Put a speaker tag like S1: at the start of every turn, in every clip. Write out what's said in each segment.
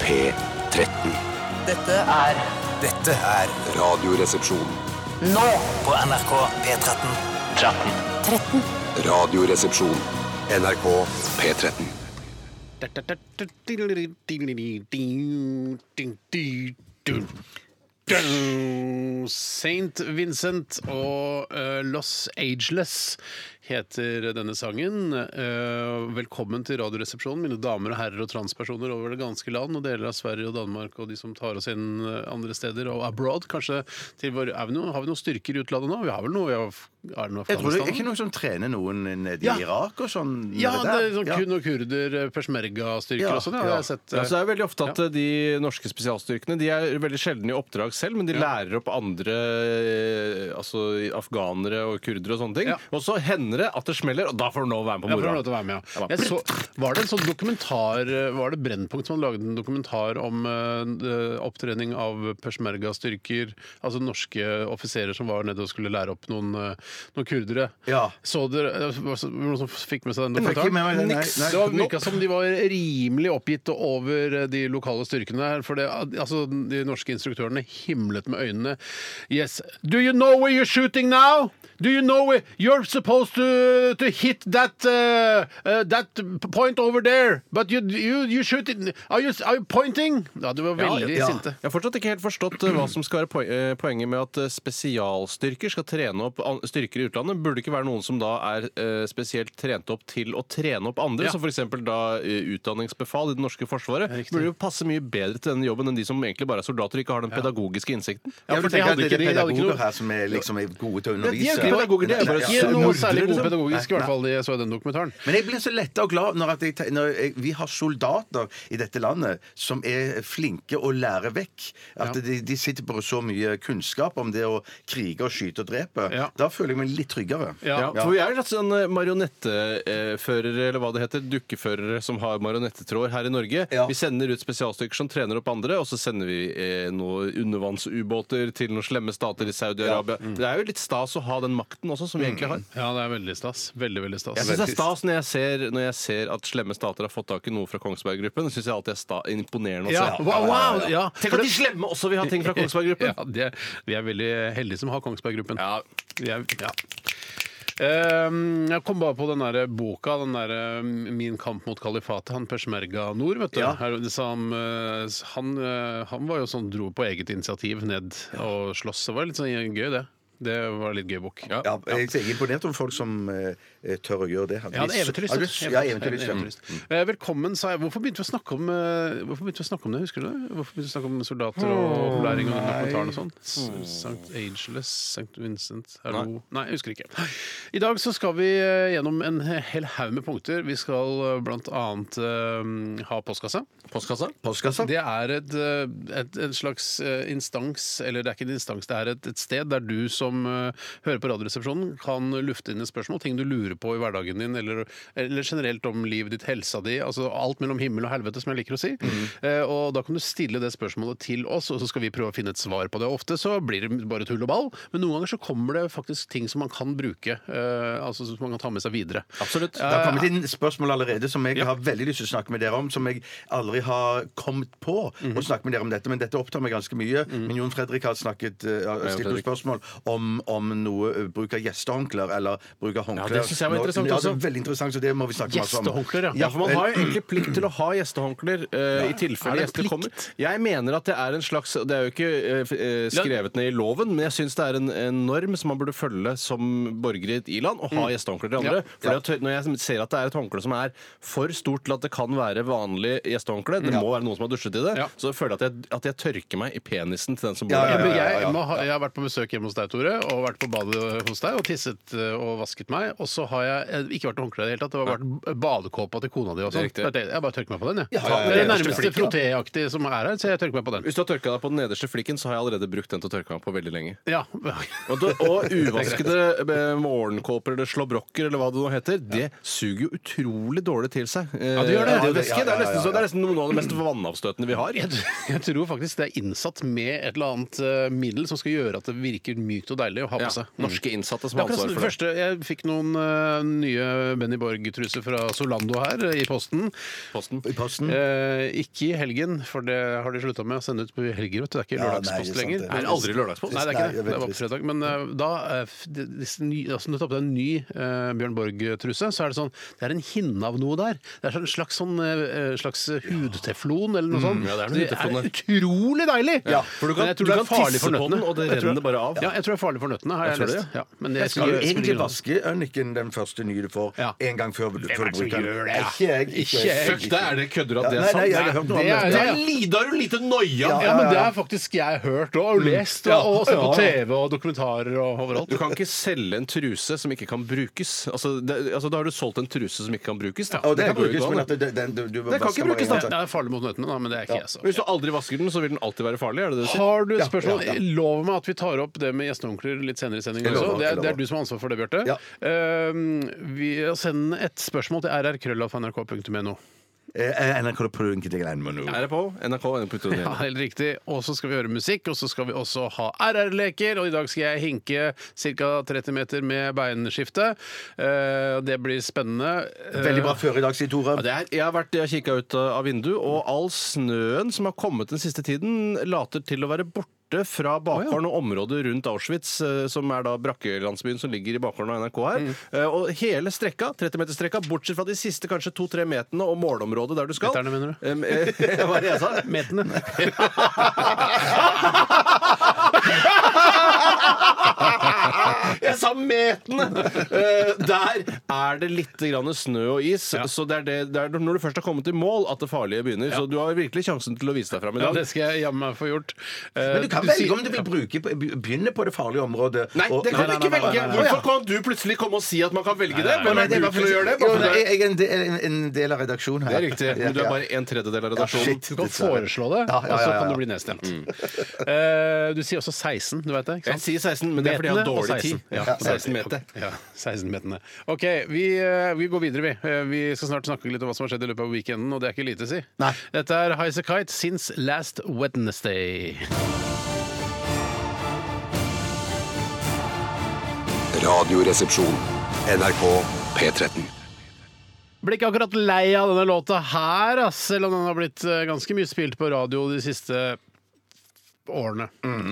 S1: P13.
S2: Dette er
S3: Dette er
S1: Radioresepsjon.
S2: nå
S3: på NRK P13.
S2: 13.
S1: Radioresepsjon. NRK P13.
S4: St. Vincent og eh, Los Ageless heter denne sangen. Eh, velkommen til Radioresepsjonen, mine damer og herrer og transpersoner over det ganske land og deler av Sverige og Danmark og de som tar oss inn eh, andre steder og abroad. Kanskje til vår, er vi noe, Har vi noen styrker i utlandet nå? Vi har vel noe i Af- er det noe
S5: Jeg tror det er
S4: Afghanistan?
S5: ikke noen som trener noen nede i
S4: Ja.
S5: Irak og sånn? gjør
S4: Ja, det er sånn
S5: Ja.
S4: kun og kurder, eh, peshmerga-styrker
S5: Ja,
S4: og sånn. Ja, det har jeg sett.
S6: Ja, så det er veldig ofte at eh, de norske spesialstyrkene De er veldig sjelden i oppdrag selv, men de lærer opp andre eh, Altså afghanere og kurdere og sånne ting.
S4: Ja.
S6: Og så hender det at det smeller, og da får du nå være med på
S4: Ja, for han
S6: moroa.
S4: lot det være med, ja. Jeg så, var det en sånn dokumentar Var det Brennpunkt som hadde laget en dokumentar om eh, opptrening av peshmerga-styrker? Altså norske offiserer som var nede og skulle lære opp noen, eh, noen kurdere.
S5: Ja.
S4: Så dere det var så- noen som fikk med seg den
S5: Fikk ikke
S4: dokumentaren?
S5: med meg det, nei,
S6: Niks.
S5: nei.
S4: Det var- virka som de var rimelig oppgitt over de lokale styrkene her. For det, altså, de norske instruktørene himlet med øynene. Yes. Do you know where you're shooting now? Do you know where you're supposed to, to hit that, uh, uh, that point over there? But you, you, you shoot it are you, are you pointing? Ja, de var veldig
S5: ja.
S4: sinte.
S6: Jeg har fortsatt ikke helt forstått eh, hva som skal være poe- eh, poenget med at eh, spesialstyrker skal trene opp an- styrker i utlandet. Burde det ikke være noen som da er eh, spesielt trent opp til å trene opp andre,
S4: Ja.
S6: som f.eks. da eh, utdanningsbefal i det norske forsvaret,
S4: riktig.
S6: burde jo passe mye bedre til denne jobben enn de som egentlig bare er soldater og ikke har den pedagogiske innsikten.
S5: Ja, for tenk
S4: for de
S5: at
S4: hadde
S5: det er
S4: ikke- de hadde ikke
S5: pedagoger
S4: noe-
S5: her som er, liksom, er gode til å undervise.
S6: ikke pedagoger, de er bare-
S5: Nei,
S4: Ikke
S5: ja.
S4: noe
S5: Mordere,
S4: særlig god
S5: liksom.
S4: pedagogisk, i
S5: Nei,
S4: hvert fall. Jeg så den dokumentaren.
S5: Men jeg blir så letta og glad når, at jeg, te- når jeg, vi har soldater i dette landet som er flinke å lære vekk. At de, de sitter på så mye kunnskap om det å krige og skyte og drepe.
S4: Ja.
S5: Da føler jeg meg litt tryggere.
S6: Ja,
S4: Ja.
S6: for vi er litt sånn eh, marionetteførere, eller hva det heter, dukkeførere som har marionettetråder her i Norge.
S5: Ja.
S6: Vi sender ut spesialstykker som trener opp andre, og så sender vi eh, noen undervannsubåter til noen slemme stater i Saudi-Arabia. Det er jo litt stas å ha den makten også, som vi egentlig har.
S4: Ja, det er veldig stas. Veldig, veldig stas.
S6: Jeg syns det er stas når jeg, ser, når jeg ser at slemme stater har fått tak i noe fra Kongsberg Gruppen. Det syns jeg alltid er sta imponerende å
S4: Ja,
S6: se.
S4: wow, wow, ja.
S6: Tenk at de slemme også vil ha ting fra Kongsberg Gruppen!
S4: Ja, det, vi er veldig heldige som har Kongsberg Gruppen.
S6: Ja.
S4: Vi er, ja. Ehm, jeg kom bare på den der boka, den der eh, 'Min kamp mot kalifatet', han Peshmerga Nord, vet du. Her, som, eh, han, eh, han var jo sånn, dro på eget initiativ ned og sloss. Det var litt sånn gøy, det. Det var en litt gøy bok.
S5: Ja, jeg er imponert over folk som eh, tør å gjøre det. Hadde
S4: Ja,
S5: de
S4: det er
S5: så-
S4: eventyrlyst.
S5: hadde
S4: vet
S5: de-
S4: du.
S5: Ja, eventyrlyst. ja.
S4: Eventyrlyst. Eh, Velkommen, sa jeg. Hvorfor begynte vi å snakke om, eh, hvorfor begynte vi å snakke om det? Husker du det? Hvorfor begynte vi å snakke om soldater og opplæring og den dokumentaren og sånn? St. Angeles, St. Vincent, hallo Nei. jeg husker ikke. I dag så skal vi eh, gjennom en hel haug med punkter. Vi skal eh, blant annet eh, ha postkasse.
S6: Postkassa?
S5: Postkassa?
S4: Det er et, eh, et, en slags eh, instans, eller det er ikke en instans, det er et, et sted der du som eh, hører på Radioresepsjonen kan lufte inn et spørsmål, ting du lurer på i hverdagen din, eller, eller generelt om livet ditt, helsa di, altså alt mellom himmel og helvete, som jeg liker å si. Eh, og da kan du stille det spørsmålet til oss, og så skal vi prøve å finne et svar på det. Ofte så blir det bare tull og ball, men noen ganger så kommer det faktisk ting som man kan bruke, eh, altså som man kan ta med seg videre.
S6: Absolutt.
S5: Det har kommet inn spørsmål allerede som jeg har veldig lyst til å snakke med dere om. Som jeg aldri har kommet på å snakke med dere om dette, men dette opptar meg ganske mye. Men Jon Fredrik har snakket, eh, har stilt noen
S6: Fredrik.
S5: spørsmål om, om noe eh, bruk av gjestehåndklær eller bruk av håndklær.
S6: det synes jeg var
S5: Nå-
S6: interessant
S5: ja, det er
S6: også.
S5: veldig interessant, så det må vi snakke masse om.
S4: Gjestehåndklær, ja.
S6: Ja, for Man har jo egentlig plikt til å ha gjestehåndklær eh, i
S4: Er
S6: tilfelle
S4: det
S6: gjester
S4: plikt?
S6: kommer. Jeg mener at det er en slags Det er jo ikke eh, f- eh, skrevet ned i loven, men jeg syns det er en, en norm som man burde følge som borger i et i-land, og ha gjestehåndklær til andre. For det at- Når jeg ser at det er et håndkle som er for stort til at det kan være vanlig gjestehåndkle, det må være noen som har dusjet i det,
S4: Ja.
S6: så føler jeg at jeg at jeg tørker meg i penisen til den som bor
S5: Ja, ja, ja.
S6: der.
S4: Men jeg, må ha- jeg har vært på besøk hjemme hos deg, Tore, og vært på badet hos deg og tisset eh, og vasket meg. Og så har jeg eh, ikke vært med håndkle i det hele tatt. Det har vært badekåpa til kona di og sånn.
S6: Det er riktig.
S4: Det er det- Jeg bare tørker meg på den, jeg.
S5: Ja, ja, ja,
S4: det er det
S5: ja.
S4: nærmeste frottéaktig som er her, så jeg tørker meg på den.
S6: Hvis du har tørka deg på den nederste flikken, så har jeg allerede brukt den til å tørke meg på veldig lenge.
S4: Ja.
S6: Og, da- og uvaskede eh, morgenkåper eller slåbrokker eller hva det nå heter, det suger jo utrolig dårlig til seg. Eh,
S4: det gjør det.
S6: er jo væske.
S5: Ja, ja, ja,
S6: Det er nesten så-
S5: ja.
S6: det er nesten noe av det mest vannavstøtende vi har.
S4: Jeg tror faktisk det er innsatt med et eller annet eh, middel som skal gjøre at det virker mykt og lite og deilig å ha på
S6: Ja,
S5: mm.
S4: seg.
S6: norske innsatte som
S4: Ja,
S6: har
S4: forresten,
S6: ansvar for det.
S4: Første, jeg fikk noen eh, nye Benny Borg-truser fra Solando her eh, i posten.
S6: Posten.
S5: I posten.
S4: Eh, ikke i helgen, for det har de slutta med å sende ut på helger. vet du. Det er ikke
S7: Ja, nei,
S4: lørdagspost
S7: ikke sant,
S4: lenger.
S7: det.
S6: Er det aldri lørdagspost?
S4: Nei, det er ikke
S7: Nei,
S4: det.
S7: veldig
S4: Det var på
S7: trist.
S4: fredag. Men eh, da eh, f- det- disse ny- altså, når du tar på deg en ny eh, Bjørn Borg-truse, så er det sånn Det er en hinne av noe der. Det er sånn slags, sånn, eh, slags hudteflon eller noe sånt.
S6: Mm, ja, det er noe
S4: Så
S6: hudteflon der.
S4: utrolig deilig!
S6: Ja, for du kan-
S4: Men jeg tror
S6: du
S4: det er
S6: kan
S4: farlig
S6: tisse
S4: for
S6: på
S4: nøttene.
S6: den, og det
S4: Jeg tror-
S6: renner bare av.
S4: Ja, jeg tror det er farlig for nøttene, har jeg,
S6: tror det,
S4: lest. Ja, men
S5: Jeg skal jo
S4: skulle-
S5: egentlig
S4: skulle-
S5: vaske ørniken, den første nye du får,
S4: Ja.
S5: en gang før du før du bruker den.
S4: gjør det?
S5: Ikke jeg. Ikke
S4: Ikke
S5: jeg.
S4: jeg.
S6: Fuck det, er det kødder at
S5: Ja,
S6: det
S5: nei,
S6: er sant?
S5: nei, jeg har hørt noe om
S4: det er-
S5: dette.
S6: Det er lidar du lite noia!
S5: Ja,
S4: Ja, men det har faktisk jeg hørt og lest
S6: Mm.
S4: og, og sett på TV og dokumentarer og overalt.
S6: Du kan ikke selge en truse som ikke kan brukes. Altså, det, altså Da har du solgt en truse som ikke kan brukes. Da.
S5: Og det kan
S6: går jo
S5: brukes,
S6: ikke an,
S5: men
S6: da.
S5: at det- den, du, du
S6: Det kan ikke brukes,
S4: Det
S6: da.
S5: da.
S4: er farlig mot nøttene, da, men det er ikke jeg.
S6: Hvis du
S4: Så.
S6: aldri vasker den, så vil den alltid være farlig? er det det du sier?
S4: Har du et
S5: Ja,
S4: spørsmål?
S5: ja, ja.
S4: Lov meg at vi tar opp det med gjesteonkler litt senere i sendingen
S5: Jeg
S4: også.
S5: lover,
S4: Det
S5: jeg
S4: er, det er
S5: lover.
S4: du som har ansvar for det, Bjarte.
S5: Ja.
S4: Ehm, vi Send et spørsmål til rrkrøllalfa.nrk.no.
S5: Eh, NRK prøver ikke det greiene med nå.
S6: Er det på NRK? Er det på
S4: Ja,
S6: Trondheim?
S4: helt riktig. Og så skal vi høre musikk, og så skal vi også ha RR-leker. Og i dag skal jeg hinke ca. 30 meter med beinskifte. Eh, det blir spennende. Eh,
S5: Veldig bra før i dag, sier Tore.
S6: Ja, det er, jeg har vært, jeg kikka ut uh, av vinduet, og all snøen som har kommet den siste tiden, later til å være borte fra bakgården og området rundt Auschwitz, uh, som er da brakkelandsbyen som ligger i bakgården av NRK her. Uh, Og hele strekka, 30-meterstrekka, bortsett fra de siste kanskje to-tre meterne og målområdet der du skal
S4: Meterne, mener du?
S6: Um, eh, Hva er det jeg sa?
S4: Metene.
S6: Jeg sa metene! Eh, der er det litt grann snø og is. Så det er det, det er når du først har kommet i mål, at det farlige begynner. Så du har virkelig sjansen til å vise deg fram i
S4: Ja,
S6: dag.
S4: det skal jeg jammen meg få gjort. Eh,
S5: Men du kan
S4: sier-
S5: velge om du vil bruke, begynne på det farlige området.
S6: Nei,
S5: og-
S6: det kan du
S5: Nei, nei, nei,
S6: ikke velge!
S5: nei, nei, nei.
S6: Hvorfor kan du plutselig komme og si at man kan velge det?
S5: Å,
S6: Hvem
S5: nei,
S6: er
S5: det
S6: du
S5: var
S6: til å
S5: faktisk-
S6: gjøre det?
S5: Jo,
S6: Bare-
S5: nei, Jeg jeg er en del, en, en del av redaksjonen her.
S6: Det er riktig. Men du er
S5: Ja, ja.
S6: bare en tredjedel av
S5: Ja,
S6: redaksjonen.
S5: shit,
S4: Du kan
S5: dessverre.
S4: foreslå det,
S5: Ja, ja,
S4: og så
S5: ja,
S4: kan
S5: ja.
S4: du bli nedstemt. Mm. Eh, du sier også 16, du vet det? ikke
S6: Jeg
S4: sant?
S6: sier 16, men det er fordi jeg har
S4: Metene og
S6: dårlig
S4: 16.
S6: tid. Ja, 16 meter.
S4: Ja, 16-meterne. OK, vi, eh, vi går videre, vi. Eh, Vi skal snart snakke litt om hva som har skjedd i løpet av weekenden, og det er ikke lite, si.
S5: Nei.
S4: Dette er Highasakite since last Wednesday.
S1: Radioresepsjon. NRK P13.
S4: Ble ikke akkurat lei av denne låta her, ass, selv om den har blitt eh, ganske mye spilt på radio de siste årene.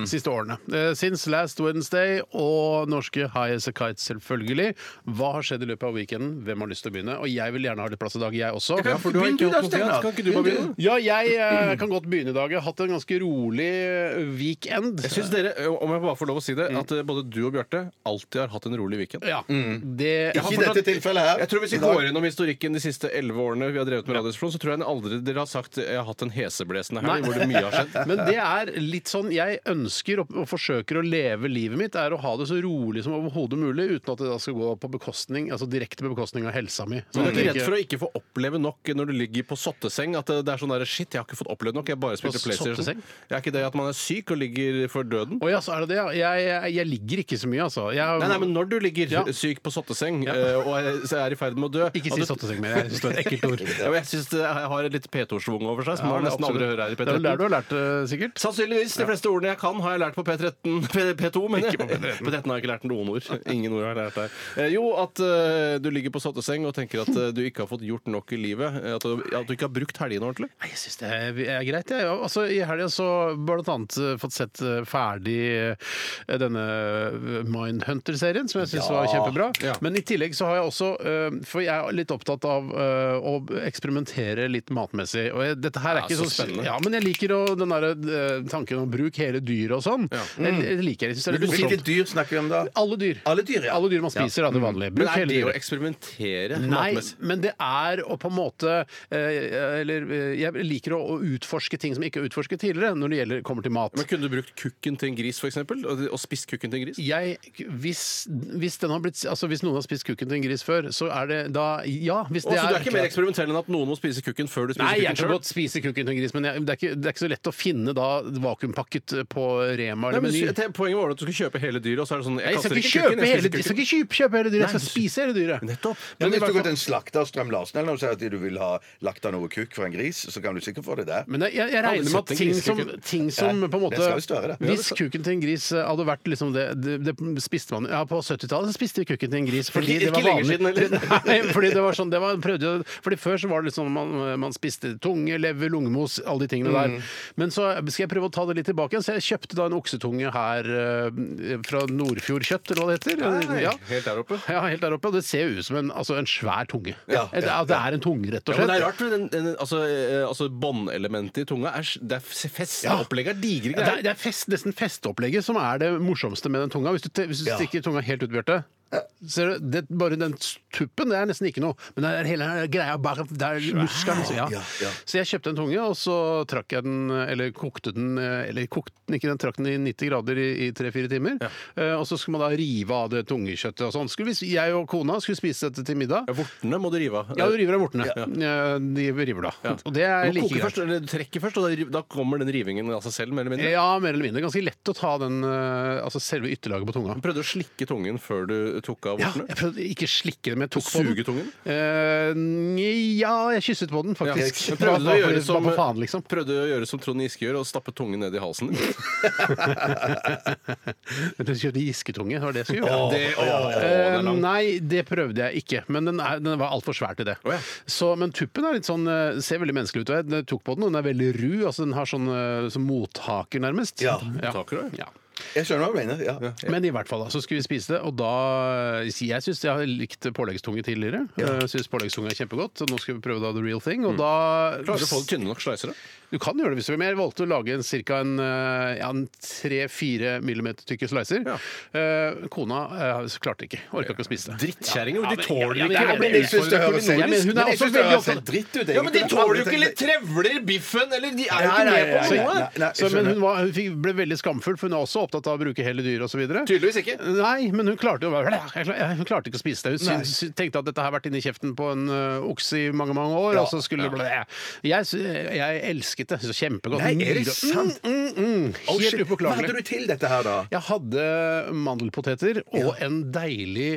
S4: Siste årene. Eh, Since Last Wednesday og norske High As A Kite, selvfølgelig. Hva har skjedd i løpet av weekenden? Hvem har lyst til å begynne? Og jeg vil gjerne ha litt plass i dag, jeg også.
S5: Ja, for du har
S6: Begynn
S5: ikke
S6: du da,
S5: hatt noe
S6: Steinar.
S5: fint.
S6: Kan ikke du bare begynne?
S4: Ja, jeg eh, kan godt begynne i dag. Jeg har hatt en ganske rolig eh, weekend.
S6: Jeg syns dere, om jeg bare får lov å si det, at eh, både du og Bjarte alltid har hatt en rolig weekend.
S4: Ja, det
S6: Jeg har
S5: Ikke i
S6: fortsatt-
S5: dette tilfellet her.
S6: Jeg tror Hvis
S5: I
S6: vi
S5: dag.
S6: går innom historikken de siste elleve årene vi har drevet med Radioresepsjon, så tror jeg aldri dere har sagt eh, jeg har hatt en heseblesende helg hvor det mye har skjedd.
S4: Men det er litt sånn jeg ønsker og, og forsøker å leve livet mitt, er å ha det så rolig som overhodet mulig, uten at det da skal gå på bekostning, altså direkte på bekostning av helsa mi. Sånn
S6: Men du er ikke redd for å ikke få oppleve nok når du ligger på sotteseng? At det det er sånn der, shit, jeg har ikke fått opplevd nok, jeg bare spilte
S4: På
S6: PlayStation.
S4: sotteseng?
S6: Det er ikke det at man er syk og ligger for døden?
S4: Å ja, så er det det, ja. Jeg, jeg, jeg ligger ikke så mye, altså. Jeg,
S6: Nei, nei, men når du ligger
S4: Ja.
S6: syk på sotteseng eh, og er, så er i ferd med å dø
S4: Ikke
S6: at
S4: si
S6: du-
S4: sotteseng mer, jeg syns det er et ekkelt ord.
S6: Ja, men jeg syns det har et litt P2-schwung over seg, som man nesten aldri hører her i
S4: Det er vel der du
S6: P13.
S4: har lært det, sikkert?
S6: Sannsynligvis. De fleste ordene jeg kan, har jeg lært på P13. P- P2, men jeg. P13 har jeg ikke lært noen ord. Ingen ord har jeg lært der. Eh, Jo, at eh, du ligger på sotteseng og tenker at eh, du ikke har fått gjort nok i livet. eh, At du, at du ikke har brukt helgene ordentlig.
S4: Nei, Jeg syns det er, er greit, jeg. Ja. Altså, I helga så blant annet eh, fått sett eh, ferdig eh, denne eh, Mindhunter-serien, som jeg syns var kjempebra.
S6: Ja.
S4: Men i tillegg så har jeg også eh, For jeg er litt opptatt av eh, å eksperimentere litt matmessig. Og jeg, dette her er
S6: Ja,
S4: ikke
S6: så
S4: så
S6: spennende.
S4: spennende. Ja, men jeg liker å, den der, eh, tanken om bruk hele dyr og sånn. Det
S6: Mm.
S4: det liker jeg. jeg synes det er litt
S5: Hvilket
S4: morsomt.
S5: dyr snakker vi om da?
S4: Alle dyr.
S5: Alle dyr, ja.
S4: Alle dyr man spiser, da, det vanlige.
S6: Mm. Men
S4: Bruk
S6: er
S4: hele
S6: det å
S4: dyret.
S6: eksperimentere
S4: Nei,
S6: matmessig?
S4: men det er å på en måte eh, Eller eh, jeg liker å, å utforske ting som ikke er utforsket tidligere, når det gjelder, kommer til mat.
S6: Men kunne du brukt kukken til en gris, f.eks.? Og, og spist kukken til en gris?
S4: Jeg, hvis, hvis, den har blitt, altså hvis noen har spist kukken til en gris før, så er det da Ja, hvis
S6: Og
S4: det
S6: så du er
S4: er
S6: ikke mer eksperimenterende enn at noen må spise kukken før du spiser
S4: Nei, jeg
S6: kukken
S4: kan
S6: selv?
S4: godt spise kukken til en gris, men jeg, det, er ikke, det er ikke så lett å finne da vakuumpakket på Rema
S6: Nei,
S4: eller
S6: men
S4: Meny.
S6: sy- te- Poenget var vel at du skulle kjøpe hele dyret, og så er det sånn
S4: Nei, Jeg
S6: kaster
S4: skal ikke
S6: kukken,
S4: kjøpe hele,
S6: kaster
S4: jeg
S6: kukken.
S4: skal ikke kjøpe, kjøpe hele dyret, jeg skal
S6: Nei, du-
S4: spise hele dyret.
S6: Nettopp.
S5: Men
S4: Men, i
S5: hvis du
S4: hvert
S5: går
S4: fall-
S5: til en slakter, Strøm Larsen, eller noe, og sier at du vil ha lagt av noe kukk fra en gris, så kan du sikkert få det der.
S4: men jeg, jeg, jeg regner med at
S6: Alle
S4: ting
S6: setter
S4: som,
S6: grisekuken.
S4: ting som
S5: Nei,
S4: på
S5: det
S4: en måte
S5: skal jo større, det. Ja, det
S4: Hvis kuken til en gris eh, hadde vært liksom det, det, det spiste man Ja, på 70-tallet så spiste vi kuken til en gris fordi
S6: Ikke-
S4: det var
S6: ikke lenger
S4: vanlig.
S6: siden, eller?
S4: Nei, fordi det var sånn det var, prøvde, jeg- Fordi før så var det liksom man, man spiste tunge, lever, lungemos, alle de tingene
S6: Mm.
S4: der. Men så eh, skal jeg prøve å ta det litt tilbake igjen, så jeg kjøpte da en oksetunge her eh, fra Nordfjord kjøtt, eller hva det heter.
S6: Ah, Nei,
S4: Ja.
S6: Helt der oppe.
S4: Ja, helt der oppe. Og det ser jo ut som en, altså en svær tunge.
S5: Ja,
S4: Et-
S5: ja,
S4: at det er en tunge, rett og
S6: Ja, men
S4: slett.
S6: det er rart, men den, den, altså, eh, altså båndelementet i tunga er, s- Det er f- fest,
S4: Ja.
S6: opplegget er digre
S4: Ja, det er,
S6: greier.
S4: det er fest, nesten festeopplegget som er det morsomste med den tunga. Hvis du, te- hvis du
S5: Ja.
S4: stikker tunga helt ut, Bjarte Ser du, det, bare den tuppen det er nesten ikke noe, men det er hele den greia bare det er muskelen. Så, ja.
S5: Ja, ja.
S4: så jeg kjøpte en tunge, og så trakk jeg den, eller kokte den Eller kokte den ikke, den trakk den i 90 grader i, i 3-4 timer. Eh, og så skulle man da rive av det tungekjøttet og sånn. Skulle vi- Jeg og kona skulle spise dette til middag.
S6: Ja, Vortene må du rive av.
S4: Ja, du river av vortene. Ja. De river da. Og det er
S6: Du må
S4: like
S6: koke
S4: greit.
S6: først, eller du trekker først, og da, riv- da kommer den rivingen av seg selv, mer eller mindre.
S4: Ja, mer eller mindre. Ganske lett å ta den, eh, altså selve ytterlaget på tunga.
S6: Du prøvde å slikke tungen før du tok av
S4: Ja,
S6: vortene?
S4: jeg prøvde ikke å slikke den, men jeg tok på
S6: Suge
S4: den.
S6: tungen?
S4: Eh, nj- ja, jeg kysset på den, faktisk.
S6: Men prøvde, du å
S4: Bare- bare
S6: gjøre
S4: for-
S6: som,
S4: bare for faen, liksom.
S6: prøvde du å gjøre som Trond Giske gjør, og stappe tungen ned i halsen?
S4: Jeg kjøpte gisketunge, det var det jeg skulle gjøre.
S6: Ja, det, å,
S4: Eh, nei, det prøvde jeg ikke, men den, er, den var altfor svær til det.
S6: Å, ja.
S4: så, men tuppen er litt sånn, eh, ser veldig menneskelig ut. og Jeg tok på den, og den er veldig ru. altså Den har sånn eh, som mottaker, nærmest.
S5: Ja.
S6: Mottaker, ja.
S4: ja.
S5: Jeg skjønner hva du mener. Ja.
S4: Men i hvert fall, da, så skulle vi spise det, og da Jeg syns jeg har likt påleggstunge tidligere. Jeg syns påleggstunge er kjempegodt, og nå skal vi prøve da the real thing, og da
S6: Mm. Klarer du å få det tynne nok slicere?
S4: Du kan gjøre det hvis du vil, men jeg valgte å lage en ca. en, eh, ja, en 3-4 millimeter tykke slicer. Eh, kona eh, klarte ikke. Orka ikke å spise det.
S6: Drittkjerringer, de tåler
S4: ja, men
S6: ikke
S4: jeg-
S6: å bli
S5: Jeg syns det
S6: utfordret
S5: høres sånn
S4: Ja, men
S5: helt
S4: hun er også veldig opptatt
S5: dritt ut,
S6: Ja, men de
S5: egentlig.
S6: tåler jo ikke litt trevler, biffen, eller de er jo
S5: Nei,
S6: ikke
S5: nei, nei, nei,
S6: med på noe!
S5: nei, nei, jeg
S4: Så, men
S5: skjønner.
S4: hun, var, hun fikk, ble veldig skamfull, for hun er også opptatt av å bruke hele dyret osv.
S6: Tydeligvis ikke.
S4: Nei, men hun klarte jo bare jeg klar- Hun klarte ikke å spise det. Hun syntes- sy- tenkte at dette har vært inni kjeften på en ø, okse i mange mange år, og så skulle det blæ. Jeg, sy- jeg elsket det. Så kjempegodt.
S5: Nei, er det
S4: Nydelig.
S5: sant?
S4: Mm, mm, mm.
S5: Oh, shit.
S4: Helt
S5: Hva hadde
S4: upåklagelig.
S5: du til dette her, da?
S4: Jeg hadde mandelpoteter og en deilig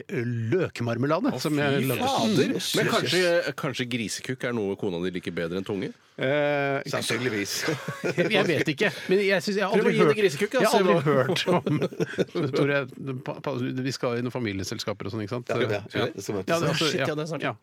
S4: løkmarmelade. som jeg lagde.
S6: Fader. Men kanskje, kanskje grisekukk er noe kona di liker bedre enn tunge?
S4: Eh,
S5: Sannsynligvis.
S4: Jeg vet ikke. Men jeg, synes, jeg har
S6: Prøv å
S4: aldri
S6: gi
S4: hørt
S6: det grisekukk, da,
S4: Jeg har
S6: se
S4: aldri
S6: hva-
S4: hørt om Tore, pa- pa- vi skal i noen familieselskaper og sånn, ikke sant?
S5: Ja, ja, ja, det skal vi.
S4: Ja, det- altså,
S6: Shit, ja, det er sant.
S4: ja.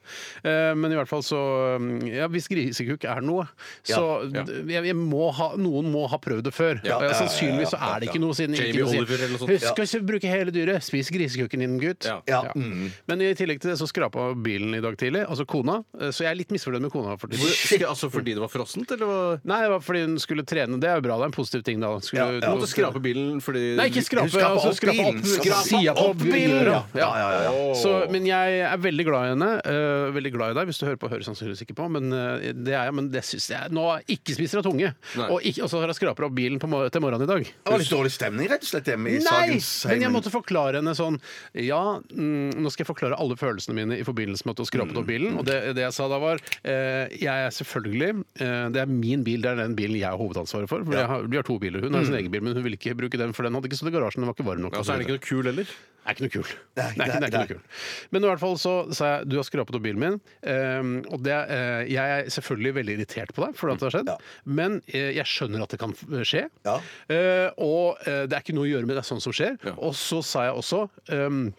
S4: Eh, Men i hvert fall så um, ja, Hvis grisekukk er noe, så
S6: Ja.
S4: d- Jeg, jeg må ha, noen må ha prøvd det før.
S6: Ja,
S4: Og jeg- sannsynligvis så er det ikke noe siden
S6: Jamie
S4: ikke noe sier,
S6: Oliver eller noe sånt.
S4: Husk å ikke bruke hele dyret. Spis grisekukken din, gutt.
S6: Ja. Mm.
S5: Ja.
S4: Men i tillegg til det så skrapa bilen i dag tidlig, altså kona. eh, Så jeg er litt misfornøyd med kona for tiden.
S6: Skal- Altså fordi det var frossent, eller hva?
S4: Nei, det var fordi hun skulle trene. Det er jo bra, det er en positiv ting, da. Skulle,
S5: Ja, ja.
S6: Du måtte skrape bilen fordi
S4: Nei, ikke skrape.
S5: Hun skrapa
S4: altså,
S5: opp
S4: skrapa
S5: bilen.
S4: opp
S5: Skrapa
S4: sida på
S5: opp bilen,
S4: bilen.
S5: ja. Ja, ja, ja, ja.
S4: Så, men jeg er veldig glad i henne. eh, veldig glad i deg, hvis du hører på. Hører sannsynligvis ikke på, men eh, det er jeg. Men det syns jeg Nå ikke spiser av tunge.
S6: Nei.
S4: Og, ikke, og så har jeg skrapet opp bilen på, mor- til morgenen i dag.
S5: Det var litt dårlig stemning rett og slett hjemme i
S4: Nei!
S5: Sagens
S4: Men jeg måtte forklare henne sånn Ja, mm, nå skal jeg forklare alle følelsene mine i forbindelse med at du har skrapet
S5: Mm.
S4: opp bilen. Og det, det jeg sa da, var eh, Jeg er selvfølgelig eh, Det er min bil, det er den bilen jeg har hovedansvaret for. for jeg har, vi har to biler. Hun har
S5: Mm.
S4: sin egen bil, men hun ville ikke bruke den, for den hadde ikke stått i garasjen. Den var ikke varm nok.
S6: Ja, så er den ikke noe kul heller.
S4: Det er ikke noe kul.
S5: Nei,
S4: det er ikke, det er ikke
S5: nei,
S4: noe kul. Men i hvert fall så sa jeg du har skrapet opp bilen min, ehm, og det, eh, jeg er selvfølgelig veldig irritert på deg for at det har skjedd,
S5: Ja.
S4: men eh, jeg skjønner at det kan eh, skje.
S5: Ja.
S4: Eh, og eh, det er ikke noe å gjøre med det, det er sånn som skjer.
S6: Ja.
S4: Og så sa jeg også ehm,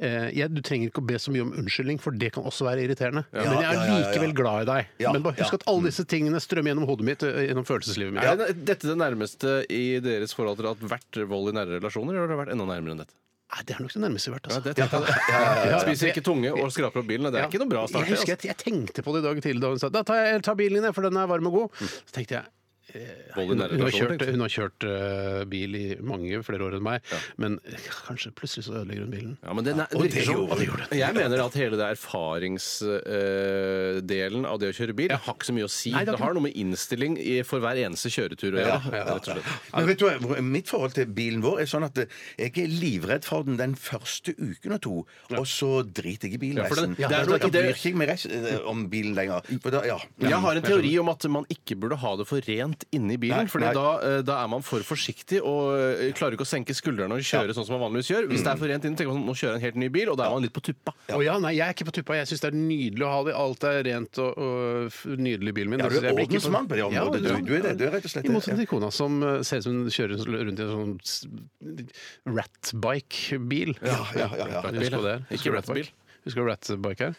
S4: eh, jeg, du trenger ikke å be så mye om unnskyldning, for det kan også være irriterende. Men jeg er
S5: ja, ja, ja, ja.
S4: likevel glad i deg.
S5: Ja,
S4: Men bare husk
S5: ja.
S4: at alle disse tingene strømmer gjennom hodet mitt, eh, gjennom følelseslivet mitt.
S6: Er dette det nærmeste i deres forhold til at vært vold i nære relasjoner, eller har det vært enda nærmere enn dette?
S4: Nei, det er nok det nærmeste vi har vært. Altså.
S6: Ja, det tenkte jeg. Spiser ikke tunge og skraper opp bilen. og Det er ikke noe bra altså. start.
S4: Jeg husker
S6: det,
S4: at jeg tenkte på det i dag tidlig da hun sa da tar jeg tar bilen din, jeg, for den er varm og god. Så tenkte jeg
S6: altså. Vold Mm. i
S4: hun, hun
S6: nære
S4: har
S6: relasjoner,
S4: kjørt,
S6: tenkte jeg.
S4: hun har kjørt eh, bil i mange flere år enn meg, men eh, kanskje plutselig så ødelegger hun bilen.
S6: Ja, men det,
S5: og det gjorde hun.
S6: Jeg mener at hele det erfaringsdelen av det å kjøre bil har ikke så mye å si.
S4: Nei, det har
S6: det,
S4: ikke-
S6: har noe med innstilling i- for hver eneste kjøretur å gjøre. rett og slett.
S5: Men vet du hva, hvor- Mitt forhold til bilen vår er sånn at eh, jeg er livredd for den den første uken og to, og så driter jeg i bilen
S6: Ja, for den-
S5: resten.
S6: ja,
S5: Da-
S6: det er
S5: da da
S6: noe- det-
S5: bryr ikke jeg meg rest- eh, om bilen lenger. For da, ja.
S6: Jeg har en teori om at man ikke burde ha det for rent lett inne i bilen.
S5: Nei,
S6: fordi
S5: nei.
S6: Da, eh, da er man for forsiktig og eh, klarer ikke å senke skuldrene og kjøre sånn som man vanligvis gjør. Hvis det er for rent inne, tenker man sånn, nå kjører jeg en helt ny bil, og da er man litt på tuppa.
S4: Å ja, nei, jeg er ikke på tuppa. Jeg syns det er nydelig å ha det. Alt er rent og, og f- nydelig i bilen min.
S5: Ja, du
S4: Det synes
S5: er
S4: jeg blir ikke
S5: ordensmann på det området.
S4: Ja,
S5: Du, du er det, du er rett og slett det.
S4: I motsetning til kona som eh, ser ut som hun kjører rundt i en sånn s- ratbike-bil.
S5: Ja, ja, ja, ja.
S4: Husker du det?
S6: Ikke ratbil.
S4: Husker du ratbike her?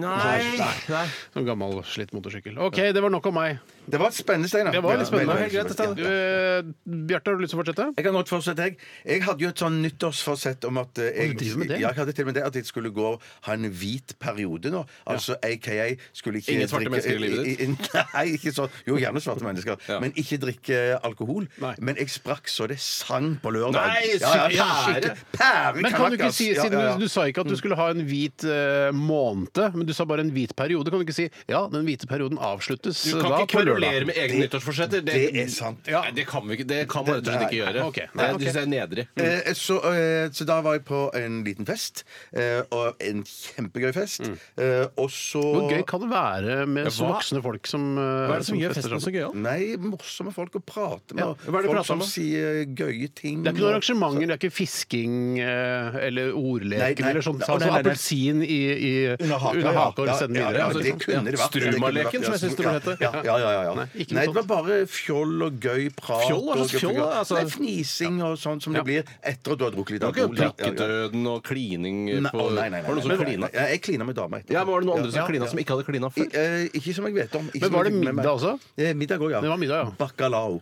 S6: Nei.
S4: Sånn gammel, slitt motorsykkel. OK, det var nok om meg.
S5: Det var spennende, Steinar.
S4: Det var litt spennende.
S5: Veldig, veldig
S4: Du, eh, Bjarte, har du lyst til å fortsette?
S5: Jeg kan godt fortsette, jeg. Jeg hadde jo et sånn nyttårsforsett om at eh, jeg,
S4: du driver med det?
S5: Ja, jeg hadde til og med det at jeg skulle gå og ha en hvit periode nå. Altså aka skulle ikke
S6: Ingen svarte mennesker i livet ditt?
S5: ditt? Nei, ikke sånn. Jo, gjerne svarte mennesker,
S6: Ja.
S5: men ikke drikke eh, alkohol.
S4: Nei.
S5: Men jeg sprakk så det sang på lørdag.
S6: Nei,
S5: ja, ja,
S6: sykt,
S5: pære! Pære
S4: Men kan du ikke
S5: Caracas.
S4: si,
S5: Ja,
S4: siden
S5: ja, ja.
S4: Du, du sa ikke
S6: Mm.
S4: at du skulle ha en hvit eh, måned, men du sa bare en hvit periode, kan du ikke si ja, den hvite perioden avsluttes
S6: Du kan
S4: da
S6: ikke
S4: på lørdag?
S6: kverulere med egne nyttårsforsetter.
S5: det er sant.
S6: Ja, det kan vi ikke. Det kan man rett og slett ikke gjøre.
S4: Nei, ok.
S6: Det
S4: Nei, ok.
S6: syns jeg er nedrig.
S5: Eh, så, eh, så da var jeg på en liten fest, eh, og en kjempegøy fest. Eh, og så
S4: Mm. Hvor gøy kan det være med
S6: Ja,
S4: så
S6: hva-
S4: voksne folk som eh,
S6: Hva er det som gjør
S4: fester
S6: festen så
S4: sammen?
S6: gøyal?
S5: Nei, morsomme folk å prate med.
S4: Ja,
S5: og
S6: hva er det
S5: folk
S6: prater
S5: som
S6: om da?
S5: sier gøye ting.
S4: Det er ikke noen
S5: og-
S4: arrangementer, det er ikke fisking eh, eller
S5: Nei,
S4: ordleker
S5: nei.
S4: eller sånn.
S5: Nei,
S4: Ta
S5: nei,
S4: sånn
S5: nei, nei.
S4: appelsin i, i,
S5: Under haka,
S4: og
S5: ja. Ja,
S4: sende
S5: ja,
S4: videre.
S5: ja,
S4: Altså,
S5: det kunne det vært. det kunne det
S6: Strumaleken,
S5: vært,
S6: som jeg synes det burde hete.
S5: Ja, ja, ja. ja, ja.
S4: Nei,
S5: Nei,
S4: ikke noe
S5: det var bare fjoll og gøy prat.
S6: Fjoll? Hva
S5: og
S6: slags
S5: gøy-
S6: fjoll, altså?
S5: Nei, fnising og sånn som det blir etter at du har drukket litt
S6: Det var ikke
S5: alkohol. ja, ja, ja.
S6: prikkedøden og klining
S5: Nei,
S6: på
S5: å, nei, nei, nei,
S6: Var det noen som
S5: nei,
S6: klina?
S5: nei, nei, Jeg klina med dama etterpå.
S6: Ja, men Var det noen andre som
S5: Ja,
S6: klina
S5: ja.
S6: som ikke hadde klina
S5: I,
S6: før?
S5: eh, ikke som jeg vet om. Ikke
S4: Men
S5: som
S4: var
S5: jeg
S4: det
S5: fikk med meg.
S4: middag også?
S5: Eh, middag òg, ja.
S4: Det var middag, ja.
S5: Bacalao.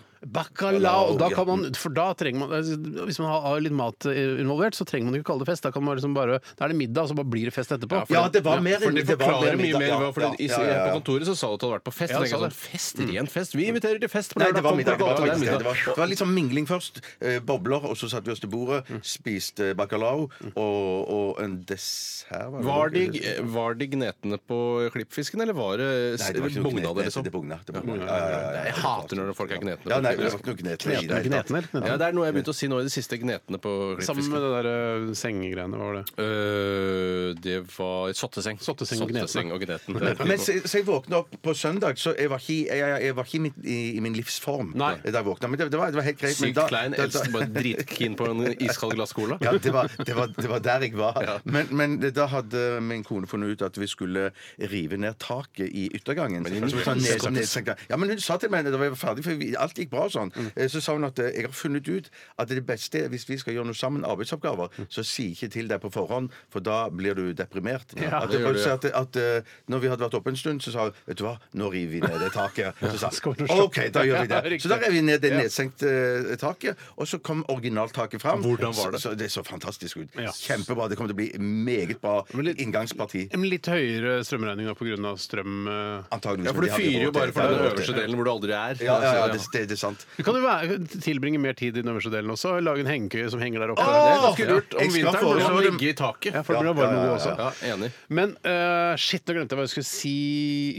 S4: Bacalao! Da
S5: ja.
S4: kan man, for da trenger man altså, Hvis man har- har litt mat eh, involvert, så trenger man ikke kalle det fest. Da, kan man liksom bare, da er det middag, og så bare blir det fest etterpå.
S5: Ja, det var mer
S6: For det
S5: var
S6: forklarer mye
S5: middag,
S6: mer.
S5: ja,
S6: hva- For det, i,
S5: ja, ja, ja.
S6: På sånn kontoret så sa du at du hadde vært på fest.
S4: Ja,
S6: og
S4: jeg
S6: tenkte
S4: sa
S6: jeg sånn, fest, ren fest. Vi inviterer til fest på
S5: Mm. Nei, det
S6: lørdag.
S5: var
S6: Kom,
S5: middag. Det
S6: kom,
S5: var,
S6: kom,
S5: faktisk,
S6: det er
S5: det
S6: middag.
S5: var, det var litt sånn mingling først. Eh, bobler, og så satt vi oss til bordet, spiste eh, bacalao og, og en dessert. det
S6: Var de,
S5: vel?
S6: var de gnetne på klippfisken, eller var det,
S5: Nei, det var ikke noe
S6: bugna
S5: gnet-
S6: det, liksom?
S5: Det bugna. Det bugna. Ja, ja, ja, ja.
S6: Jeg hater når folk er gnetne.
S5: Ja, nei, det var ikke noe gnetne. i det hele tatt.
S4: Gnetener.
S6: Ja, det er noe jeg begynte å si nå i det siste. Gnetne på
S4: Sammen
S6: klippfisken.
S4: med det der eh, sengegreiene, var det.
S6: Øh, det var sotteseng.
S4: Sotteseng og gnetne.
S6: og gneten.
S5: Men så, så jeg våkna opp på søndag, så jeg var ikke, i- jeg, jeg var ikke i, min, i, i min livsform
S4: Nei.
S5: da jeg våkna. Men det, det, var, det var helt greit. men
S6: Sykt
S5: da-
S6: klein.
S5: da- da-
S6: Eldsten bare dritkeen på en iskald glass cola.
S5: Ja, det var, det, var, det var der jeg var. Men, men da hadde min kone funnet ut at vi skulle rive ned taket i yttergangen. Altså, sånn ned, som nedsenkt tak. ja, men hun sa til meg da vi var ferdig, for vi, alt gikk bra og sånn,
S6: Mm.
S5: eh, så sa hun at eh, jeg har funnet ut at det beste er hvis vi skal gjøre noe sammen,
S6: Mm.
S5: arbeidsoppgaver, så si ikke til deg på forhånd, for da blir du deprimert. at,
S6: det gjør
S5: hun
S6: du,
S5: sa
S6: ja.
S5: at, at eh, når vi hadde vært oppe en stund, så sa hun vet du hva, nå river vi ned det taket. Så sa
S4: Skal du
S5: hun
S4: slå-
S5: OK, da gjør vi
S4: Ja,
S5: det.
S4: riktig.
S5: Så da rev vi ned det nedsenkte eh, taket, og så kom originaltaket fram.
S6: Hvordan var det?
S5: Så, så det så fantastisk ut.
S4: Ja.
S5: Kjempebra. Det kommer til å bli meget bra
S4: Men litt-
S5: inngangsparti.
S4: En litt høyere strømregning da pga. strøm. eh.
S5: Antageligvis.
S6: Ja,
S5: men
S6: for du
S5: de har ikke
S6: fyrer jo
S5: råd til
S6: bare
S5: det.
S6: for
S5: De har ikke
S6: den
S5: råd
S6: øverste
S5: til det.
S6: delen hvor du aldri er.
S5: Ja, ja, ja, det, det, det er sant.
S4: Du kan jo være, tilbringe mer tid i den øverste delen også. Lage en hengekøye som henger der oppe.
S6: Det er ganske lurt.
S5: Jeg skal
S6: Om vinteren burde
S5: foreslå
S6: man
S5: dem-
S6: ligge i taket.
S4: Ja, for det blir varm og god også.
S6: Ja, enig.
S4: Men eh, shit, nå glemte jeg hva jeg skulle si.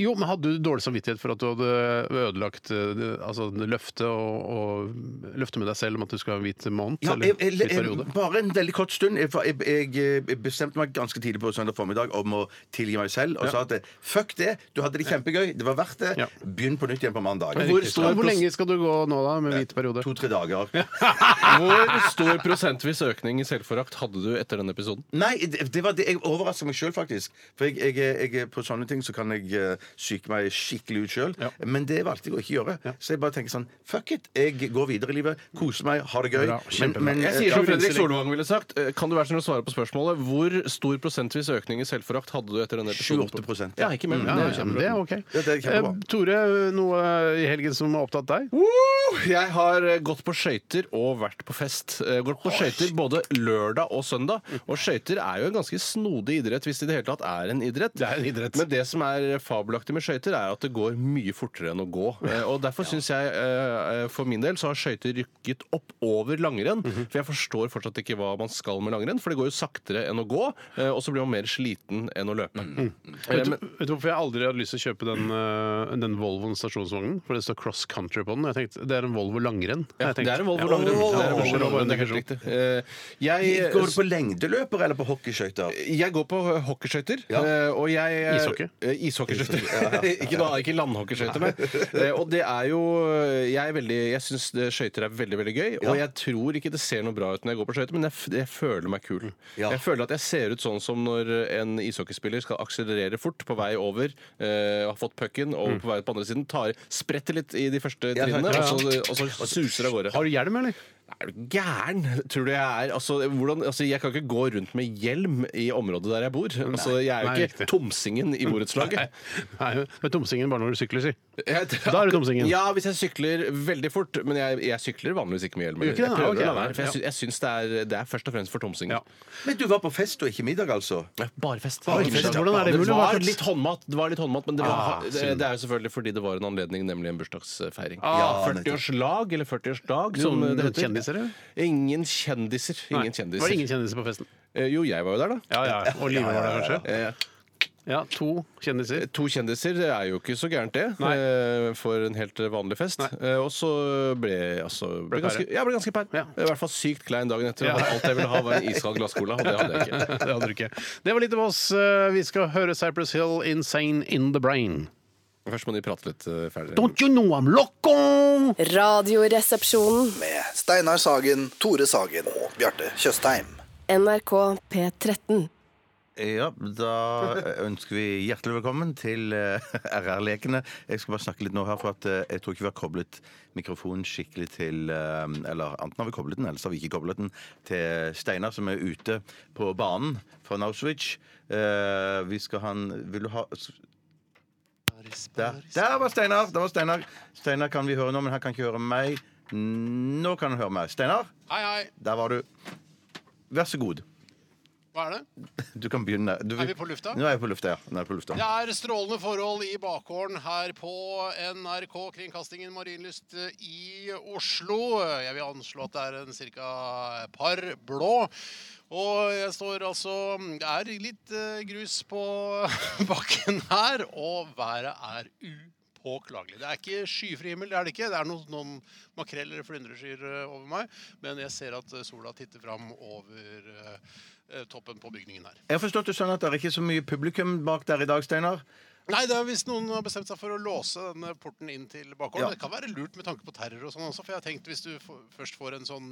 S4: Jo, men hadde du dårlig samvittighet for at du hadde ødelagt eh, det- altså, det løftet og, og løftet med deg selv om at du skulle ha en hvit måned?
S5: Ja,
S4: eller
S5: jeg, jeg,
S4: hvit
S5: jeg,
S4: periode?
S5: bare en veldig kort stund. Jeg, for jeg, jeg, jeg bestemte meg ganske tidlig på søndag formiddag om å tilgi meg selv, og sa at eh, fuck det, du hadde det kjempegøy, det var verdt det,
S4: Ja.
S5: begynn på nytt igjen på mandag.
S4: Hvor, stor- hvor lenge skal du gå nå, da, med hvit periode?
S5: To-tre dager.
S6: Hvor stor prosentvis økning i selvforakt hadde du etter denne episoden?
S5: Nei, det, det var det. jeg overrasker meg sjøl, faktisk. For jeg, jeg, er- jeg, er på sånne ting så kan jeg eh, syke meg skikkelig ut sjøl. Men det valgte jeg å ikke gjøre. Så jeg bare tenker sånn fuck it. Jeg går videre i livet, koser meg, har det gøy. eh,
S4: Bra, kjempebra.
S6: Jeg sier som
S5: Ja,
S6: Fredrik Solvang ville sagt. eh, Kan du være snill å svare på spørsmålet? Hvor stor prosentvis økning i selvforakt hadde du etter denne episoden?
S5: 28%.
S6: Ja, ikke mer.
S4: Ja,
S6: det er jo
S4: ja,
S6: kjempebra.
S4: det er ok.
S5: Ja, det er kjempebra.
S4: Eh, Tore, noe i helgen som har opptatt deg?
S6: Woo! Jeg har eh, gått på skøyter og vært på fest. Eh, Gått på skøyter både lørdag og søndag. Og skøyter er jo en ganske snodig idrett, hvis det i det hele tatt er en idrett.
S4: er en idrett.
S6: Men det som er fabelaktig med skøyter, er at det går mye fortere enn å gå. Eh, Og derfor syns jeg, eh, for min del, så har skøyter rykket opp over langrenn. For jeg forstår fortsatt ikke hva man skal med langrenn, for det går jo saktere enn å gå, eh, og så blir man mer sliten enn å løpe. Eh,
S4: Vet du,
S6: men-
S4: vet du hvorfor jeg aldri hadde lyst til å kjøpe den, eh, den Volvoen stasjonsvognen? For det står cross country på den. og Jeg tenkte, det det er en Volvo langrenn.
S6: Ja,
S4: har jeg
S6: det er en Volvo
S4: tenkt.
S6: langrenn.
S4: Ja,
S6: Det er en Volvo
S4: Volvo
S6: langrenn, det
S4: langrenn.
S6: er helt riktig. Eh, Jeg
S5: Går du på lengdeløper eller på hockeyskøyter?
S6: Jeg går på eh, hockeyskøyter.
S5: Ja.
S6: eh, Og jeg eh,
S4: Ishockey?
S6: eh, Ishockeyskøyter. ikke da, ikke landhockeyskøyter, nei. Eh, Og det er jo eh, Jeg, er veldig- jeg syns skøyter er veldig veldig gøy. Og jeg tror ikke det ser noe bra ut når jeg går på skøyter, men jeg, f- jeg føler meg kul.
S5: Ja.
S6: Jeg føler at jeg ser ut sånn som når en ishockeyspiller skal akselerere fort på vei over, eh, har fått pucken og på vei på andre siden, tar, spretter litt i de første
S5: Mm. Ja,
S6: trinnene,
S5: ja, ja.
S6: og så- og så suser av gårde.
S4: Har du hjelm, eller?
S6: Er du gæren? Tror du jeg er altså, hvordan, altså, Jeg kan ikke gå rundt med hjelm i området der jeg bor. Altså, jeg er jo
S4: nei,
S6: ikke
S4: riktig.
S6: tomsingen i borettslaget.
S4: Nei, det er tomsingen bare når du sykler, si.
S6: Jeg-
S4: Da er du tomsingen.
S6: Ja, hvis jeg sykler veldig fort. Men jeg, jeg sykler vanligvis ikke med hjelm.
S4: Gjør ikke det,
S6: jeg prøver
S4: nei, ok,
S6: å la være, for jeg,
S4: ja.
S6: sy jeg syns det er, det er først og fremst for tomsingen.
S4: Ja.
S5: Men du var på fest og ikke middag, altså?
S6: Bare fest.
S4: Bare fest, ja. Hvordan er det mulig? Hva
S6: var
S4: slags-
S6: litt håndmat, det var litt håndmat men det, var,
S4: Ah,
S6: det,
S4: synd. Ah,
S6: det er jo selvfølgelig fordi det var en anledning, nemlig en bursdagsfeiring.
S5: Ja,
S6: 40-årslag, eller 40-årsdag, som
S4: Noen
S6: det heter.
S4: kjendiser, eller?
S6: Ingen kjendiser. Ingen
S4: Det var
S6: kjendiser.
S4: ingen kjendiser på festen.
S6: Eh, Jo, jeg var jo der, da.
S4: Ja, ja. Og Live var der, kanskje?
S6: Eh,
S4: Ja, to kjendiser.
S6: To kjendiser det er jo ikke så gærent, det.
S4: Nei.
S6: eh, For en helt vanlig fest. Eh, Og så ble jeg altså, ble
S4: Ble
S6: ganske,
S4: pære.
S6: ja, ble ganske pær.
S4: Ja.
S6: I hvert fall sykt klein dagen etter.
S4: Ja.
S6: og Alt jeg ville ha, var en iskald glasscola, og det hadde jeg ikke.
S4: Det hadde du ikke. Det var litt om oss. eh, Vi skal høre Cypress Hill, 'Insane In The Brain'.
S6: Først må de prate litt eh, ferdig.
S4: Don't you know I'm loco?
S7: Radioresepsjonen.
S8: med Steinar Sagen, Tore Sagen og Bjarte Tjøstheim.
S7: NRK P13.
S5: Ja, da ønsker vi hjertelig velkommen til eh, RR-lekene. Jeg skal bare snakke litt nå her, for at eh, jeg tror ikke vi har koblet mikrofonen skikkelig til eh, Eller enten har vi koblet den, eller så har vi ikke koblet den til Steinar, som er ute på banen fra Nauswich. Eh, vi skal ha en Vil du ha Der, der var Steinar! Der var Steinar. Steinar kan vi høre nå, men han kan ikke høre meg. Nå kan han høre meg. Steinar,
S4: Hei, hei.
S5: der var du. Vær så god.
S4: Hva er det?
S5: Du kan begynne. Du,
S4: Er vi på lufta?
S5: Nå er jeg på lufta, ja. Nå er jeg på lufta.
S4: Det er strålende forhold i bakgården her på NRK Kringkastingen Marienlyst eh, i Oslo. Jeg vil anslå at det er en cirka par blå. Og jeg står altså Det er litt eh, grus på bakken her, og været er upåklagelig. Det er ikke skyfri himmel, det er det ikke. Det er noen, noen makrell- eller flyndreskyer eh, over meg, men jeg ser at eh, sola titter fram over eh, eh, toppen på bygningen her.
S5: Jeg har forstått det sånn at det er ikke så mye publikum bak der i dag, Steinar.
S4: Nei, det er hvis noen har bestemt seg for å låse denne porten inn til bakgården.
S5: Ja.
S4: Det kan være lurt med tanke på terror og sånn også, for jeg har tenkt hvis du f først får en sånn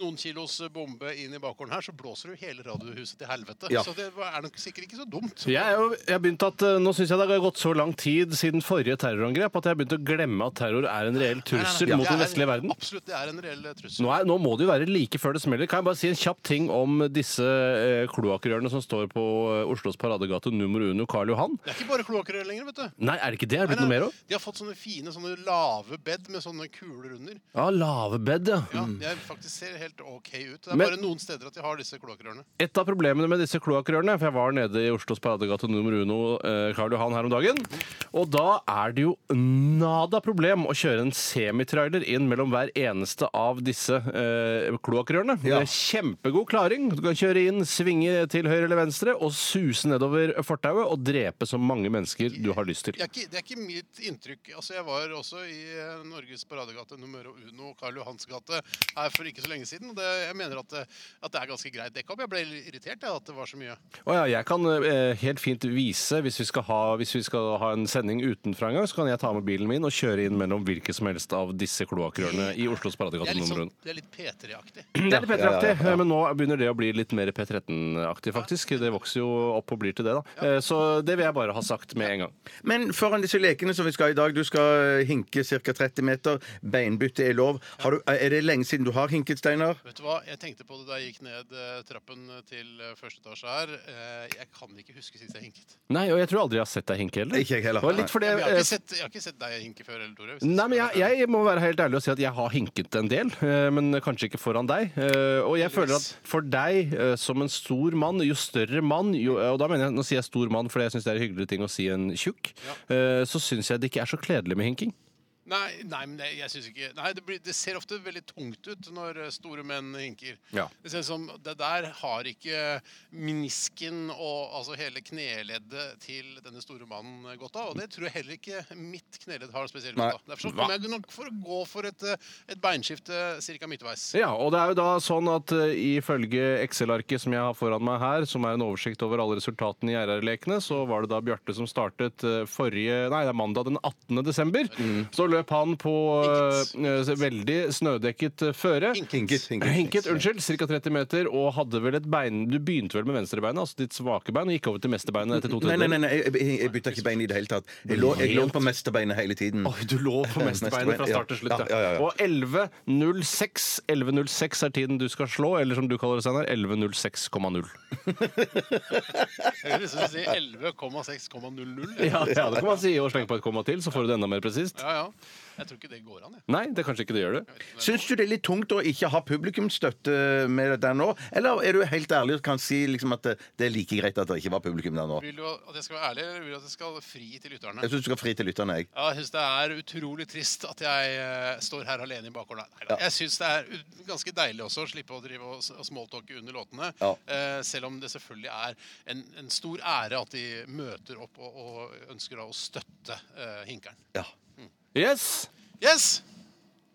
S4: noen kilos bombe inn i bakgården her, så blåser du hele radiohuset til helvete.
S5: Ja.
S4: Så det var- er nok sikkert ikke så dumt.
S6: Jeg, er jo, jeg har begynt at, eh, Nå syns jeg det har gått så lang tid siden forrige terrorangrep at jeg har begynt å glemme at terror er en
S4: Nei, nei,
S6: reell
S4: nei,
S6: trussel
S4: det
S6: mot den
S4: er-
S6: vestlige verden.
S4: Absolutt, det er en reell eh, trussel.
S6: Nå, er, nå må det jo være like før det smeller. Kan jeg bare si en kjapp ting om disse eh, kloakkrørene som står på eh, Oslos paradegate nummer uno Karl Johan?
S4: Det er ikke bare kloakkrør lenger, vet du.
S6: Nei, er det ikke det? Er det blitt
S4: Nei,
S6: noe
S4: nei,
S6: mer òg?
S4: De har fått sånne fine sånne lave bed med sånne kuler under.
S6: Ja, lavebed, ja.
S4: Ja, De er faktisk ser helt OK ut. Det er
S6: Mm. Men-
S4: bare noen steder at de har disse kloakkrørene.
S6: Et av problemene med disse kloakkrørene For jeg var nede i Oslos Paradegate nummer uno, eh, Karl Johan, her om dagen. Og da er det jo nada problem å kjøre en semitrailer inn mellom hver eneste av disse eh, kloakkrørene. Det er kjempegod klaring. Du kan kjøre inn, svinge til høyre eller venstre og suse nedover fortauet og drepe så mange mennesker du har lyst til.
S4: Det er, ikke, det er ikke mitt inntrykk. Altså, jeg var også i eh, Norges paradegate nummer uno, Karl Johans gate, her for ikke så lenge siden. Og det, jeg mener at, det- at det er ganske greit dekka opp. Jeg ble litt irritert jeg, at det var så mye.
S6: Å ja, jeg kan eh, helt fint vise, hvis vi, skal ha, hvis vi skal ha en sending utenfra en gang, så kan jeg ta med bilen min og kjøre inn mellom hvilke som helst av disse kloakkrørene i Oslos
S4: Det
S6: Paradegate
S4: er litt,
S6: nummer
S4: sånn,
S6: én.
S4: det er litt P3-aktig.
S6: Mm, Det er litt P3-aktig, men nå begynner det å bli litt mer P13-aktig, faktisk. Det vokser jo opp og blir til det, da. Eh, Så det vil jeg bare ha sagt med en gang.
S5: Men foran disse lekene som vi skal ha i dag, du skal hinke ca. 30 meter. Beinbytte er lov. Har du, er det lenge siden du har hinket, Steinar?
S4: Vet du hva, Jeg tenkte på det da jeg gikk ned eh, trappen til eh, første etasje her. Eh, Jeg kan ikke huske sist jeg hinket.
S6: Nei, og jeg tror aldri jeg har sett deg hinke heller.
S5: Ikke jeg heller.
S6: Det var litt fordi
S4: Jeg har
S6: eh,
S4: ikke sett, jeg har ikke sett deg hinke før, eller, Tore. hvis
S6: Nei, men
S4: skal
S6: jeg,
S4: være-
S6: jeg må være helt ærlig og si at jeg har hinket en del, eh, men kanskje ikke foran deg. Eh, Og jeg føler at for deg eh, som en stor mann, jo større mann jo, Og da mener jeg, nå sier jeg eh, stor mann fordi jeg syns det er en hyggeligere ting å si enn tjukk, eh, så syns jeg det ikke er så kledelig med hinking.
S4: Nei, nei, men det, jeg synes ikke Nei, det, blir, det ser ofte veldig tungt ut når eh, store menn hinker.
S6: Ja.
S4: Det ser ut som det der har ikke menisken og altså hele kneleddet til denne store mannen eh, godt av. Og det tror jeg heller ikke mitt kneledd har spesielt godt av. Derfor så kommer jeg nok for å gå for et, eh, et beinskifte cirka midtveis.
S6: Ja, og det er jo da sånn at eh, ifølge Excel-arket som jeg har foran meg her, som er en oversikt over alle resultatene i RR-lekene, så var det da Bjarte som startet eh, forrige Nei, det er mandag den 18. desember.
S5: Mm.
S6: Så løp han på eh, veldig snødekket eh, føre.
S5: Hinket. hinket.
S6: Hinket, unnskyld, ca. 30 meter, og hadde vel et bein Du begynte vel med venstrebeinet, altså ditt svake bein, og gikk over til mesterbeinet etter to
S5: Nei,
S6: tredjedeler?
S5: nei, nei, nei, jeg, jeg- jeg bytta ikke bein i det hele tatt. Jeg lå, jeg lå på mesterbeinet hele tiden.
S6: Oi, du lå på mesterbeinet fra start til slutt.
S5: Ja, ja, ja, ja.
S6: Og 11.06 11.06 er tiden du skal slå, eller som du kaller det, Steinar, 11.06,0.
S4: Jeg vil liksom si 11,6,00.
S6: Ja, det kan man si. Og sleng på et komma til, så får du det enda mer presist.
S4: Ja, ja. Jeg tror ikke det går an, jeg.
S6: Nei, det er kanskje ikke det gjør det.
S5: Syns du det er litt tungt å ikke ha publikumsstøtte med det der nå? Eller er du helt ærlig og kan si liksom at det det er like greit at det ikke var publikum der nå?
S4: Vil du at jeg skal være ærlig, eller vil du at jeg skal fri til lytterne?
S5: Jeg syns du skal fri til lytterne, jeg.
S4: Ja, jeg syns det er utrolig trist at jeg eh, står her alene i bakgården. Nei, nei, Jeg syns det er ut- ganske deilig også å slippe å drive og s- og smalltalke under låtene.
S5: Ja.
S4: Eh, selv om det selvfølgelig er en, en stor ære at de møter opp og, og ønsker da å støtte eh, hinkeren.
S5: Ja.
S6: Yes!
S4: Yes!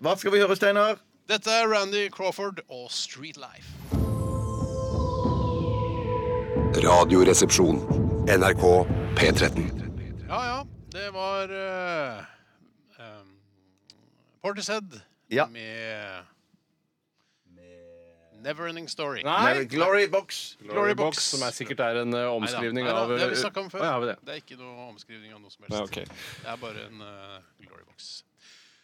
S5: Hva skal vi høre, Steinar?
S4: Dette er Randy Crawford og Street Life.
S1: Radioresepsjon. NRK P13.
S4: Ja, ja. Det var uh, um, Portishead
S5: Ja.
S4: med Neverending Story.
S5: Nei, Glory Box.
S4: Glory Box.
S6: som er sikkert er en eh,
S4: Neida,
S6: omskrivning
S4: neida,
S6: av eh,
S4: Det har vi snakka om før.
S6: Å, ja, har vi det.
S4: er ikke noe omskrivning av noe som helst.
S6: Nei, ok.
S4: Det er bare en eh, glory box.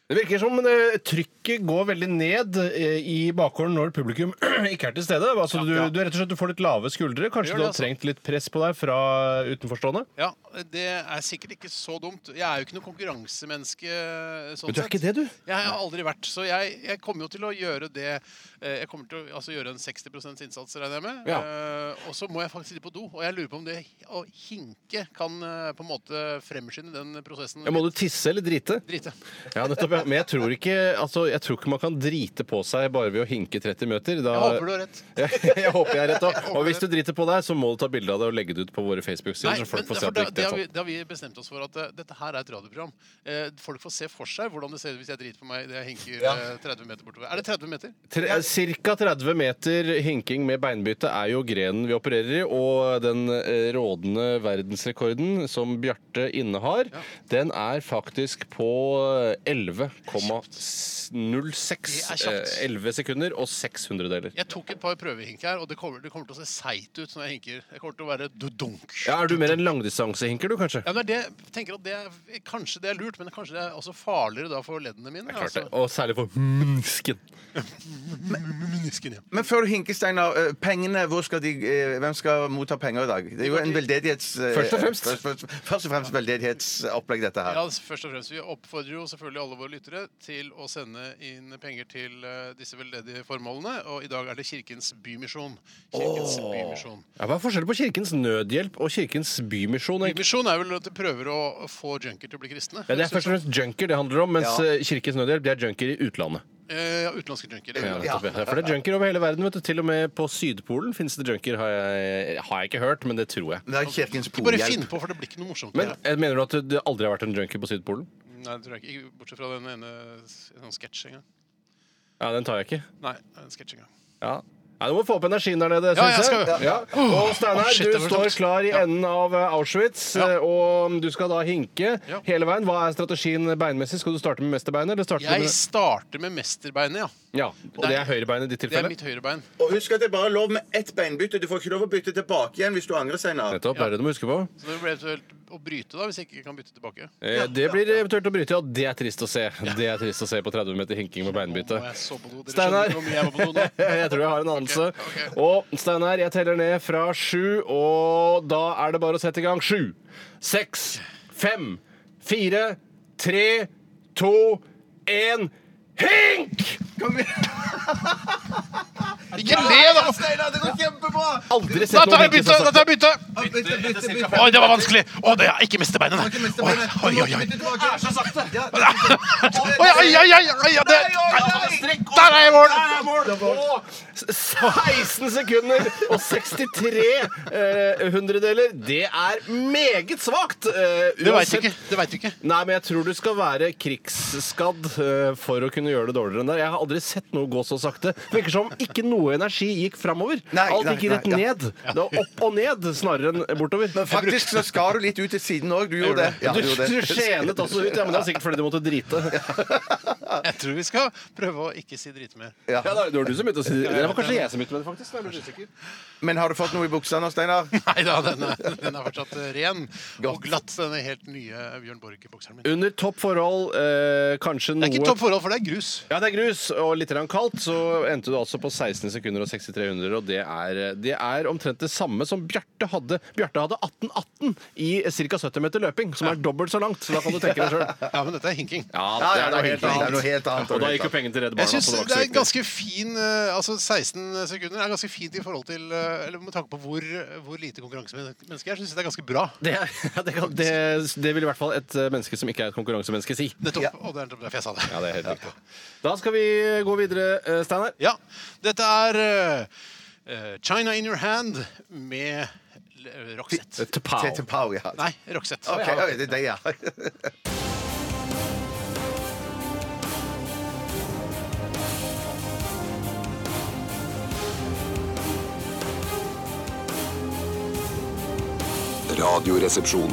S6: Det virker som eh, trykket går veldig ned eh, i bakgården når publikum ikke er til stede. Altså, du, du, rett og slett, du får litt lave skuldre.
S4: Gjør
S6: Kanskje
S4: det,
S6: du har
S4: altså.
S6: trengt litt press på deg fra utenforstående?
S4: Ja, det er sikkert ikke så dumt. Jeg er jo ikke noe konkurransemenneske. Sånn
S6: Men du er ikke det, du.
S4: Jeg har aldri vært, så jeg, jeg kommer jo til å gjøre det eh, Jeg kommer til å altså, gjøre en 60 innsats, regner jeg med.
S6: Ja.
S4: Eh, og så må jeg faktisk litt på do, og jeg lurer på om det å hinke kan eh, på en måte fremskynde den prosessen.
S6: Ja, må du tisse eller drite?
S4: Drite.
S6: Ja, nettopp, ja. Men jeg tror, ikke, altså, jeg tror ikke man kan drite på seg bare ved å hinke 30 meter. Da,
S4: Jeg håper du har rett.
S6: jeg, jeg håper jeg har rett. Og, og hvis du driter på deg, så må du ta bilde av det og legge det ut på våre Facebook-sider.
S4: Nei,
S6: så folk
S4: men
S6: får se
S4: for
S6: at det
S4: da, det
S6: ikke
S4: har
S6: er
S4: vi,
S6: sånn.
S4: det har vi bestemt oss for at eh, dette her er et radioprogram. Eh, folk får se for seg hvordan det ser ut hvis jeg driter på meg idet jeg hinker eh, 30 meter bortover. Er det 30 meter?
S6: Tre, cirka 30 meter hinking med beinbytte er jo grenen vi opererer i, og den eh, rådende verdensrekorden som Bjarte innehar, den er faktisk på eh, 11,06
S4: Det er kjapt.
S6: eh, 11 sekunder og 600 deler.
S4: Jeg tok et par prøvehink her, og det kommer, det kommer til å se seigt ut når jeg hinker. Jeg kommer til å være dudunk.
S6: Ja, er du mer en langdistansehinker, du, kanskje?
S4: Ja, men det, jeg tenker at det er, Kanskje det er lurt, men kanskje det er også farligere da for leddene mine.
S6: Klart det.
S4: altså.
S6: Og særlig for mennesken.
S4: Menisken, ja.
S5: Men før du hinker, Steinar. eh, Pengene, hvor skal de, eh, hvem skal motta penger i dag? Det er jo en veldedighets... eh,
S6: Først og fremst.
S5: Først, først, først og fremst veldedighetsopplegg, dette her.
S4: Ja, altså, først og fremst, Vi oppfordrer jo selvfølgelig alle våre lyttere til å sende inn penger til eh, disse veldedige formålene. Og i dag er det Kirkens Bymisjon. Kirkens Bymisjon.
S6: Ja, hva er forskjellen på Kirkens Nødhjelp og Kirkens Bymisjon? egentlig?
S4: Misjon er vel at de prøver å få junker til å bli kristne.
S6: Ja, det er først og fremst junker det handler om, mens eh, Kirkens Nødhjelp det er junker i utlandet.
S4: Eh, ja, utenlandske junker.
S6: Ja,
S4: Ja.
S6: nettopp, ja. For det er junker over hele verden. vet du. Til og med på Sydpolen finnes det junker, har jeg, har jeg ikke hørt, men det tror jeg.
S5: Det er Kirkens
S4: Ikke bare finn
S5: polhjelp.
S4: på, for det blir ikke noe morsomt.
S6: Men eh, Mener du at det aldri har vært en junker på Sydpolen?
S4: Nei, det tror jeg ikke. Bortsett fra den ene sånn sketsj en gang.
S6: Ja, den tar jeg ikke.
S4: Nei, en sketsj en gang.
S6: Ja. Nei, Du må få opp energien der nede.
S4: Ja,
S6: synes
S4: jeg skal jo.
S6: Ja. Og Steinar,
S4: Åh, shit, det
S6: du
S4: var
S6: står
S4: tungt.
S6: klar i
S4: Ja.
S6: enden av eh, Auschwitz,
S4: Ja.
S6: eh, og du skal da hinke
S4: Ja.
S6: hele veien. Hva er strategien beinmessig? Skal du starte med mesterbein? Eller starter du
S4: Jeg
S6: med...
S4: starter med mesterbeinet, ja.
S6: Ja, og det er høyrebeinet i ditt
S4: Det er
S6: tilfelle?
S4: mitt høyrebein.
S5: Og husk at det er bare lov med ett beinbytte. Du får ikke lov å bytte tilbake igjen hvis du angrer, Steinar.
S6: Nettopp, det er det du må huske på.
S4: Så det blir eventuelt å bryte, da, hvis jeg ikke kan bytte tilbake.
S6: Eh, det blir eventuelt å bryte, ja. Det er trist å se. Det er trist å se på 30 meter hinking med beinbytte.
S4: Nå må jeg så på do. Dere
S6: Steinar.
S4: skjønner hvor mye jeg må på do nå.
S6: Jeg tror jeg har en anelse.
S4: Ok, ok.
S6: Og Steinar, jeg teller ned fra sju, og da er det bare å sette i gang. Sju, seks, fem, fire, tre, to, én Hink!
S9: Ikke le, da!
S5: Steinar, det går kjempebra!
S6: Aldri
S9: Da
S6: sett
S9: tar jeg
S6: noen
S9: bytte! Da tar jeg bytte.
S5: Bytte, bytte, bytte.
S9: Oi, det var vanskelig! Å, det er ikke miste beinet,
S5: Ikke
S9: nei.
S5: miste
S9: Oi,
S5: beinet.
S9: oi, oi, oi.
S5: Det er så sakte. Ja,
S9: Oi, oi, oi, oi, oi, ja, det. Der er jeg i mål!
S6: mål! Og s- 16 sekunder og 63 eh, hundredeler. Det er meget svakt. Eh,
S9: Det veit du
S6: uansett-
S9: ikke. Det vet du ikke.
S6: Nei, men jeg tror du skal være krigsskadd eh, for å kunne gjøre det dårligere enn der. Jeg har aldri sett noe gå så sakte. Virker som ikke noe energi gikk framover.
S5: Nei,
S6: Alt
S5: nei,
S6: gikk rett
S5: nei, ja.
S6: ned. Det var opp og ned snarere enn bortover.
S5: Men faktisk så skar du litt ut til siden òg. Du gjorde det. Ja,
S6: Du,
S5: du gjorde
S6: du
S5: det.
S6: skjenet også ut. Ja, men Det er sikkert fordi du måtte drite.
S9: Jeg tror vi skal prøve å ikke si drit mer.
S5: Ja.
S6: Ja, det var du som begynte å si det. Det var kanskje jeg som begynte med det, faktisk. Jeg blir usikker.
S5: Men har du fått noe i buksa nå, Steinar?
S9: Nei da, den er, den er fortsatt eh, ren og glatt, denne helt nye Bjørn Borge-bokseren min.
S6: Under topp forhold, eh, kanskje
S9: Det
S6: noe
S9: er ikke topp forhold, for det er grus.
S6: Ja, det er grus og litt grann kaldt, så endte du altså på 16 sekunder og 63 hundre, og det er, eh, det er omtrent det samme som Bjarte hadde. Bjarte hadde 18-18 i ca. 70 meter løping, som er dobbelt så langt, så da kan du tenke deg sjøl.
S9: Ja, men dette er hinking.
S5: Ja, det er noe helt annet. Det er noe helt annet.
S6: Og da gikk jo pengene til Redd
S9: Jeg
S6: Barna.
S9: synes
S6: så var ikke
S9: det
S6: så
S9: er
S6: viktig.
S9: ganske fin eh, Altså 16 sekunder er ganske fint i forhold til eh, Eller med tanke på hvor, hvor lite konkurransemenneske jeg er, syns jeg det er ganske bra.
S6: det, er- ja, det, kan, det, det vil i hvert fall et eh, menneske som ikke er et konkurransemenneske, si.
S9: Nettopp. Og det er nettopp derfor jeg sa det.
S6: Ja, det er helt riktig. Da skal vi gå videre, eh, Steinar.
S9: Ja, dette er eh, eh, China In Your Hand med L- Roxette.
S5: Til- til Pau, ja.
S9: Nei, Roxette.
S5: Ok, ja, det er det, ja.
S1: Radioresepsjon.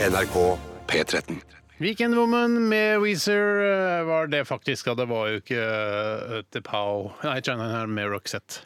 S1: NRK P13.
S4: Weekend Woman med Weezer eh, var det faktisk. Ja, det var jo ikke eh, Tepao Nei, China her med Roxette.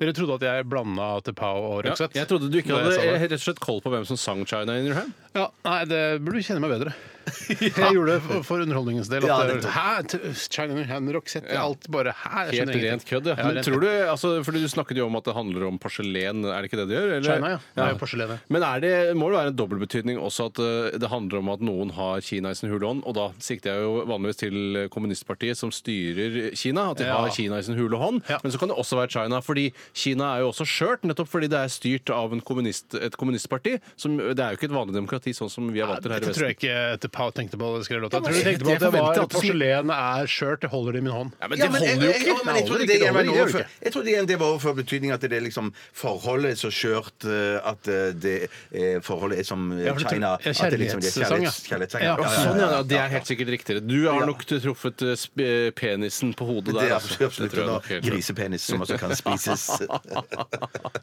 S4: Dere trodde at jeg blanda Tepao og
S6: Ja,
S4: Roxette?
S6: jeg trodde du ikke
S4: Da
S6: hadde
S4: jeg sa det.
S6: eh, rett og slett koll på hvem som sang 'China in your hand'.
S4: Ja, Nei, det burde du kjenne meg bedre. Jeg gjorde det for- for underholdningens del.
S5: Ja,
S4: At det,
S5: nettopp.
S4: hæ, T- China in your hand, Roxette, alt bare hæ? jeg skjønner
S6: Helt rent
S4: ingenting.
S6: kødd, ja.
S4: Ja,
S6: Men
S4: rent
S6: tror du, altså, fordi du snakket jo om at det handler om porselen, er det ikke det det gjør? eller?
S4: China, ja. Det er jo porselen, ja.
S6: Men er det, må det være en dobbeltbetydning også at eh, det handler om at noen har Kina i sin hule hånd, og da sikter jeg jo vanligvis til kommunistpartiet som styrer Kina, at de
S4: Ja.
S6: har Kina i sin hule hånd,
S4: Ja.
S6: men så kan det også være China, fordi Kina er jo også skjørt, nettopp fordi det er styrt av en kommunist, et kommunistparti, som, det er jo ikke et vanlig demokrati sånn som vi er vant til her i
S4: Dette tror jeg
S6: Vesten.
S4: ikke Tepao tenkte på. da de skrev låta. Jeg tror de
S6: jeg-
S4: tenkte på
S6: jeg
S4: at det var
S6: forventet at det skulle-
S4: porselen er skjørt, det holder i min hånd.
S6: Ja, men
S5: Ja,
S6: det
S5: men jeg-
S6: holder jo
S5: jeg-
S6: ikke!
S5: jeg- men jeg trodde
S6: Det holder
S5: det
S6: ikke,
S5: igjen
S6: det
S5: var
S6: holder jo
S5: overfor-
S6: ikke.
S5: Jeg trodde igjen det var overfor betydning at det er liksom forholdet er så skjørt eh, at eh, det eh, forholdet er som eh,
S4: Ja, for du tror-
S5: China. At
S4: ja,
S5: det liksom det er
S4: kjærlighetssang, ja.
S5: kjærlighets- kjærlighetssang.
S4: Ja,
S6: Ja, sånn, ja, ja, Det er helt sikkert riktigere. Du har
S5: Ja.
S6: nok truffet eh, sp- eh, penisen på
S5: Det
S6: hodet der.
S5: er
S6: altså.
S5: absolutt
S6: Det tror jeg
S5: en
S6: nok helt klart.
S5: grisepenis som også kan spises.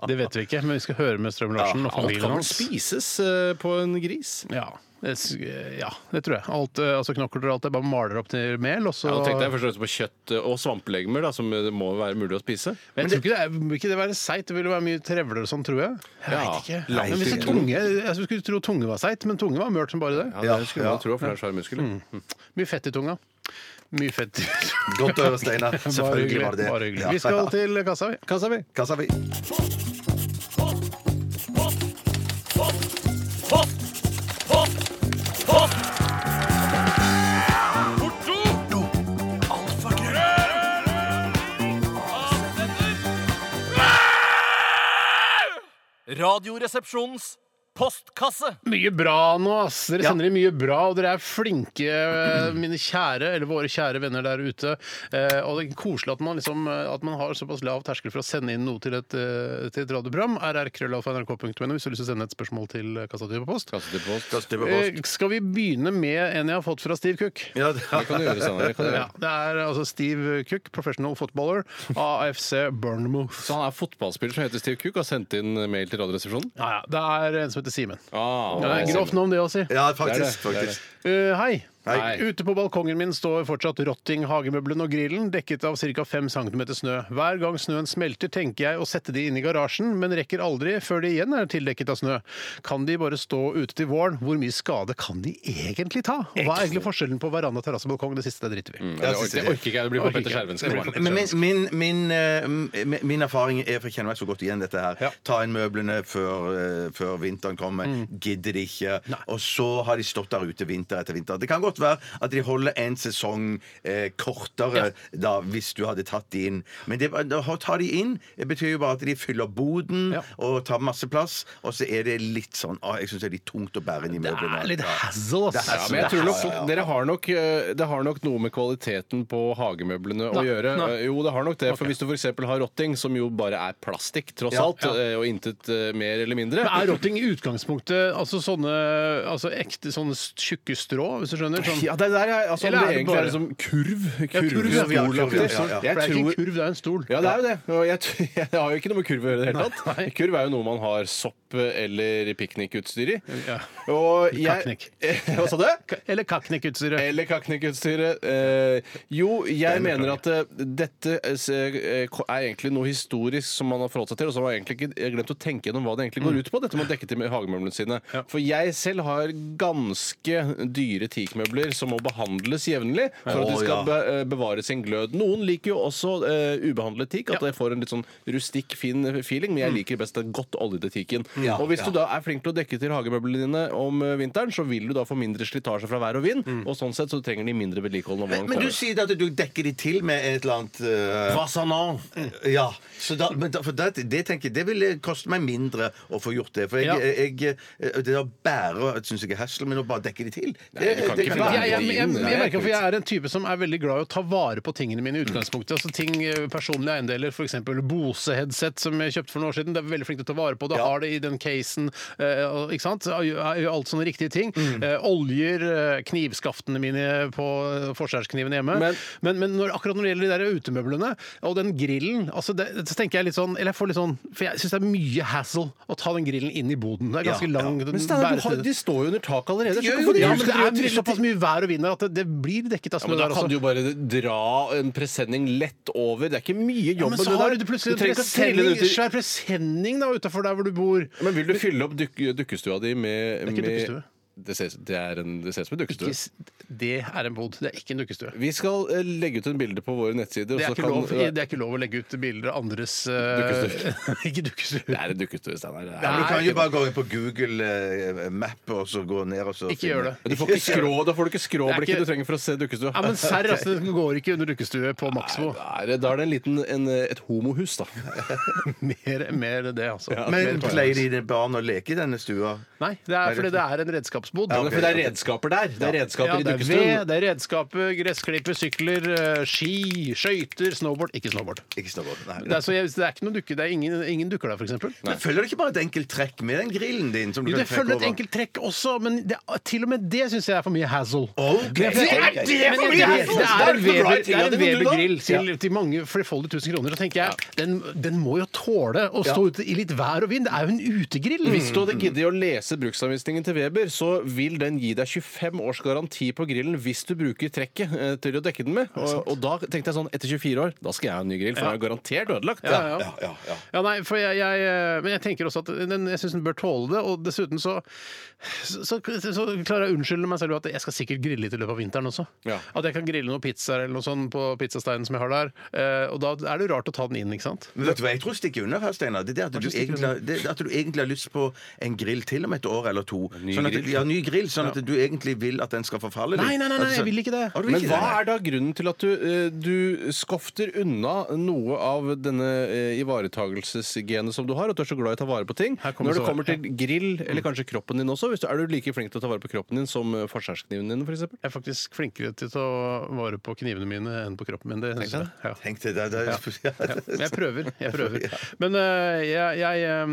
S4: Det vet vi ikke, men vi skal høre med Strøm-Larsen og
S6: Alt
S4: familien
S6: kan vel
S4: hans.
S6: spises eh, på en gris?
S4: Ja. Det, s- ja, det tror jeg. Alt, eh, altså Knokler og alt det bare maler opp til mel, og så
S6: Ja, nå tenkte jeg først og fremst på kjøtt eh, og svampelegemer, da, som det må være mulig å spise.
S4: Men jeg tror ikke det, er, vil ikke det være seigt? Det ville være mye trevler og sånn, tror jeg. Jeg
S6: Ja,
S4: vet ikke.
S6: langt
S4: men hvis det
S6: ikke.
S4: tunge, jeg skulle tro tunge var seigt, men tunge var mørt som bare det.
S6: Ja, Mm. det skulle man tro, for det er svære muskler.
S4: Mye fett i tunga. Mye fett i
S5: Godt å høre, Steinar.
S4: Bare
S5: Selvfølgelig
S4: hyggelig.
S5: var det det.
S4: Bare hyggelig.
S5: Ja.
S4: Vi skal til kassa, vi.
S6: Hva sa vi?
S5: Hva sa vi?
S10: Radioresepsjonens postkasse.
S4: Mye bra nå, ass. Dere sender inn mye bra, og dere er flinke, eh, mine kjære, eller våre kjære venner der ute. Eh, og det er koselig at man, liksom, eh, at man har såpass lav terskel for å sende inn noe til et, eh, til et radioprogram. rrkrøllalfa.nrk.no hvis du har lyst til å sende et spørsmål til eh, Kassa til på post. Eh, skal vi begynne med en jeg har fått fra Steve Cook?
S5: Ja, det-
S6: Det kan du gjøre, Steinar. det kan du
S4: Ja,
S6: gjøre.
S4: det er altså Steve Cook, professional footballer, AFC Bournemouth.
S6: Så han er fotballspiller som heter Steve Cook, og har sendt inn eh, mail til Radioresepsjonen?
S4: Ja, ja, det er en som heter Simen.
S6: Ah,
S4: Det er et Grovt navn, det å si.
S5: ja, faktisk. faktisk.
S4: Eh, hei.
S5: Hei.
S4: Ute på balkongen min står fortsatt rotting, hagemøblene og grillen, dekket av ca. 5 cm snø. Hver gang snøen smelter, tenker jeg å sette de inn i garasjen, men rekker aldri før de igjen er tildekket av snø. Kan de bare stå ute til våren? Hvor mye skade kan de egentlig ta? Og hva er egentlig forskjellen på veranda, terrasse og balkong? Det siste det driter vi i.
S6: Ja, det, orker, det orker ikke jeg. Det blir for Petter Skjervenskog.
S5: Men min, min, min, eh, m- min erfaring er, for jeg kjenner meg så godt igjen dette her Ta inn møblene før, Mm. eh, før vinteren kommer. Gidder de ikke. Og så har de stått der ute vinter etter vinter. Det kan godt godt være at de holder en sesong eh, kortere da, hvis du hadde tatt de inn. Men det, da, å ta de inn det betyr jo bare at de fyller boden og tar masse plass, og så er det litt sånn ah, Jeg syns det er litt tungt å bære inn i møblene. Ja.
S6: hassle,
S5: Det er
S6: Ja,
S5: hassle,
S6: men
S5: det
S6: jeg tror
S5: er
S6: nok,
S5: hassle, ja.
S6: dere har nok, eh, det har nok noe med kvaliteten på hagemøblene å gjøre. Eh, Jo, det har nok det. For hvis du f.eks. har rotting, som jo bare er plastikk, tross
S4: Ja,
S6: alt,
S4: ja.
S6: eh, og intet eh, mer eller mindre
S4: Men er rotting i utgangspunktet altså sånne altså ekte sånne tjukke strå, hvis du skjønner? Sånn,
S6: ja, det er der jeg, altså, om
S4: Eller er
S6: det
S4: det
S6: egentlig
S4: bare-
S6: er liksom kurv.
S4: Ja, kurv, ja,
S6: Kurvstolaktig.
S4: ja,
S5: ja.
S4: kurv, ja, ja, For det er ikke
S6: Jeg
S4: en
S6: tror-
S4: kurv, det er en stol.
S6: Ja, det er jo det. Og jeg, t- jeg har jo ikke noe med kurv å gjøre i det hele
S4: Nei, nei.
S6: tatt. Kurv er jo noe man har sopp eller piknikutstyr i.
S4: Ja.
S6: Og jeg
S4: Kaknik.
S6: Hva sa du?
S4: Ka- Eller kaknikutstyret.
S6: Eller kaknikutstyret. Eh, jo, jeg mener at eh, dette eh, s- eh, ko- er egentlig noe historisk som man har forholdt seg til, og så har jeg egentlig ikke jeg har glemt å tenke gjennom hva det egentlig
S5: Mm.
S6: går ut på, dette med å dekke til med hagemøblene sine.
S4: Ja.
S6: For jeg selv har ganske dyre teakmøbler som må behandles jevnlig for at de
S5: Å,
S6: skal
S5: ja.
S6: be, eh, bevare sin glød. Noen liker jo også eh, ubehandlet teak, at det får en litt sånn rustikk, fin feeling, men jeg liker best den godt oljede teaken.
S5: Ja,
S6: og hvis
S5: ja.
S6: du da er flink til å dekke til hagemøblene dine om eh, vinteren, så vil du da få mindre slitasje fra vær og vind, og sånn sett så trenger de mindre vedlikehold når
S5: Men,
S6: våren
S5: Eh, men du
S6: kommer.
S5: sier at du dekker de til med et eller annet eh,
S6: Fasanan.
S5: Ja. Så da, men da, for det, det tenker jeg Det ville koste meg mindre å få gjort det. For jeg,
S4: Ja.
S5: jeg, eh, det å bære syns jeg er hassle, men å bare dekke de til det,
S6: du kan
S5: det
S6: ikke
S5: kan
S6: finne
S5: være-
S4: Jeg, jeg, jeg, jeg,
S6: Nei,
S4: merker, for jeg er en type som er veldig glad i å ta vare på tingene mine i utgangspunktet. Altså ting, eh, Personlige eiendeler, f.eks. Bose-headset som jeg kjøpte for noen år siden. Det er veldig flink til å ta vare på. Det har det i den casen. eh, og- Ikke sant? Så jeg Gjør alt sånne riktige ting.
S6: Mm.
S4: Eh, Oljer, eh, knivskaftene mine på eh, forskjærskniven hjemme. Men,
S6: Men-
S4: men, når, akkurat når det gjelder de der utemøblene og den grillen altså det, det- så tenker jeg litt sånn, eller jeg får litt sånn, For jeg syns det er mye hassle å ta den grillen inn i boden. Det er ganske lang den
S6: Men Steinar, du
S4: bæretiden.
S6: har- de står jo under taket allerede. så
S4: Ja,
S6: hvorfor
S4: men
S6: skal
S4: det
S6: dere
S4: er
S6: trille
S4: såpass
S6: til-
S4: mye vær og vind her at det, det blir dekket av
S6: Ja,
S4: snø
S6: men da
S4: der altså.
S6: kan du
S4: også.
S6: jo bare dra en presenning lett over. Det er ikke mye
S4: Ja,
S6: jobb.
S4: men
S6: med
S4: så
S6: det
S4: har
S6: der.
S4: du plutselig en
S6: trenger ikke å trille den
S4: presenning,
S6: ut i-
S4: svær presenning da utafor der hvor du bor.
S6: Men vil du fylle opp duk dukkestua di med
S4: Det er ikke
S6: med-
S4: dukkestue.
S6: Det ser, det, er en, det ser ut som en dukkestue.
S4: Ikke s- Det er en bod, det er ikke en dukkestue.
S6: Vi skal eh, legge ut en bilde på våre nettsider.
S4: Det er,
S6: og så
S4: ikke
S6: kan-
S4: lov, det er ikke lov å legge ut bilder av andres eh, Ikke
S6: Det
S4: dukkestue.
S6: er en dukkestue, Steinar. Det er-
S5: Ja, men Du kan
S4: Nei.
S5: jo bare gå inn på Google eh, Map og så gå ned og så
S4: Ikke gjør det.
S6: Du får ikke skrå, da får du ikke
S4: Det er
S6: skråblikket
S4: ikke-
S6: du trenger for å se dukkestua.
S4: Ja, men serr, altså. Det går ikke under dukkestue på Maxbo.
S6: Da er det- da er det en liten, en, eh, et homohus, da.
S4: Mer, mer det, altså. Mer
S5: Men
S4: på-
S5: pleier dine barn å leke i denne stua?
S4: Nei, det er fordi det er en redskapsbod.
S5: Ja, ok.
S6: For det er redskaper der. Det er redskaper
S4: Ja, det
S6: i
S4: er ved,
S6: dukkestuen.
S4: det er redskaper, gressklipper, sykler, eh, ski, skøyter, snowboard. Ikke snowboard.
S5: Ikke snowboard. Nei.
S4: Det er, så jeg, det er ikke noen dukke, det er ingen, ingen dukker der, f.eks.
S5: Men følger det ikke bare et enkelt trekk med den grillen din? Som du
S4: Jo,
S5: kan
S4: det følger
S5: trekke
S4: et
S5: over?
S4: enkelt trekk også, men det, til og med det syns jeg er for mye hassle.
S5: Ok.
S4: Det er for-
S5: Er det for mye
S4: Men
S5: hassle?
S4: Det er
S5: Det
S4: en
S5: er ikke
S4: Weber- det er
S5: bra i tida,
S4: en
S5: det, men du da?
S4: Weber-grill til, til mange flerfoldige tusen kroner. Så tenker jeg, den, den må jo tåle å stå ute i litt vær og vind. Det er jo en
S5: Mm.
S4: utegrill.
S6: Hvis du hadde giddet å lese bruksanvisningen til Weber, så vil den gi deg 25 års garanti på grillen hvis du bruker trekket eh, til å dekke den med. Og, og da tenkte jeg sånn, etter 24 år, da skal jeg ha en ny grill, for den er garantert ødelagt.
S4: ja, ja. Ja, nei, for jeg, jeg, eh, men jeg tenker også at den, jeg syns den bør tåle det. Og dessuten så, så, så, så klarer jeg å unnskylde meg selv at jeg skal sikkert grille litt i løpet av vinteren også.
S6: Ja.
S4: At jeg kan grille noen pizzaer eller noe sånt på pizzasteinen som jeg har der. Eh, og da er det jo rart å ta den inn, ikke sant?
S5: Men vet du hva jeg tror stikker under her, Steinar? Det er det at du,
S4: som stikker
S5: egentlig, har- det er at du egentlig har lyst på en grill til om et år eller to.
S6: Ny
S5: sånn at,
S6: grill.
S5: Ja, ny grill, sånn at du egentlig vil at den skal forfalle litt. Altså,
S4: Nei, nei, nei, nei, jeg vil ikke det.
S5: Har du
S6: Men
S5: ikke
S6: hva
S5: det?
S6: er da grunnen til at du, eh, du skofter unna noe av denne eh, ivaretagelsesgenet som du har, at du er så glad i å ta vare på ting?
S4: Her kommer Mm.
S6: Når det
S4: svaret,
S6: kommer til grill, eller kanskje kroppen din også, hvis du, er du like flink til å ta vare på kroppen din som eh, forskjærskniven din, f.eks.?
S4: Jeg er faktisk flinkere til å ta vare på knivene mine enn på kroppen min. Det synes jeg. Ja.
S5: Tenk deg det. det er-
S4: Men jeg prøver. jeg prøver Men eh, jeg, jeg eh,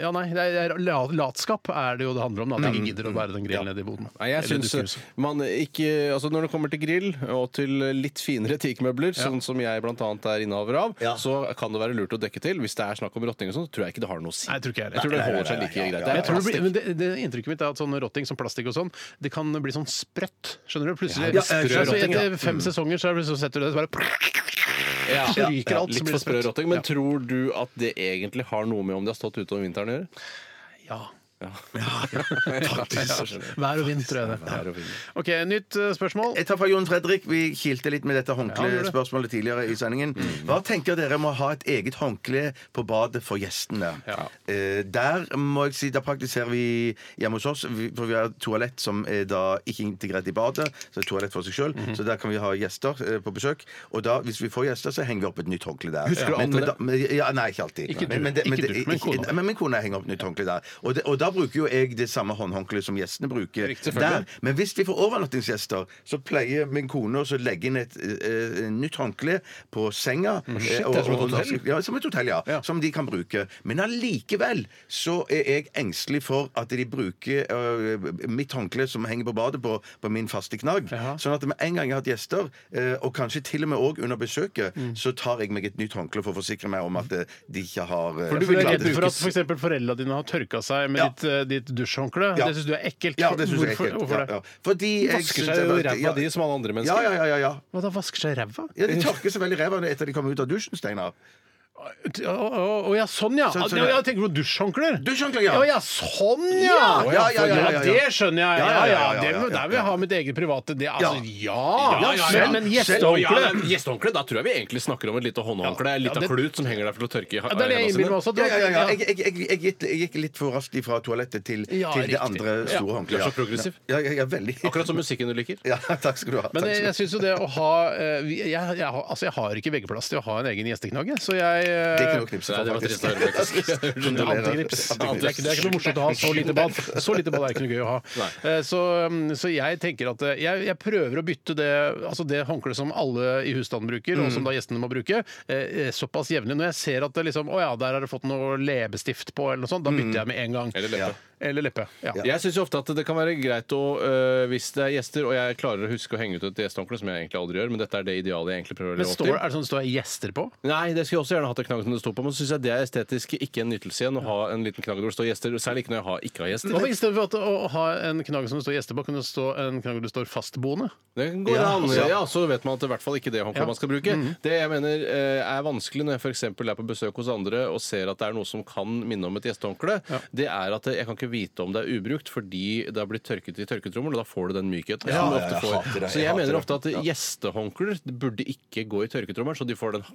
S4: Ja, nei. Det er, la- latskap er det jo det handler om. da, At jeg ikke gidder å bære den grillen ned i boden.
S6: Nei, jeg
S4: Eller
S6: synes
S4: dukkehuset.
S6: man ikke, altså Når det kommer til grill og til litt finere teakmøbler, sånn som jeg bl.a. er innehaver av,
S5: Ja.
S6: så kan det være lurt å dekke til. Hvis det er snakk om rotting og sånn, så tror jeg ikke det har noe å si.
S4: Nei, jeg tror ikke jeg heller.
S6: jeg tror det holder seg like
S4: Men
S6: greit. Det er
S4: jeg tror det, blir, men
S6: plastikk.
S4: det, det Inntrykket mitt er at sånn rotting som plastikk og sånn, det kan bli sånn sprøtt. Skjønner du? Plutselig
S5: Ja,
S4: sprø
S5: sprø
S4: altså,
S5: rotting, ja.
S4: Etter fem sesonger så, er det, så setter du det så bare
S6: Ja.
S4: Så ryker alt, så
S6: Litt
S4: blir
S6: for
S4: det
S6: sprø
S4: sprøtt.
S6: rotting. Men
S4: Ja.
S6: tror du at det egentlig har noe med om de har stått ute om vinteren å gjøre?
S4: Ja. Vær og vind, tror jeg det. OK, nytt eh, spørsmål.
S5: Jeg tar fra Jon Fredrik. Vi kilte litt med dette
S4: Ja, gjør det. Mm.
S5: håndklespørsmålet tidligere i sendingen. Hva tenker dere må ha et eget håndkle på badet for gjestene? Eh, der må jeg si, da praktiserer vi hjemme hos oss, vi- for vi har toalett som er da ikke integrert i badet. Så det er toalett for seg sjøl.
S4: Mhm.
S5: Så der kan vi ha gjester eh, på besøk. Og da, hvis vi får gjester, så henger vi opp et nytt håndkle der.
S6: Husker du
S5: Men-
S6: alltid
S5: men
S6: det?
S5: da- men, ja, nei, ikke alltid.
S4: Ikke du.
S5: men, men, det- men,
S4: Ikke
S5: det-
S4: du, men kona.
S5: ikke- men min kone henger opp nytt håndkle der. Og, det, og da bruker jo jeg det samme håndhåndkleet som gjestene bruker
S4: Riktig,
S5: der.
S4: selvfølgelig.
S5: Men hvis vi får overnattingsgjester, så pleier min kone også å legge inn et eh, nytt håndkle på senga. eh,
S4: det er som
S5: og-
S4: et
S5: og-
S4: hotell.
S5: Ja, som et hotell, ja,
S4: Ja.
S5: Som de kan bruke. Men allikevel så er jeg engstelig for at de bruker eh, mitt håndkle som henger på badet, på, på min faste knagg.
S4: Jaha.
S5: Sånn at med en gang jeg har hatt gjester, eh, og kanskje til og med òg under besøket,
S4: Mm.
S5: så tar jeg meg et nytt håndkle for å forsikre meg om at eh, de ikke har eh,
S4: For du er
S5: forklart-
S4: redd for at for eksempel foreldra dine har tørka seg med
S5: Ja.
S4: ditt, eh, ditt dusjhåndkle.
S5: Ja.
S4: Det syns du er ekkelt.
S5: Ja, det syns jeg er
S4: Hvorfor-
S5: ekkelt.
S4: Hvorfor
S5: Ja,
S4: det?
S5: ja. Fordi jeg
S6: Vasker
S5: synes
S6: seg
S5: det
S6: jo
S5: var-
S6: i ræva
S5: ja.
S6: de som alle andre
S5: Ja,
S6: mennesker.
S5: ja, ja, ja, ja.
S4: Hva da? Vasker seg i ræva?
S5: Ja, De tørker seg vel i ræva etter de kommer ut av dusjen, Steinar.
S4: Å å, å, ja, sånn ja!
S5: Sånn, sånn,
S4: ja.
S5: ja.
S4: Jeg tenker på dusjhåndklær.
S5: Dusjhåndklær, ja.
S4: Å, ja, sånn ja!
S5: Ja, ja, ja, ja, ja, ja.
S4: det skjønner jeg. Ja,
S5: Ja,
S4: ja,
S5: ja, ja, ja,
S4: Det,
S5: ja, ja,
S4: der vil jeg ha mitt eget private. Det, altså, ja!
S6: Ja, ja, ja.
S4: Men, men
S6: Å,
S4: gjestehåndkle
S6: ja, det er Gjestehåndkle? Da tror jeg vi egentlig snakker om et lite håndhåndkle. En
S4: Ja,
S6: liten
S4: det-
S6: klut som henger der for å tørke i
S4: Ja, det er det jeg innbiller meg også. at du-
S5: Ja, ja, ja, ja. Jeg, jeg, jeg, jeg, gikk, jeg gikk litt for raskt fra toalettet til,
S4: Ja,
S5: til det
S4: riktig.
S5: andre store håndkleet.
S6: Du er så progressiv.
S5: Ja, ja, ja, veldig.
S6: Akkurat som musikken du liker.
S5: Ja, takk skal du ha.
S4: Men eh,
S5: takk
S4: jeg,
S5: skal
S4: jeg syns jo det å ha eh, vi- jeg, jeg, har- altså jeg har ikke veggeplass til å ha en egen gjesteknagge, så jeg eh,
S5: du ha. Det er ikke noe å knipse
S6: Nei, det
S5: for,
S6: var trist å
S5: faktisk.
S6: høre, faktisk.
S4: Antikrips. Det er ikke det er ikke noe morsomt å ha så lite bad. Så lite bad er ikke noe gøy å ha. Eh, Så, um, så jeg tenker at eh, jeg, jeg prøver å bytte det altså det håndkleet som alle i husstanden bruker, og som da gjestene må bruke, eh, eh, såpass jevnlig. Når jeg ser at det liksom, å ja, der har det fått noe leppestift på, eller noe sånt, da bytter jeg med en gang.
S6: Eller leppe.
S4: Ja. Eller leppe. Ja.
S6: Jeg syns ofte at det kan være greit å øh, Hvis det er gjester, og jeg klarer å huske å henge ut et gjestehåndkle, som jeg egentlig aldri gjør, men dette er det idealet jeg egentlig prøver å
S4: Men
S6: leve opp
S4: står,
S6: til.
S4: er det sånn det står gjester på?
S6: Nei, det skulle jeg også gjerne hatt en knagg som det sto på, men så syns jeg det er estetisk ikke en nytelse igjen å ha en liten knagg hvor det står gjester, særlig ikke når jeg har, ikke har gjester.
S4: Hva med i stedet for at, å, å ha en knagg som det står gjester på, kunne det stå en knagg hvor det står fastboende?
S6: Det går
S5: Ja,
S6: an.
S5: ja.
S6: Ja, så vet man at det i hvert fall ikke det håndkleet
S4: Ja.
S6: man skal bruke. Det jeg mener eh, er vanskelig når jeg f.eks. er på besøk hos andre og ser at det er noe som kan minne om et gjestehåndkle, det er at jeg kan ikke vite om det er ubrukt fordi det har blitt tørket i tørketrommel, og da får du den mykheten som du
S5: ja,
S6: ofte
S5: jeg
S6: får.
S5: hater det,
S6: så
S5: jeg
S6: jeg
S5: hater
S6: mener
S5: det.
S6: ofte at gjestehåndklær burde ikke gå i tørketrommelen, så de får den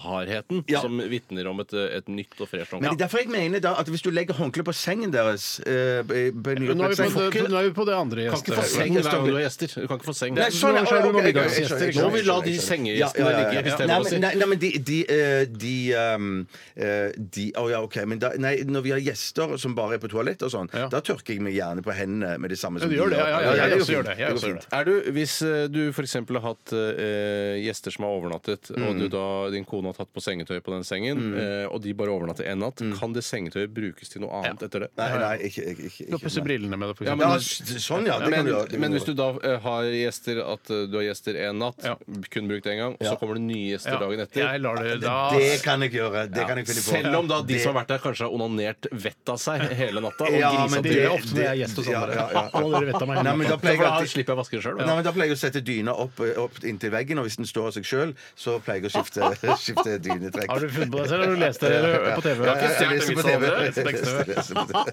S6: knallhardheten
S5: Ja.
S6: som vitner om et, et nytt og fresh
S5: Men
S6: håndkle.
S5: det er derfor jeg mener da at hvis du legger håndkleet på sengen deres eh, b- b-
S4: Nå er, vi på det, nå er vi på det andre
S5: Kan ikke få
S4: gjestehåndkleet.
S6: Seng hver gang du har gjester. Du kan ikke få seng.
S5: Nei, sånn,
S4: Nå er det noen
S5: ok, ok,
S4: middagsgjester,
S5: jeg skjønner, jeg
S4: ikke
S6: Nå
S5: skjønner,
S6: må vi la de
S5: jeg skjønner.
S6: sengegjestene ligge
S5: Nei,
S6: istedenfor å
S5: men-
S6: si
S5: Nei, nei, men de De, eh, de, ehm, eh, de Å ja, OK. Men da, nei, når vi har gjester som bare er på toalett og sånn,
S4: Ja.
S5: da tørker jeg meg gjerne på hendene med det samme
S4: Ja,
S5: som
S4: du gjør det, ja, ja, ja, jeg
S5: går
S4: også gjør
S5: fint.
S4: det, jeg
S5: går
S4: også gjør
S5: fint.
S4: det.
S6: Er du, Hvis eh, du f.eks. har hatt eh, gjester som har overnattet,
S5: Mm.
S6: og du da, din kone har tatt på sengetøy på den sengen, eh, og de bare overnatter en natt, kan det sengetøyet brukes til noe annet etter det?
S5: Mm. Nei, nei, ikke, ikke, ikke,
S4: Du har pusset
S5: ikke.
S4: brillene med det, for
S6: Ja,
S4: eksempel.
S5: Ja, sånn, ja. Det kan
S6: Men,
S5: du gjøre. det kan
S6: men
S5: du
S6: hvis du da eh, har gjester at eh, du har gjester en natt,
S4: Ja.
S6: kun brukt én gang, og så kommer det nye gjester dagen etter.
S4: Jeg lar det da
S5: Det kan jeg gjøre. Det kan jeg finne på.
S6: Selv om da de
S5: Det-
S6: som har vært der, kanskje har onanert vettet av seg hele natta. Og
S5: Ja,
S6: grisa
S5: men
S4: Det
S6: til.
S4: gjør jeg ofte når jeg er gjest hos
S5: Ja,
S4: andre.
S5: ja, ja.
S4: Og dere vet av meg.
S5: Nei, men da
S6: Så
S5: pleier
S6: for
S5: jeg
S6: da
S5: alltid-
S6: slipper jeg å vaske det sjøl.
S5: Nei, men Da pleier jeg å sette dyna opp, eh, opp inntil veggen, og hvis den står av seg sjøl, så pleier jeg å skifte, skifte dynetrekk.
S4: Har du funnet på det selv, eller har du lest det eller, på TV?
S5: Ja, ja, jeg
S6: stjert
S5: leser
S6: en
S5: på
S6: vits av
S5: TV.
S6: det?
S5: Jeg leser- leser På TV.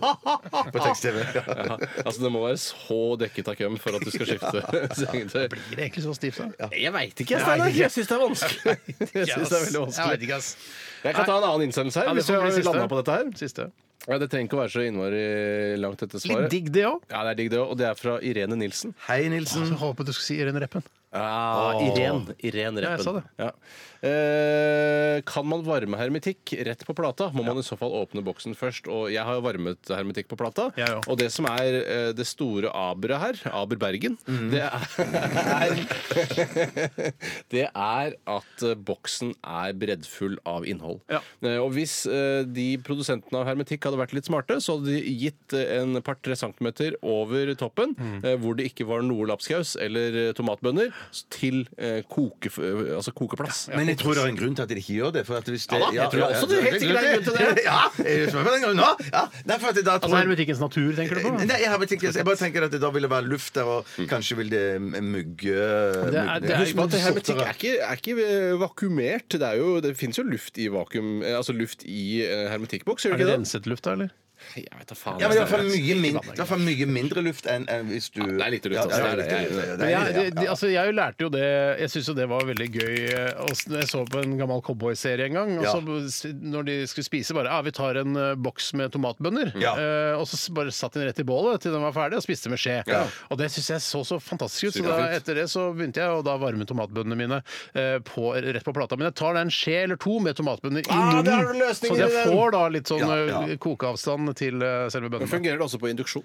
S5: På tekst-TV. ja.
S6: Ja, altså Det må være så dekket av køm for at du skal skifte sengetøy.
S4: Blir det egentlig så stivt, da?
S6: Jeg veit ikke, jeg, altså. Steinar. Jeg syns det er vanskelig. Jeg synes det er
S4: Jeg
S6: veldig
S4: vet
S6: vanskelig.
S4: ikke, ass.
S6: Jeg kan ta en annen innsendelse her.
S4: Ja, det
S6: hvis
S4: får bli
S6: jeg
S4: siste.
S6: lander på dette her.
S4: Siste.
S6: Ja, det trenger ikke å være så innmari langt etter
S4: Litt
S6: svaret.
S4: digg, det òg.
S6: Ja, det er digg det også, Og det er fra Irene Nilsen.
S5: Hei, Nilsen.
S4: Jeg håpet du skulle si Irene Reppen.
S6: Ah, Irene. Irene
S4: Ja, jeg sa
S6: Reppen.
S4: det.
S6: Ja. Eh, kan man varme hermetikk rett på plata? Må man i så fall åpne boksen først? Og jeg har jo varmet hermetikk på plata.
S4: Jeg òg.
S6: og det som er eh, det store aberet her, Aber Bergen,
S4: Mhm.
S6: det er Det er at eh, boksen er breddfull av innhold.
S4: Ja.
S6: Eh, Og hvis eh, de produsentene av hermetikk hadde vært litt smarte, så hadde de gitt eh, en par-tre centimeter over toppen, eh, hvor det ikke var noe lapskaus eller eh, tomatbønner, s- til eh, koke, eh, altså kokeplass.
S5: Men jeg tror det er en grunn til at de ikke gjør det. For at hvis det,
S6: Ja da, jeg tror også det er helt sikkert en grunn til det.
S5: Ja, jeg spør på den grunnen nå. Ja, nei, for at det da tror
S4: Altså Eh, hermetikkens natur, tenker du på?
S5: Nei, jeg, har bare tenkt, jeg bare tenker at det da vil det være luft der, og
S6: Mm.
S5: kanskje vil det mm, mugge
S4: er- det er-
S6: Husk på at
S4: sortere.
S6: hermetikk er ikke, er ikke eh, vakuumert. Det, er jo, det fins jo luft i vakuum eh, Altså luft i eh, hermetikkboks, gjør
S4: Er
S6: det
S4: det
S6: ikke det?
S4: renset luft, da, eller?
S6: Jeg vet da faen.
S5: Ja, men det er i hvert fall
S6: jeg-
S5: mye, min, det er i hvert fall mye mindre luft enn enn hvis du
S6: det er lite luft,
S5: Ja, det er
S6: altså. Det er
S5: lite
S6: det.
S5: luft,
S4: Men
S5: det er
S4: jeg,
S5: lite, ja.
S4: de, altså, jeg lærte jo det Jeg syns jo det var veldig gøy. eh, også når Jeg så på en gammel cowboyserie en gang. Og
S5: Ja.
S4: så, s- når de skulle spise, bare ah, 'Vi tar en eh, boks med tomatbønner'.
S5: Ja.
S4: Eh, og så s- bare satt de den rett i bålet til den var ferdig, og spiste med skje.
S5: Ja.
S4: Og det syns jeg så så fantastisk ut. Så
S6: Sykt
S4: da,
S6: fint.
S4: etter det så begynte jeg å da varme tomatbønnene mine eh, på, rett på plata. Men jeg tar da en skje eller to med tomatbønner i
S6: Ah, der har du
S4: munnen,
S6: løsningen
S4: så jeg
S6: i den!
S4: får da litt sånn
S5: Ja, ja.
S4: eh, kokeavstand til eh, selve
S6: Men
S4: bønnene.
S6: fungerer det også på induksjon?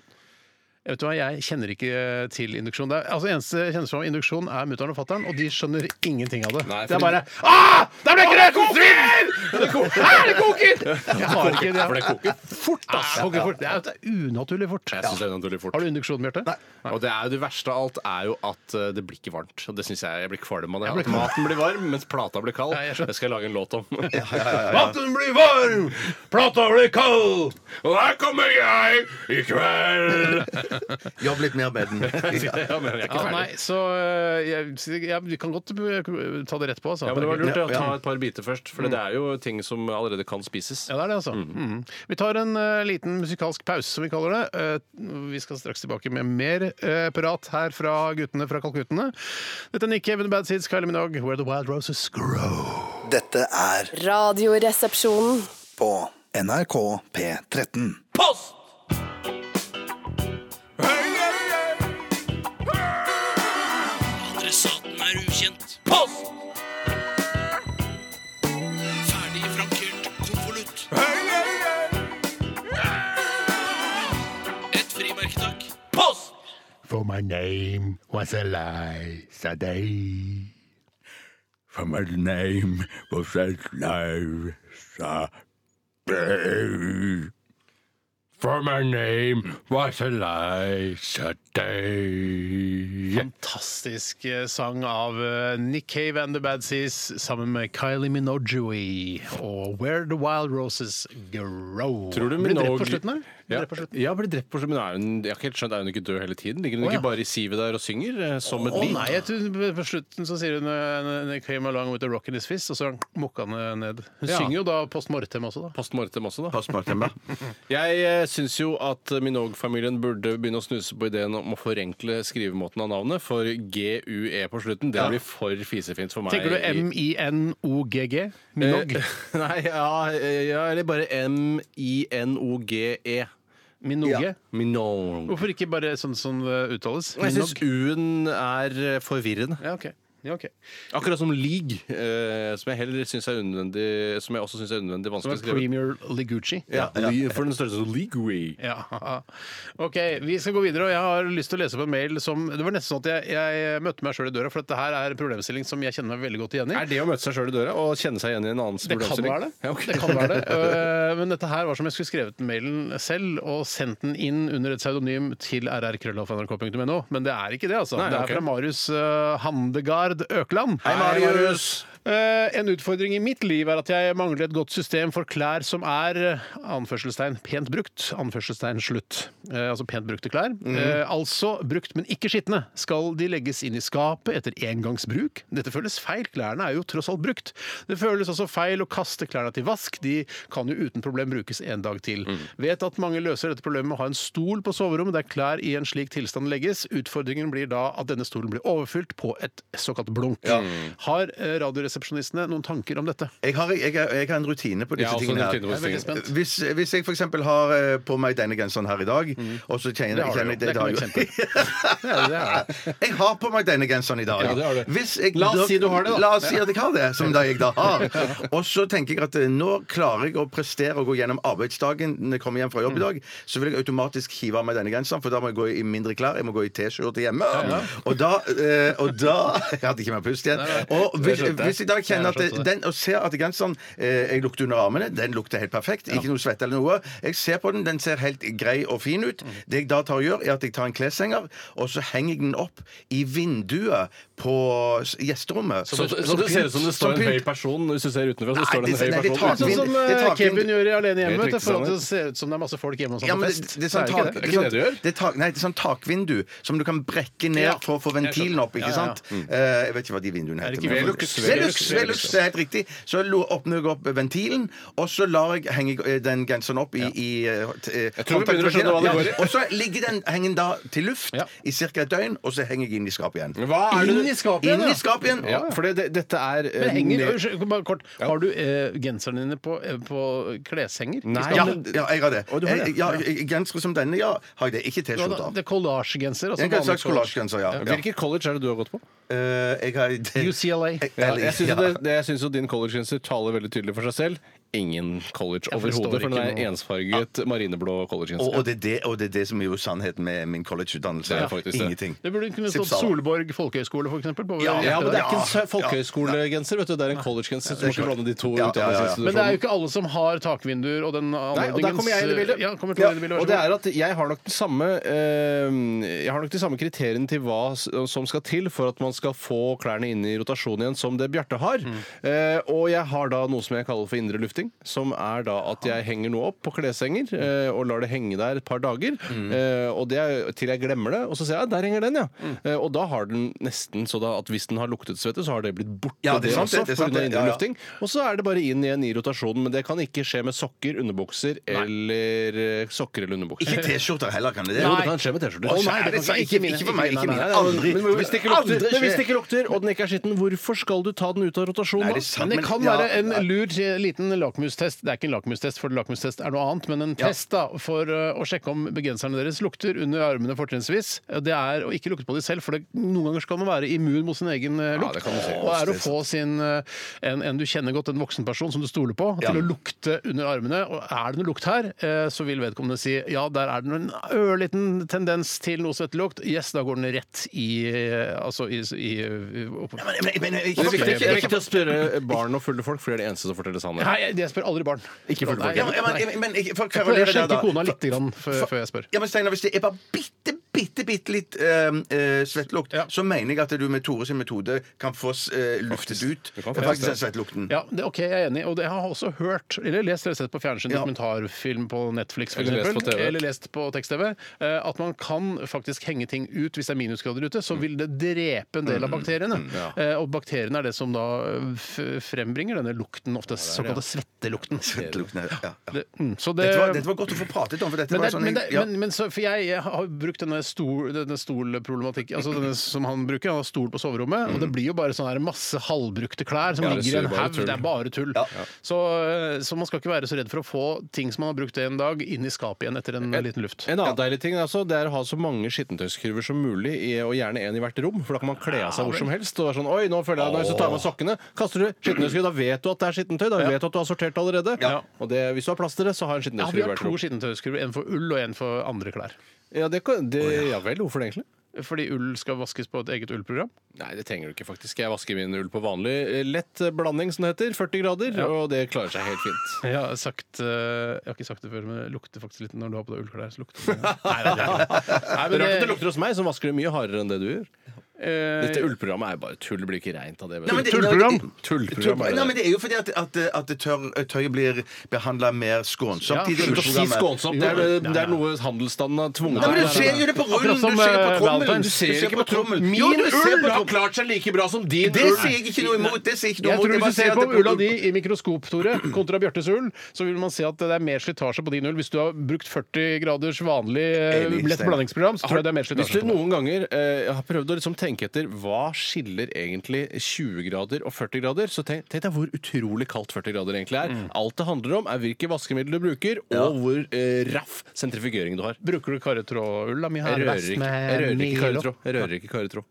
S4: Vet du hva, Jeg kjenner ikke eh, til induksjon. Det er, altså, eneste jeg kjenner som induksjon, er mutter'n og fatter'n, og de skjønner ingenting av det.
S6: Nei,
S4: det er
S6: fordi-
S4: bare Ah! Der ble grøten svidd! Det koker! Ah, det koker! Jeg har ikke det.
S6: For det koker
S4: fort, ass. Det koker fort. Det er, det er unaturlig fort.
S6: Jeg synes det er naturlig fort.
S4: Har du induksjon, Bjarte?
S6: Og det, er jo det verste av alt er jo at eh, det blir ikke varmt. Og det syns jeg jeg blir kvalm av. det.
S4: Jeg blir
S6: At maten blir varm, mens plata blir kald.
S4: Ja, jeg skjønner.
S6: det skal jeg lage en låt om.
S4: Maten blir varm! Plata blir kald!
S6: Og her kommer jeg i kveld!
S5: Jobb litt mer med den. Ja.
S6: Ja, men jeg er ikke
S4: Ja,
S6: ferdig.
S4: nei, så øh, jeg, jeg, Vi kan godt øh, ta det rett på, altså.
S6: Ja, men det var lurt ja, å
S5: Ja.
S6: ta et par biter først, for det er jo ting som allerede kan spises.
S4: Ja, det er det, altså.
S6: Mm.
S4: Mhm. Vi tar en eh, liten musikalsk pause, som vi kaller det. Eh, vi skal straks tilbake med mer eh, prat her fra guttene fra Kalkuttene. Dette er Nick Cave and the Bad Seeds, Kylie Minogue, Where the Wild Roses Grow.
S8: Dette er
S7: Radioresepsjonen.
S8: på NRK P13.
S4: For my name was a lie, Saday.
S5: From my name was that life sa-
S4: For my name was a lie, Saday. Fantastisk eh, sang av eh, Nick Cave and the Bad Seas sammen med Kylie Minogue og Where the Wild Roses Grow.
S6: Tror du
S4: Blir drept på
S6: Minogue-
S4: slutten her? Blir
S6: Ja,
S4: drept på slutten.
S6: ja ble drept på slutten. Men er hun, jeg har ikke helt skjønt, er hun ikke død hele tiden? Ligger
S4: Å,
S6: hun
S4: ja.
S6: ikke bare i sivet der og synger eh, som et
S4: Å
S6: lik?
S4: nei, jeg tror på slutten så sier hun eh, "They came along with a rock in his fist, og så mokka han ned. Hun
S6: Ja.
S4: synger jo da post mortem også, da.
S6: Post mortem også, da.
S5: Pass på at den var-
S6: Jeg eh, syns jo at Minogue-familien burde begynne å snuse på ideen om å forenkle skrivemåten av navnet, for GUE på slutten, det blir for fisefint for meg.
S4: Tenker du
S6: i-
S4: M-I-N-O-G-G? Minog?
S6: Eh, Nei, ja, eh, ja, eller bare M-I-N-O-G-E.
S4: Minoge?
S6: Minogue.
S4: Hvorfor ikke bare sånn som det uttales?
S6: Jeg syns
S4: Minog?
S6: U-en er eh, forvirrende.
S4: Ja, ok. Ja, ok.
S6: Akkurat som league, eh, som jeg heller synes er unødvendig Som jeg også syns er unødvendig
S4: Som er
S6: vanskelig å skrive.
S4: Premier Ligucci.
S6: Ja, le- For den størrelse som league
S4: Ja. OK, vi skal gå videre. og Jeg har lyst til å lese opp en mail som Det var nesten sånn at jeg, jeg møtte meg sjøl i døra, for dette her er en problemstilling som jeg kjenner meg veldig godt igjen i.
S6: Er det å møte seg sjøl i døra og kjenne seg igjen i en annens
S4: Det kan være det.
S6: Ja, ok.
S4: det, kan være det. Øh, Men dette her var som jeg skulle skrevet mailen selv og sendt den inn under et pseudonym til rrkrøllalfa.nrk.no, men det er ikke det, altså.
S6: Nei,
S4: det er
S6: ok.
S4: fra Marius øh, Handegard Økland. Hei,
S6: Marius!
S4: Eh, en utfordring i mitt liv er at jeg mangler et godt system for klær som er eh, anførselstegn, pent brukt. Anførselstegn slutt. Eh, altså pent brukte klær.
S6: Mhm.
S4: Eh, altså brukt, men ikke skitne. Skal de legges inn i skapet etter engangsbruk? Dette føles feil. Klærne er jo tross alt brukt. Det føles også feil å kaste klærne til vask. De kan jo uten problem brukes en dag til.
S5: Mm.
S4: Vet at mange løser dette problemet med å ha en stol på soverommet der klær i en slik tilstand legges. Utfordringen blir da at denne stolen blir overfylt på et såkalt blunk. Har eh, radioresepsjonistene noen tanker om dette?
S5: Jeg har, jeg, har- jeg har en rutine på
S6: Jeg
S5: disse
S6: har også en
S5: tingene.
S6: rutine på
S5: her.
S4: Jeg er
S6: disse
S4: veldig
S6: tingene.
S4: spent.
S5: Hvis, hvis jeg f.eks. har eh, på meg denne genseren her i dag,
S6: Mm.
S5: og så kjenner
S4: Det har du
S5: kjenner
S4: jo. Det
S5: har
S4: kan
S5: jeg-
S4: du Ja, det er det.
S5: Jeg har på meg denne genseren i dag.
S6: Ja, det har du.
S5: Hvis jeg
S6: La oss
S5: da-
S6: si du har det, da.
S5: La oss si at jeg har det, som da jeg da har. Og så tenker jeg at eh, nå klarer jeg å prestere og gå gjennom arbeidsdagen når jeg kommer hjem fra
S6: Mm.
S5: jobb i dag, så vil jeg automatisk hive av meg denne genseren, for da må jeg gå i mindre klær. Jeg må gå i T-skjorte hjemme. Og da, eh, og da Jeg hadde ikke mer pust igjen. Og hvis,
S4: skjønte jeg.
S5: hvis jeg da kjenner at
S4: Jeg
S5: det,
S4: skjønte det.
S5: den, og ser at genseren eh, jeg lukter under armene, den lukter helt perfekt. Ikke noe svette eller noe. Jeg ser på den, den ser helt grei og fin ut.
S6: Mm.
S5: Det jeg da tar og gjør, er at jeg tar en kleshenger, og så henger jeg den opp i vinduet på s- gjesterommet.
S6: Så, så, det ser ut som det står en høy person hvis du ser utenfra. Så
S5: Nei,
S6: står det en
S5: det-
S6: høy
S5: nei, det
S6: person
S5: tar-
S4: Sånn som eh,
S5: Det er takvind-
S4: Kevin gjør i Alene hjemme.
S6: Helt
S4: vet du,
S6: riktig,
S4: For at det
S6: Sanne.
S4: ser ut som det er masse folk hjemme hos
S5: Ja,
S4: ham på
S5: men det,
S4: fest.
S5: det er sånn
S4: ikke
S5: tak,
S4: det?
S6: Er ikke det det gjør?
S5: er tak, nei, det er sånn takvindu som du kan brekke ned
S4: Ja.
S5: for å få
S4: Jeg skjønner.
S5: ventilen opp.
S4: Ja,
S5: ikke
S4: ja,
S6: Mm.
S5: sant? Eh, jeg vet ikke hva de vinduene
S4: Er det
S5: heter.
S4: ikke
S5: men-
S4: Velux?
S5: Velux, Velux, Velux, det er helt riktig. Så lo- åpner jeg opp ventilen, og så lar jeg henge eh, den genseren opp i, i eh, Jeg
S6: tror vi begynner å skjønne hva det går i.
S5: Og så ligger den hengen da til luft
S6: Ja.
S5: i ca. et døgn, og så henger jeg inn i skapet igjen.
S6: Hva er det du-
S4: Inn i skapet igjen,
S5: Inn
S4: ja.
S5: i skapet igjen!
S6: Ja, for det, det, dette er eh,
S4: Men henger,
S6: ned-
S4: Unnskyld, bare kort. Har du eh, genserne dine på, eh, på kleshenger? i
S6: Nei.
S5: Ja,
S4: skapet?
S5: ja, jeg har det.
S4: Å, du har det?
S5: Jeg- Eh, Ja, Gensere som denne, ja, har jeg det. Ikke
S4: Du
S5: T-skjorte.
S4: har da- Det er collage-genser. Altså
S5: En slags
S4: vanlig collage.
S5: kollasjegenser, ja. ja.
S6: Hvilket college er det du har gått på?
S5: Eh, jeg har det.
S4: UCLA.
S6: Ja,
S5: Eller-
S6: jeg syns jo
S5: ja.
S6: det- det- jeg syns jo din collegegenser taler veldig tydelig for seg selv. Ingen college
S4: Ja, for det
S6: overhodet,
S4: står
S6: for den
S4: ikke
S6: er
S4: noe-
S6: ensfarget marineblå
S5: Og,
S6: collegegenser.
S5: og, det er det, og det er det som er jo sannheten med min collegeutdannelse.
S6: Det er Sånn faktisk det.
S5: Ingenting.
S4: Det burde kunne stått
S5: Sipsala.
S4: Solborg folkehøgskole, f.eks.
S5: Ja,
S6: Ja, men det er ikke en
S5: Ja,
S6: sø- folkehøyskolegenser, vet du. Det er en collegegenser. Så du må ikke blande de to
S5: Ja, ja, ja, ja.
S4: Men det er jo
S6: utdanningsinstitusjonene.
S4: ikke alle som har takvinduer og den eh,
S6: Nei, og der kommer jeg inn i bildet.
S4: Ja, kommer du
S6: Ja,
S4: inn i bildet, vær så
S6: og det
S4: god.
S6: er at jeg har nok den samme eh, Jeg har nok de samme kriteriene til hva s- som skal til for at man skal få klærne inn i rotasjon igjen, som det Bjarte har.
S5: Mm.
S6: Eh, og jeg har da noe som jeg kaller for indre lufting, som er da at jeg henger noe opp på kleshenger
S5: Mm.
S6: eh, og lar det henge der et par dager. eh, og det er til jeg glemmer det, og så ser jeg at der henger den, ja.
S5: Mm.
S6: Eh, og da har den nesten så da at hvis den har luktet svette, så har det blitt borte,
S5: Ja, det er sant,
S6: også,
S5: det er
S6: på
S5: sant,
S6: grunn av
S5: det.
S6: indre
S5: Ja, ja.
S6: lufting. Og så er det bare inn igjen i rotasjonen, men det kan ikke skje med sokker, underbukser eller eh, sokker eller underbukser.
S5: Ikke T-skjorter heller, kan det det?
S6: Jo, det kan skje med T-skjorter.
S5: Å, nei, det kan ikke- ikke for meg, ikke mine. Aldri.
S6: Men hvis det ikke lukter,
S5: Aldri
S6: men hvis
S5: skje.
S6: det ikke lukter og den ikke er skitten, hvorfor skal du ta den ut av rotasjonen
S5: Nei,
S6: da?
S5: det er sant,
S4: Men det
S5: men-
S4: kan
S5: ja,
S4: være en
S5: nei.
S4: lur eh, liten lakmustest. Det er ikke en lakmustest, for lakmustest er noe annet, men en test da, for eh, å sjekke om begenserne deres lukter under armene fortrinnsvis. Eh, Det er å ikke lukte på de selv, for det, noen ganger skal man være immun mot sin egen eh, lukt.
S6: det kan du si.
S4: Og er å få sin, eh, en, en du kjenner godt, en voksen person som du stoler på, til å lukte under armene. Og er det noe lukt her, eh, så vil vedkommende si ja, der er det en ørliten tendens til noe svettelukt. Yes, da går den rett i, eh, altså i, i, i opp,
S5: Men- men- men- ikke-
S6: Det er viktig- det er
S5: ikke-
S6: viktig å spørre barn og fulle folk, for det er det eneste som forteller sannheten.
S4: Nei, jeg, jeg spør aldri barn.
S6: Ikke fullfolk,
S4: Nei,
S5: Ja, men-
S4: jeg-
S5: ja, men- men- ikke- for å
S4: Jeg
S5: kverulere
S4: prøver å
S5: der, da.
S4: skjenke kona litt grann før, før jeg spør.
S5: Ja, men Steinar, hvis det er bare bitte, bitte, bitte litt eh, eh, svettlukt,
S4: Ja.
S5: så mener jeg at du med Tore sin metode kan få eh, luftet ut
S6: Du kan
S5: eh,
S6: få
S5: faktisk
S6: det.
S5: den svettlukten.
S4: Ja, det, ok, jeg er enig. Og det jeg har også hørt, eller lest eller sett på fjernsyn,
S5: Ja.
S4: dokumentarfilm på Netflix for
S6: Eller lest
S4: eksempel,
S6: på TV.
S4: eller lest på tekst-TV, eh, at man kan faktisk henge ting ut hvis det er minusgrader ute,
S6: Mm.
S4: så vil det drepe en del av bakteriene. Eh, Og bakteriene er det som da eh, f- frembringer denne lukten, ofte såkalte svettelukten.
S5: Svettelukten, ja, ja.
S4: Det, mm, så det,
S5: Dette, var, dette var godt å få pratet om, for dette
S4: Men,
S5: var
S4: det,
S5: sånn
S4: men, det,
S5: ja.
S4: men, men så, for jeg, jeg har brukt denne, stol, denne stolproblematikken altså denne som han bruker. Han har stol på soverommet, og det blir jo bare sånn her masse halvbrukte klær som
S6: Mm. Ja, det
S4: ligger i en
S6: ser bare
S4: haug.
S6: tull.
S4: Det er bare tull. Så, så man skal ikke være så redd for å få ting som man har brukt en dag, inn i skapet igjen etter en liten luft.
S6: En annen deilig ting altså, det er å ha så mange skittentøyskurver som mulig, i- og gjerne en i hvert rom. For da kan man kle av seg hvor som helst. Og være sånn, oi, nå føler jeg, nå har jeg lyst til å ta av meg sokkene. Kaster du skittentøyskurv, da vet du at det er skittentøy. Da vet du at du har sortert allerede. Og det, hvis du har plass til det, så har en
S4: Ja, vi
S6: skittentøyskurv i
S4: har
S6: hvert
S4: to
S6: rom.
S4: skittentøyskurver. En for ull og en for andre klær.
S6: Ja, det, kan- det, ja vel, hvorfor det egentlig?
S4: Fordi ull skal vaskes på et eget ullprogram.
S6: Nei, det trenger du ikke faktisk. Jeg vasker min ull på vanlig eh, lett eh, blanding, som det heter. 40 grader. Og det klarer seg helt fint.
S4: Jeg har, sagt, eh, jeg har ikke sagt det før, men det lukter faktisk litt når du har på deg ullklær. Så lukter det. Nei, det er ikke. Nei,
S6: Det
S4: men
S6: er rart at det
S4: det-
S6: lukter hos meg, som vasker det mye hardere enn det du gjør.
S4: eh,
S6: Dette ullprogrammet er jo bare tull. Det blir ikke reint av det. vet
S5: Nei, men
S6: du.
S5: det-
S6: Tullprogram!
S5: Tull-
S6: Tullprogram er
S5: Nei, men
S6: det.
S5: Det er jo fordi at, at, at det tørr, tøyet blir behandla mer skånsomt
S4: Ja,
S5: i det
S6: Slutt å si
S5: ullprogrammet.
S6: skånsomt. Det er, det er noe handelsstanden har tvunget
S5: Nei, men Du
S6: til.
S5: ser jo det på rullen,
S4: Akkurat
S5: du
S4: som,
S5: ser på
S4: eh,
S5: trommelen.
S4: Valentine's.
S5: Du ser ikke på trommelen.
S6: Min
S5: Jo, du ser
S6: ull
S5: på
S6: har
S5: trommelen.
S6: klart seg like bra som din
S5: Det
S6: ull!
S5: sier jeg ikke noe imot. Det sier jeg ikke noe
S4: Jeg
S5: imot.
S4: tror
S5: Jeg
S4: Hvis
S5: bare
S4: du ser
S5: sier
S4: på
S5: at det-
S4: ulla di i mikroskop, Tore, kontra Bjørtes ull, så vil man se at det er mer slitasje på din ull. Hvis du har brukt 40 graders vanlig eh,
S5: Enig,
S4: lett
S5: Stein.
S4: blandingsprogram, så tror jeg det er mer
S6: Hvis
S4: slitasje.
S6: du
S4: på det.
S6: noen ganger eh, har prøvd å liksom tenke etter hva skiller egentlig 20 grader og 40 grader, så tenk, tenk deg hvor utrolig kaldt 40 grader egentlig er. Alt det handler om, er hvilke vaskemiddel du bruker, og hvor eh, raff sentrifugering du har.
S4: Bruker du karretrådull? da, mi
S6: Jeg
S4: herre?
S6: rører ikke, jeg rører ikke karretråd. Jeg rører ikke karretråd.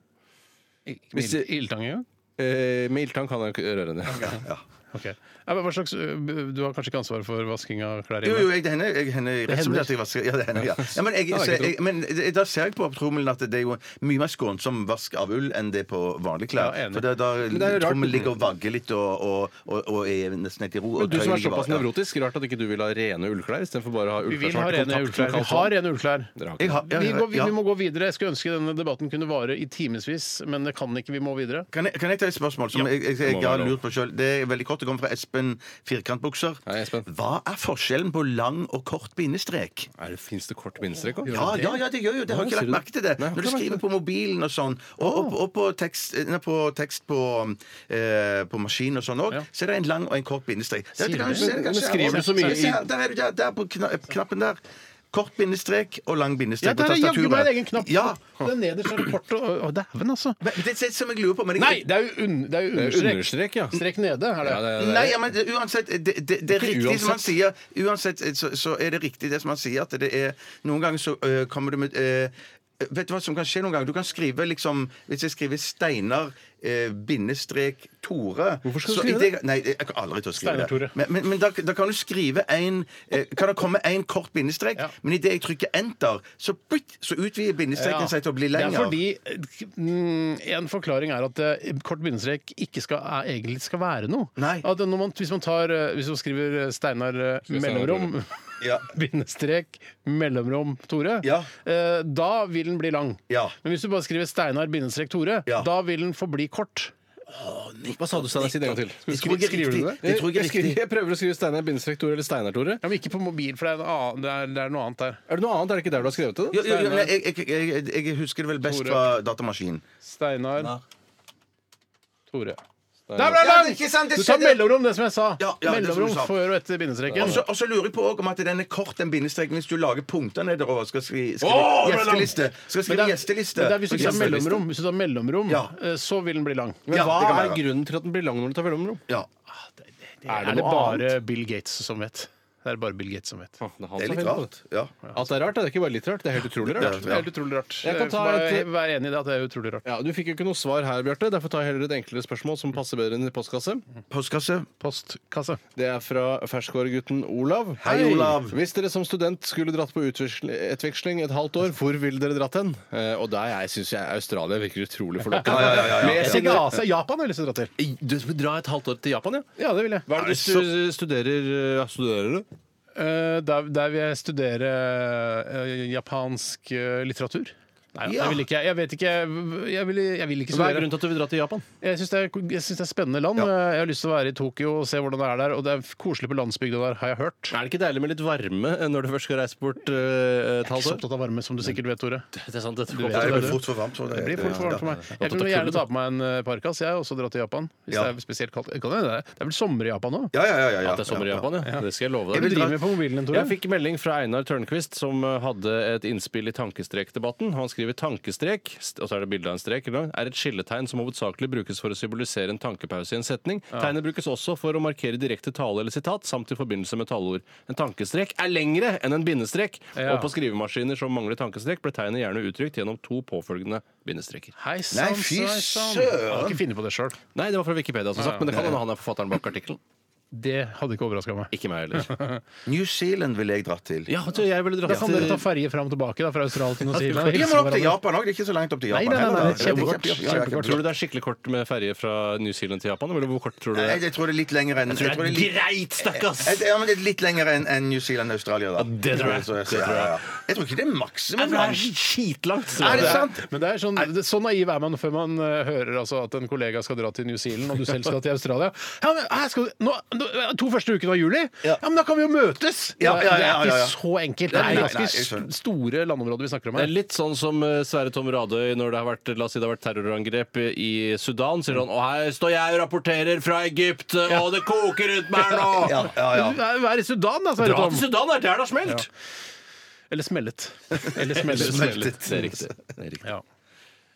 S4: Ikke med ild- Ildtang engang?
S6: Eh, med ildtang kan jeg ikke røre ned.
S4: Ok. Ja, men Hva slags, ø, du har kanskje ikke ansvar for vasking av klær
S5: Jo, jo,
S4: hjemme?
S5: jeg, det hender jeg, hender, rett som det at jeg vasker. Ja, det hender, ja. ja men, jeg, så, jeg, men da ser jeg på trommelen at det er jo mye mer skånsom vask av ull enn det på vanlige klær.
S4: Ja, enig.
S5: For da, da
S6: det er jo rart-
S5: trommelen ligger og vagger litt og, og, og, og er nesten helt i ro. og
S6: Men du
S5: tøyet
S6: som er
S5: ligger
S6: såpass
S5: bare- ja.
S6: nevrotisk, rart at ikke du vil ha rene ullklær istedenfor bare å ha
S4: Vi
S6: ullklær
S4: vil
S6: som
S4: ha
S6: har vært i
S4: rene
S6: kontakt med
S4: ullklær.
S5: liksom.
S4: Vi
S6: kaldt vann.
S4: har rene ullklær.
S6: Dere har
S5: Jeg
S6: ikke det.
S5: har- ja,
S4: Vi,
S5: ja,
S4: går, vi,
S5: ja.
S4: vi må gå videre. Jeg skulle ønske denne debatten kunne vare i timevis, men det kan ikke. Vi må videre.
S5: Kan jeg, kan jeg ta et spørsmål som jeg, jeg, jeg, jeg
S6: Må
S5: har
S6: være lov.
S5: lurt på sjøl? Det er veldig kort. Dette kommer fra Espen Firkantbukser.
S6: Hei, Espen.
S5: Hva er forskjellen på lang og kort bindestrek?
S6: Er det, Fins det kort bindestrek òg?
S5: Ja, ja, ja, det gjør jo det. Har
S6: Nei,
S5: ikke
S6: sier
S5: lagt
S6: du-
S5: merke til det.
S6: Nei, har
S5: Når
S6: ikke
S5: du
S6: lagt merke
S5: skriver
S6: til
S5: på mobilen og sånn, og, og, og på tekst, eh, nei, på, tekst på, eh, på maskin og sånn òg,
S4: Ja.
S5: så er det en lang og en kort bindestrek. Det,
S4: Sier
S5: kan du
S4: du det?
S5: se, det
S4: Men
S5: kanskje.
S6: skriver du så mye i-
S5: Se her, Der er du, der, der på kna knappen der. Kort bindestrek og lang bindestrek
S4: Ja, der er jaggu meg en egen knapp!
S5: Ja.
S4: Det er nederst er det kort og Å, dæven, altså.
S5: Men Det er det som jeg lurer på men jeg-
S4: Nei, det er jo, un, det er jo
S6: Det er
S4: understrek.
S6: Eh, understrek, ja.
S4: Strek nede, er det.
S6: Ja, det er-
S5: Nei, ja, men det- uansett, det, det, det er
S6: Ikke
S5: riktig som han
S6: uansett.
S5: sier. Uansett så, så er det riktig det som han sier, at det er Noen ganger så øh, kommer du med øh, Vet du hva som kan skje noen ganger? Du kan skrive liksom Hvis jeg skriver Steinar øh, bindestrek Tore
S6: Hvorfor skal
S5: så
S6: du
S5: i
S6: skrive
S5: det? Nei, jeg kommer aldri til å skrive
S4: Steinar Tore.
S5: det. Men, men, men da, da kan du skrive en eh, Kan det komme en kort bindestrek,
S4: Ja.
S5: men idet jeg trykker enter, så, bytt, så utvider bindestreken
S4: Ja.
S5: seg til å bli
S4: Det er
S5: lengre.
S4: fordi mm, En forklaring er at eh, kort bindestrek ikke skal, er, egentlig skal være noe.
S5: Nei.
S4: At når man, hvis, man tar, eh, hvis man skriver eh, Steinar eh, mellomrom
S5: Ja.
S4: Bindestrek mellomrom Tore.
S5: Ja.
S4: eh, Da vil den bli lang.
S5: Ja.
S4: Men hvis du bare skriver Steinar bindestrek Tore,
S5: Ja.
S4: da vil den forbli kort.
S6: Hva sa du, Steinar? Si det en gang til.
S5: Jeg tror ikke
S6: Skriver du
S5: riktig.
S6: det?
S5: Jeg tror ikke
S6: jeg, skriver,
S5: riktig.
S6: jeg prøver å skrive Steinar bindestrek Tore eller Steinar Tore.
S4: Ja, men ikke på mobil, for det er, en annen, det er, det er noe annet der.
S6: Er det noe annet? Er det ikke der du har skrevet det? da?
S5: Jo, jo, jo, nei, jeg, jeg, jeg, jeg husker det vel best
S4: Tore.
S5: fra datamaskinen.
S4: Steinar
S6: Nei.
S4: Tore. Der ble det
S5: Ja,
S4: lang!
S5: det er ikke sant, det
S4: Du tar
S5: skjedde-
S4: mellomrom, det som jeg sa.
S5: Ja, ja, det er som du
S4: mellomrom
S5: sa.
S4: før og etter bindestreken.
S5: Og så- Og så lurer jeg på også om at den er kort, den bindestreken. Hvis du lager punkter nedover og skal skrive, skrive
S4: Åh, det ble langt!
S5: gjesteliste Skal
S4: Men
S5: skrive
S4: det er-
S5: gjesteliste
S4: men det er hvis du ikke tar
S5: Gjesteliste.
S4: mellomrom, hvis du tar mellomrom
S5: Ja.
S4: eh, så vil den bli lang.
S6: Men
S5: Ja,
S6: hva
S5: det kan
S6: er
S5: være.
S6: grunnen til at den blir lang når du tar mellomrom?
S5: Ja.
S4: er, Ah, det
S6: det noe
S4: bare Bill Gates som vet? Det er bare Bill Gates som vet.
S6: Det er han
S5: Det er
S6: som
S5: litt
S6: finner på
S5: rart. Ja.
S6: det. At det er rart, det er ikke bare litt rart. Det er helt utrolig
S5: Det er-
S6: rart.
S4: Det er helt utrolig rart.
S6: Jeg kan ta
S4: Bare
S6: et-
S4: Vær enig i det at det er utrolig rart.
S6: Ja, Du fikk jo ikke noe svar her, Bjarte. Derfor tar jeg heller et enklere spørsmål som passer bedre enn i postkasse.
S5: Postkasse.
S4: Postkasse.
S6: Det er fra ferskvaregutten Olav.
S5: Hei, Olav.
S6: Hvis dere som student skulle dratt på utveksl- etveksling et halvt år, hvor ville dere dratt hen? Eh, og der jeg syns jeg Australia virker utrolig
S5: Ja,
S6: forlokkende.
S5: ja, ja, ja, ja.
S6: Med
S4: Jeg
S6: sine-
S4: tenker Asia. Japan har jeg lyst til å dra til.
S6: Du skulle dra et halvt år til Japan, ja?
S4: Ja, det vil jeg.
S6: Hva er det du stu- studerer? Ja, studerer du?
S4: Eh, der, der vil jeg studere eh, japansk eh, litteratur. Nei,
S5: Ja.
S4: jeg vil ikke. Jeg vet ikke. Jeg vil, jeg vil ikke
S6: Hva er
S4: studere.
S6: grunnen til at du vil dra til Japan?
S4: Jeg syns det, er- jeg synes det er spennende land. Eh, Jeg har lyst til å være i Tokyo og se hvordan det er der. Og det er koselig på landsbygda der, har jeg hørt.
S6: Er det ikke deilig med litt varme eh, når du først skal reise bort
S4: Jeg
S6: eh, et
S4: er ikke
S6: halvt
S4: så
S6: år?
S4: opptatt av varme, som du sikkert vet, Tore.
S6: Det er sant, dette
S4: vet
S6: kommer
S5: Ja, det
S6: til å
S5: blir
S6: være-
S5: fort for varmt. så
S4: Det blir fort for varmt for meg. Jeg kunne gjerne ta på meg en eh, parkas jeg, og så dra til Japan. Hvis
S5: Ja.
S4: det er spesielt kaldt. Kan det, det er- det er vel sommer i Japan òg?
S5: Ja, ja, ja. ja, ja.
S6: At det er sommer i Japan, ja. Det skal jeg love deg.
S4: Du driver med på mobilen din, Tore.
S6: Jeg fikk melding fra Einar Tørnquist, som eh, hadde et innspill i tankestrekdebatten. Han skriver tankestrek, st- og så er det bilde av en strek, eller noe, er et skilletegn som hovedsakelig brukes for å symbolisere en tankepause i en setning. Tegnet brukes også for å markere direkte tale eller sitat, samt i forbindelse med taleord. En tankestrek er lengre enn en bindestrek,
S4: Ja.
S6: og på skrivemaskiner som mangler tankestrek, ble tegnet gjerne uttrykt gjennom to påfølgende bindestreker.
S4: Hei
S5: Nei,
S4: sann,
S5: fy
S4: svei sann.
S5: søren.
S4: Jeg har ikke funnet på det sjøl.
S6: Nei, det var fra Wikipedia, som sagt, men det kan hende han er forfatteren bak artikkelen.
S4: Det hadde ikke overraska meg.
S6: Ikke meg heller.
S5: New Zealand ville jeg dratt til.
S6: Ja, så jeg ville
S4: Da
S6: dratt
S4: kan dere ta
S6: til
S4: ferje fram og tilbake da, fra Australia til New
S5: Vi
S4: Zealand.
S5: må
S4: Hilse
S5: opp til
S4: hverandre.
S5: Japan òg. Det er ikke så langt opp til Japan.
S4: Nei, nei, nei, nei,
S5: heller, da.
S4: kjempekort,
S5: Det er kjempe- ja,
S4: kjempekort.
S5: ja,
S6: Tror du det er skikkelig kort med ferje fra New Zealand til Japan? Eller hvor kort tror du det
S5: Nei,
S6: er?
S5: jeg tror det er litt lenger enn jeg tror det er litt-
S6: greit, stakkars!
S5: Jeg- Ja, men det er litt lenger enn enn New Zealand og Australia, da.
S6: det tror jeg.
S5: Så så- ja, ja, ja. Jeg tror ikke det er maksimum.
S6: Det er
S5: men-
S6: skitlangt.
S5: Er det sant?
S4: Men det er sånn, det, så naiv er man før man eh, hører altså, at en kollega skal dra til New Zealand, og du selv skal til Australia. Ja, men, her skal, du- nå, nå, to første ukene av juli? Ja.
S5: Ja.
S4: men da kan vi jo møtes!
S5: Ja, ja, ja,
S4: Det
S5: ja,
S4: er
S5: ja.
S4: ikke så enkelt. Det
S5: Nei,
S4: er
S5: nei,
S4: ganske
S5: nei, jeg skjønner.
S4: st- store landområder vi snakker om
S6: Det er
S4: her.
S6: litt sånn som eh, Sverre Tom Radøy når det har vært, la oss si det har vært terrorangrep i Sudan. sier han, Og her står jeg og rapporterer fra Egypt, og det koker rundt meg her nå!
S5: Ja, ja, ja.
S4: Du er- Vær i Sudan, da, Sverre
S6: Dra til
S4: Tom.
S6: Sudan, det er der det har smelt!
S4: Eller smellet. Eller smellet.
S6: Smeltet. Det er riktig. Det er riktig.
S4: Ja.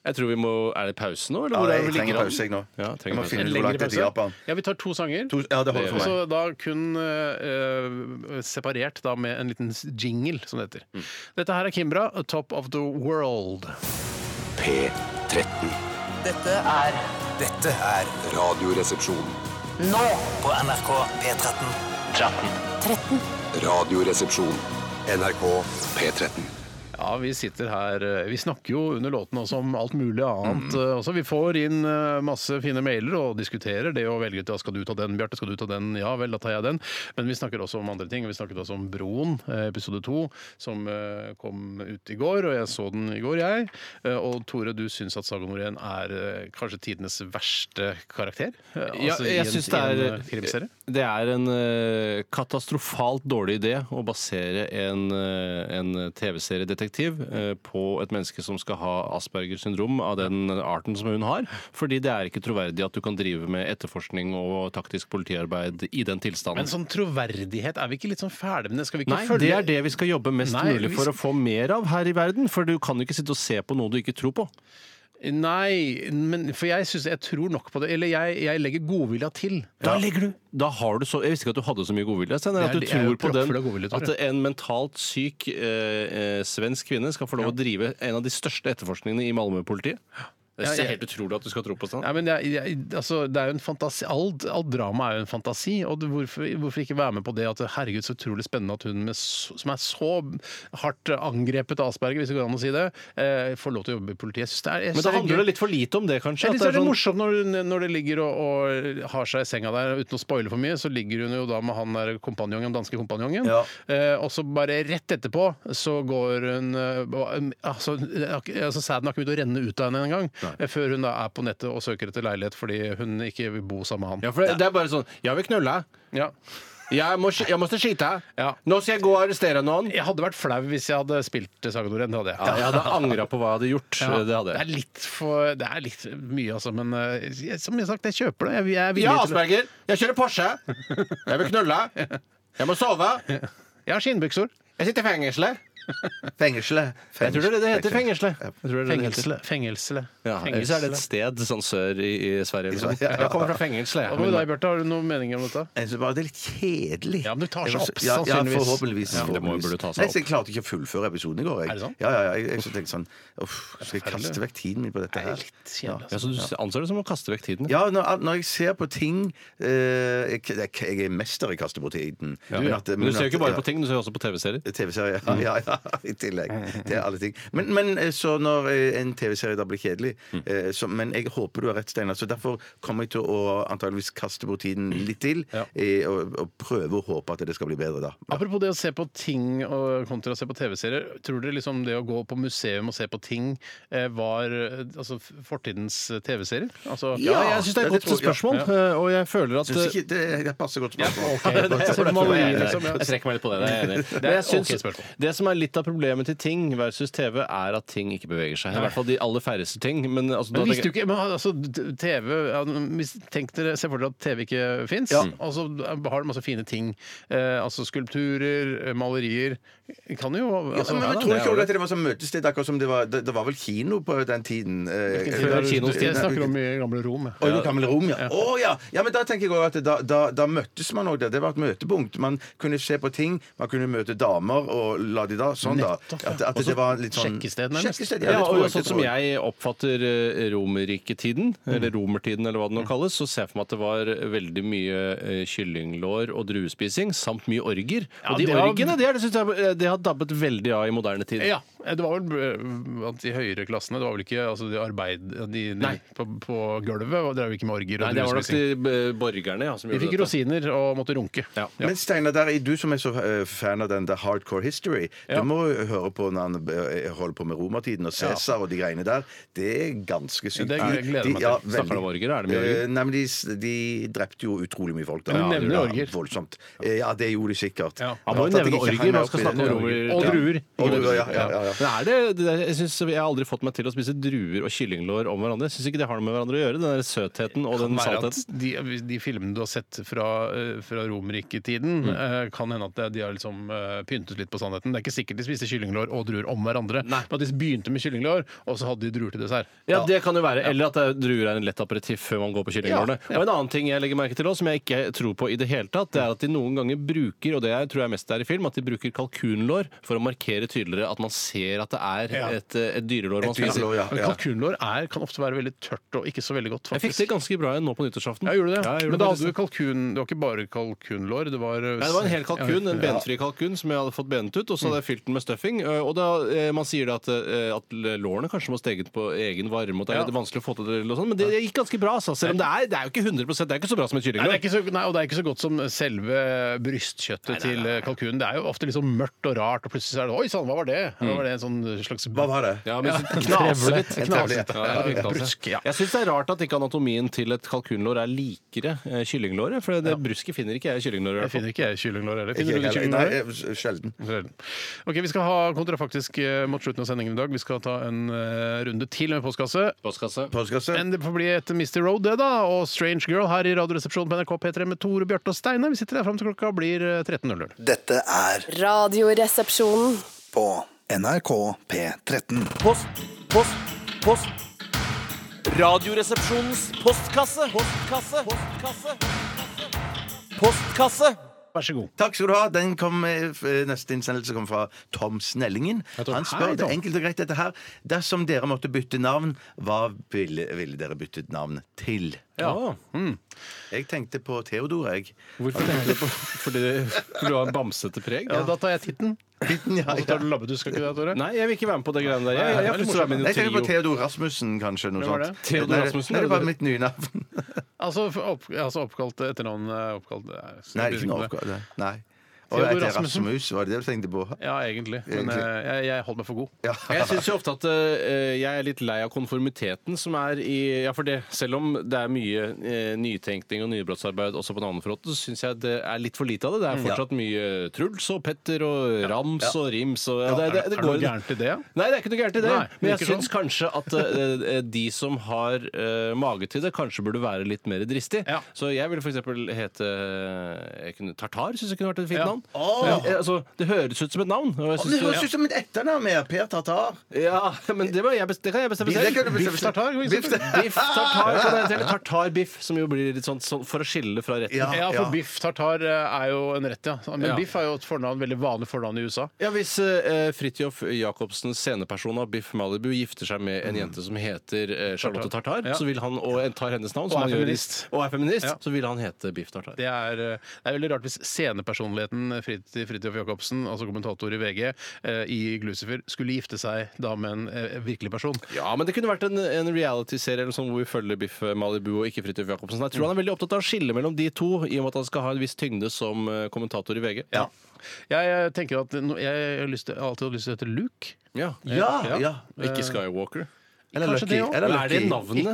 S6: Jeg tror vi må Er det pause nå, eller
S5: Ja,
S6: hvor er
S5: jeg
S6: vi ligger
S5: trenger
S6: an?
S5: pause, jeg nå.
S6: Ja,
S5: Jeg må
S6: trenger pause. Altså,
S5: finne
S4: En
S5: ut hvor
S4: lengre
S5: langt det er til
S4: pause.
S5: Japan.
S4: Ja, vi tar to sanger.
S5: To- Ja, det holder for meg.
S4: Så da kun eh, eh, separert da med en liten jingle, som det heter.
S5: Mm.
S4: Dette her er Kimbra, 'Top of the World'.
S1: P13.
S2: Dette er
S3: Dette er
S1: Radioresepsjon.
S2: nå
S3: på NRK P13.
S2: 13.
S1: Radioresepsjon. NRK P13.
S4: Ja, Ja, vi sitter her eh, Vi snakker jo under låten også om alt mulig annet. eh, Også. Vi får inn eh, masse fine mailer og diskuterer det å velge ut ja, skal du ta den, Bjarte, skal du ta den, ja vel, da tar jeg den. Men vi snakker også om andre ting. Vi snakket også om Broen, eh, episode to, som eh, kom ut i går, og jeg så den i går, jeg. Eh, Og Tore, du syns at Saga Norén er eh, kanskje tidenes verste karakter? eh,
S6: Ja,
S4: altså i
S6: jeg
S4: en- i
S6: syns det
S4: en,
S6: er
S4: eh, krimserie?
S6: Det er en eh, katastrofalt dårlig idé å basere en, eh, en TV-seriedetektiv eh, på et menneske som skal ha Aspergers syndrom av den arten som hun har. Fordi det er ikke troverdig at du kan drive med etterforskning og taktisk politiarbeid i den tilstanden.
S4: Men sånn troverdighet, er vi ikke litt sånn ferdig med det? Skal vi ikke
S6: Nei,
S4: følge
S6: det er det vi skal jobbe mest
S4: Nei,
S6: mulig
S4: vi
S6: for å få mer av her i verden. For du kan jo ikke sitte og se på noe du ikke tror på.
S4: Nei, men for jeg synes, jeg tror nok på det. Eller jeg, jeg legger godvilja til.
S6: Da legger du Da har du så Jeg visste ikke at du hadde så mye godvilje. Steinar,
S4: Jeg
S6: At
S4: er-
S6: du
S4: jeg er
S6: tror på den
S4: proppfull av godvilje, Tore.
S6: At en mentalt syk eh, eh, svensk kvinne skal få lov å drive en av de største etterforskningene i Malmö-politiet. Det
S4: Ja,
S6: synes jeg er
S4: jeg-
S6: helt utrolig at du skal tro på sånn.
S4: Nei, men jeg, jeg, altså, det er jo en fantasi Alt, alt drama er jo en fantasi, og det- hvorfor, hvorfor ikke være med på det at herregud, så utrolig spennende at hun med, så- som er så hardt angrepet av Asperger, hvis det går an å si det, eh, får lov til å jobbe i politiet. Jeg synes det er, jeg synes
S6: Men da handler det litt for lite om det, kanskje?
S4: Jeg
S6: At
S4: synes det er litt
S6: sånn-
S4: morsomt når, hun- når det ligger og, og har seg i senga der, uten å spoile for mye, så ligger hun jo da med han der kompanjongen, den danske kompanjongen,
S5: Ja.
S4: eh, og så bare rett etterpå så går hun eh, og, altså, jeg har ikke- altså Sæden har ikke begynt å renne ut av henne engang, eh, før hun da er på nettet og søker etter leilighet fordi hun ikke vil bo sammen med han.
S6: ja, for det, det er bare sånn Jeg vil knulle.
S4: Ja.
S6: Jeg, må, sk- jeg måtte skyte.
S4: Ja.
S6: Nå skal jeg gå og arrestere noen.
S4: Jeg hadde vært flau hvis jeg hadde spilt Saga Norén, det hadde jeg.
S6: Ja, jeg hadde angra på hva jeg hadde gjort.
S4: Ja,
S6: Det hadde
S4: er
S6: jeg.
S4: litt for Det er litt mye, altså, men eh, jeg- som jeg har sagt, jeg kjøper det. Jeg, jeg er villig
S6: Ja, altså,
S4: til det.
S6: Asperger. Jeg kjører Porsche. Jeg vil knulle. Jeg må sove.
S4: Jeg har skinnbukser.
S6: Jeg sitter i fengselet.
S5: Fengsle.
S6: Jeg tror det er det det heter. Fengsle.
S4: Fengsle. Fengsle.
S6: Ja, Ellers er det et sted sånn sør i, i Sverige. Liksom.
S5: Ja, ja, ja.
S6: Jeg kommer fra fengsel.
S4: Hva
S6: Jeg.
S4: med deg,
S6: Men-
S4: Bjarte? Har du noen meninger om dette?
S5: Jeg synes bare det er litt kjedelig.
S4: Ja, men du tar seg
S5: Jeg var
S4: opp,
S5: så- ja,
S4: sannsynligvis.
S5: Ja, forhåpentligvis.
S6: Ja, det må jo
S5: forhåpentligvis.
S6: burde ta seg
S5: Nei,
S6: opp.
S5: Jeg klarte ikke å fullføre episoden i går. Jeg.
S4: Er det sant?
S5: Ja, ja, ja, jeg, jeg så tenkte sånn Uff, skal jeg
S4: Forferdelig.
S5: kaste vekk tiden min på dette her?
S4: kjedelig.
S6: Ja, så du anser det som å kaste vekk tiden?
S5: Ja, når, når jeg ser på ting eh, jeg, jeg, jeg er mester i å kaste bort tiden.
S6: Men,
S5: at-
S6: du ser jo
S5: at-
S6: ikke bare
S5: ja.
S6: på ting, du ser jo også på TV-serier.
S5: TV-serie. Ja, ja, ja, i tillegg. Det er alle ting. Men, men eh, så når eh, en TV-serie da blir kjedelig
S6: Mm.
S5: eh, så, Men jeg håper du har rett, Steinar. Så derfor kommer jeg til å antageligvis kaste bort tiden litt til. eh, Og, og prøve å håpe at det skal bli bedre da.
S4: Apropos det å se på ting og kontra å se på TV-serier. Tror dere liksom det å gå på museum og se på ting eh, var eh, altså, f- fortidens eh, TV-serier? Altså,
S6: Ja, jeg syns det er et
S5: det
S6: godt
S5: tror jeg.
S6: spørsmål, Eh, og jeg føler at
S5: Syns ikke det, det passer godt spørsmål.
S4: Jeg ser på maleri, liksom, ja.
S6: Jeg trekker meg litt på det. Det er jeg enig i.
S4: Det er
S6: Men jeg syns-
S4: ok spørsmål.
S6: det som er litt av problemet til ting versus TV, er at ting ikke beveger seg. I hvert fall de aller færreste ting. Men, altså, da
S4: Men visste du
S6: tenker-
S4: ikke, men altså, d- TV, ja, hvis- tenk dere, Se for dere at TV ikke fins, og så har du masse fine ting. Eh, altså skulpturer, eh, malerier Kan jo
S5: Ja, men, men
S4: altså, ja da.
S5: tror du ikke også at det var sånn møtested, akkurat som det var, det, det var vel kino på den tiden? eh,
S4: Jeg
S5: eh,
S6: var
S4: snakker-
S6: kinos tid?
S4: Jeg snakker om i gamle Rom. jeg.
S5: Oi, det gamle rom, ja. Å ja. ja! Men da tenker jeg også at da, da, da møttes man òg der. Det var et møtepunkt. Man kunne se på ting, man kunne møte damer og la de da. Sånn, da.
S4: Nettopp, ja.
S5: At, at
S4: Og så
S5: det var litt sånn
S4: sjekkested, nærmest.
S5: Sjekkested, ja,
S6: Ja,
S5: det tror
S6: og
S5: jeg,
S6: sånn
S5: det
S6: som
S5: tror jeg.
S6: jeg oppfatter eh, romerriketiden,
S4: Mm.
S6: eller romertiden eller hva det nå kalles, så ser jeg for meg at det var veldig mye eh, kyllinglår og druespising, samt mye orger.
S4: Ja,
S6: Og de
S4: det har-
S6: orgene, det, er, det, synes jeg, eh, det har dabbet veldig av i moderne tid.
S4: Ja, det var vel eh, at de høyere klassene, det var vel ikke altså de arbeid... De, de,
S6: Nei.
S4: på, på gulvet, og drev ikke med orger
S6: Nei,
S4: og
S6: det var nok
S4: druespising.
S6: de eh, borgerne ja, som
S4: De
S6: gjorde
S4: fikk
S6: dette.
S4: rosiner og måtte runke.
S6: Ja.
S5: Men Steinar, der er du som er så eh, fan av den der hardcore history.
S4: Ja.
S5: Du må jo høre på når han eh, holder på med romertiden og Cæsar og de greiene der. Det er ganske sykt.
S4: Ja, det gleder jeg meg til.
S6: Snakker de om orger, er det mye orger?
S5: Eh, Nei, men de, de drepte jo utrolig mye folk da.
S4: Men du nevner
S5: Ja,
S4: orger.
S5: Voldsomt. Eh, Ja, det gjorde de sikkert.
S4: Ja.
S6: Man må
S5: Rart at jeg
S6: jo nevne
S5: ikke
S6: orger
S5: henger
S6: når
S5: meg
S6: man
S5: opp
S6: skal
S5: i
S6: snakke om
S5: det.
S6: romer.
S4: Og
S5: Ja.
S4: druer.
S5: Og druer, ja, ja, ja, ja.
S6: Men er det, det jeg, synes, jeg har aldri fått meg til å spise druer og kyllinglår om hverandre. Jeg syns ikke det har noe med hverandre å gjøre, den der søtheten og den
S4: Være at
S6: saltheten.
S4: de, de filmene du har sett fra, eh, fra Romerriketiden, eh, kan hende at det- de har liksom eh, pyntet litt på sannheten. Det er ikke sikkert de spiste kyllinglår og druer om hverandre. Men at de begynte med kyllinglår, og så hadde de druer til dessert.
S6: Ja, det kan jo være. Eller at det er- druer er en lett aperitiff før man går på kyllinglårene.
S4: Ja, ja.
S6: Og en annen ting jeg legger merke til også, som jeg ikke tror på i det hele tatt, det er at de noen ganger bruker, og det er, tror jeg mest det er i film, at de bruker kalkunlår for å markere tydeligere at man ser at det er
S4: Ja.
S6: et, eh, et dyrelår man spiser.
S5: dyrelår, ja.
S4: Men kalkunlår er, kan ofte være veldig tørt og ikke så veldig godt,
S6: Jeg fikk
S4: faktisk.
S6: det ganske bra igjen nå på nyttårsaften.
S4: Ja, gjorde du det?
S6: Ja, jeg gjorde
S4: Men da
S6: det,
S4: hadde
S6: faktisk.
S4: du kalkun Det var eh, ikke bare kalkunlår, det var
S6: Nei, det var en hel kalkun, en benfri kalkun som jeg hadde fått benet ut. Og så hadde jeg fylt den med stuffing. eh, Og da, eh, man sier det at, eh, at lårene kanskje må steget på egen varme, og det er
S4: Ja.
S6: litt vanskelig å få til det, eller noe sånt, men det gikk ganske bra, altså. Selv om det er, det er jo ikke 100 det er ikke så bra som et
S4: Nei, det er
S6: kyllinglår.
S4: ikke så, nei, og det er ikke så godt som selve brystkjøttet til eh, kalkunen. Det er jo ofte litt sånn mørkt og rart, og plutselig så er det Oi sann, hva var det? Hva var det en sånn slags
S5: Hva var det?
S6: Ja, men så knaser litt. Knaser litt. Ja, ja, ja.
S4: Brusk, ja.
S6: Jeg syns det er rart at ikke anatomien til et kalkunlår er likere eh, kyllinglåret, for det brusket finner ikke jeg i kyllinglåret.
S4: Jeg
S6: i hvert fall.
S4: finner ikke jeg kyllinglår heller.
S5: Ikke
S4: Finner du
S5: jeg heller.
S4: kyllinglår?
S5: Nei, sjelden.
S4: Ok, Vi skal ha kontrafaktisk eh, mot slutten av sendingen i dag. Vi skal ta en eh, runde til med postkasse.
S6: Postkasse.
S5: Postkasse?
S4: Men det får bli et Misty Road, det, da. Og Strange Girl her i Radioresepsjonen på NRK P3 med Tore, Bjarte og Steinar. Vi sitter her fram til klokka blir eh, 13.00.
S8: Dette er
S7: Radioresepsjonen.
S8: på NRK P13.
S10: Post, post, post. Radioresepsjonens postkasse. Postkasse. Postkasse. Postkasse.
S4: Vær så god.
S5: Takk skal du ha. Den kom, eh, f- neste innsendelse kom fra Tom Snellingen.
S4: Tom.
S5: Han spør
S4: Hei, Tom.
S5: det enkelt og greit dette her. Dersom dere måtte bytte navn, hva ville, ville dere byttet navn til?
S6: Ja.
S5: Jeg tenkte på Theodor, jeg.
S6: Hvorfor tenker du på Fordi for du har en bamsete preg?
S4: Ja, da tar jeg titten. Og så tar du labbetuss, skal ikke det, Tore?
S6: Nei, jeg vil ikke være med på det greiene der. Jeg, jeg,
S4: det er
S6: har lyst til å være med i
S5: Jeg
S6: en
S5: tenker på
S6: trio.
S5: Theodor Rasmussen, kanskje. Noe
S4: Hvem var
S5: sånt.
S4: det?
S6: Theodor
S5: Nei, det-
S6: Rasmussen,
S5: Nei, det
S6: er
S5: var
S6: det-
S5: mitt nye navn.
S4: Altså, f- opp, altså oppkalt etternavn er oppkalt eh, så
S5: Nei,
S4: blir
S5: ikke
S4: det
S5: noe
S4: det.
S5: oppgave. Nei. Og jeg
S4: Theodor
S5: heter
S4: Rasmussen.
S5: Rasmus, var det det du tenkte på?
S4: Ja, egentlig. Men
S5: Egentlig.
S4: eh, jeg, jeg holder meg for god.
S5: Ja.
S6: Jeg syns jo ofte at eh, jeg er litt lei av konformiteten som er i Ja, for det, selv om det er mye eh, nytenkning og nybrottsarbeid også på navnefronten, så syns jeg det er litt for lite av
S4: Mm,
S6: det. Det er fortsatt mye Truls og Petter og Rams og Rims og ja, det, det, det,
S4: er det noe
S6: går-
S4: gærent i det?
S6: Nei, det er ikke noe gærent i det.
S4: Nei,
S6: men jeg
S4: virker sånn.
S6: syns kanskje at eh, de som har eh, mage til det, kanskje burde være litt mer dristig.
S4: Ja.
S6: Så jeg ville f.eks. hete eh, jeg kunne, Tartar. Syns jeg kunne vært et fint
S4: Ja.
S6: navn. Eh, altså, det høres ut som et navn. Og
S5: Men
S6: jeg
S5: det
S6: synes
S5: høres ut
S6: det,
S5: som et etternavn med Per Tartar.
S6: ja. ja, men det, må jeg bes- det kan jeg bestemme
S5: Det kan
S6: selv.
S5: du bestemme
S4: Biff tartar, for eksempel.
S5: Biff-
S6: Biff tartar, kan det hete, eller tartarbiff, som jo blir litt sånn, sånn for å skille fra retten.
S5: Ja,
S4: Ja, for biff tartar eh, er jo en rett, ja. Men
S6: Ja.
S4: biff er jo et fornavn, veldig vanlig fornavn i USA.
S6: Ja, Hvis uh, Fridtjof Jacobsens sceneperson av Biff Malibu gifter seg med
S5: Mm.
S6: en jente som heter eh, Charlotte Tartar,
S4: Ja.
S6: så vil han, og en tar hennes navn
S4: Og
S6: som
S4: er
S6: han gjør i-
S4: feminist.
S6: og er feminist
S4: Ja.
S6: så vil han hete Biff Tartar.
S4: Det er, eh, det er veldig rart hvis scenepersonligheten Frid- Fridtjof Jacobsen, altså kommentator i VG, eh, i Glucifer, skulle gifte seg da med en eh, virkelig person.
S6: Ja, men det kunne vært en, en reality-serie eller sånn hvor vi følger Biff Malibu og ikke Fridtjof Jacobsen.
S4: Mm.
S6: Jeg tror han er veldig opptatt av å skille mellom de to, i og med at han skal ha en viss tyngde som eh, kommentator i VG.
S4: Ja. Jeg, eh, tenker at no, jeg har lyst til, alltid hatt lyst til å hete Luke.
S6: Ja.
S5: Ja, ja.
S6: Ikke Skywalker.
S5: Eller
S4: Kanskje
S5: Lucky.
S4: det også?
S5: Eller
S6: Men er det
S5: Lucky.
S6: navnet?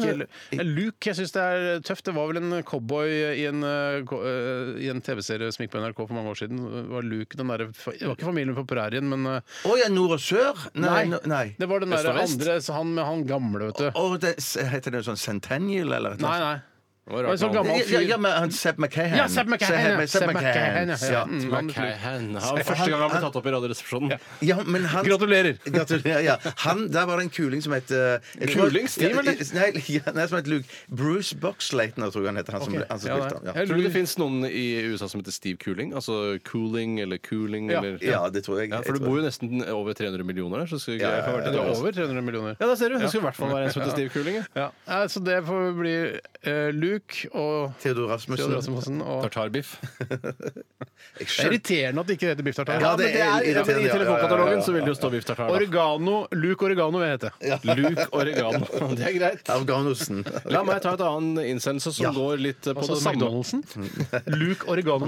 S4: Ikke, Lu- Luke, jeg syns det er eh, tøft. Det var vel en cowboy i en, eh, ko- eh, i en TV-serie som gikk på NRK for mange år siden. Det var Luke den derre fa- Det var ikke familien på prærien, men eh,
S5: Å ja, nord og sør? Nei. no- nei.
S4: Det var den
S6: Øst
S4: derre
S6: og vest?
S4: andre, så han med han gamle, vet du.
S5: Å, det, heter det sånn Centennial, eller? et eller
S4: Nei,
S5: annet?
S4: nei.
S6: var
S4: Det var en sånn
S6: navn.
S4: gammel
S5: Ja,
S4: fyr.
S5: ja, men han Seb McCahan.
S4: Ja, Seb McCahan, ja.
S5: Seb
S4: Seb
S5: McCahan.
S4: McCahan, ja.
S5: Ja.
S4: Mm.
S6: McCahan. Han, første gang han ble tatt opp i Radioresepsjonen.
S5: Ja, men han
S4: Gratulerer!
S5: Gratulerer. ja. Han, Der var det en kuling som het eh, jeg tror-
S6: Kuling? Stiv,
S5: Ja,
S6: eller?
S5: Nei, ja, nei, som het Luke. Bruce Boxleitner, tror jeg han heter. Han som,
S4: Ok.
S5: han som
S4: Ja,
S5: spilte
S4: nei.
S5: han. Ja.
S6: Tror du det fins noen i USA som heter Steve Cooling? Altså Cooling eller Cooling
S4: Ja.
S6: eller
S5: ja, det tror jeg.
S6: Ja, for
S5: Jeg tror-
S6: det bor jo nesten over 300 millioner der. Så skulle
S5: Ja,
S6: jeg få vært
S4: Det
S6: et
S4: er
S6: år.
S4: over 300 millioner.
S6: Ja, da ser du. Det skulle i hvert fall være en som heter Steve Cooling. ja.
S4: Ja. Nei, Så det får bli eh, Luke og
S5: Theodor Rasmussen.
S4: Theodor Rasmussen. Og...
S6: Tartarbiff.
S5: Jeg
S4: Det er
S5: skjønte-
S4: Irriterende at det ikke heter biff tartar.
S5: Ja, det er
S6: Ja,
S5: irriterende,
S6: men I
S5: ja, ja, ja, ja,
S6: telefonkatalogen
S5: ja.
S6: så vil det jo stå Biff Tartar. da.
S4: Oregano. Luke Oregano vil jeg hete.
S6: Luke Oregano. Det er greit.
S5: Afghanosen.
S6: La meg ta et annen innsendelse som
S5: Ja.
S6: går litt eh, på
S4: Altså
S6: det samme.
S4: McDonald'sen. Luke Oregano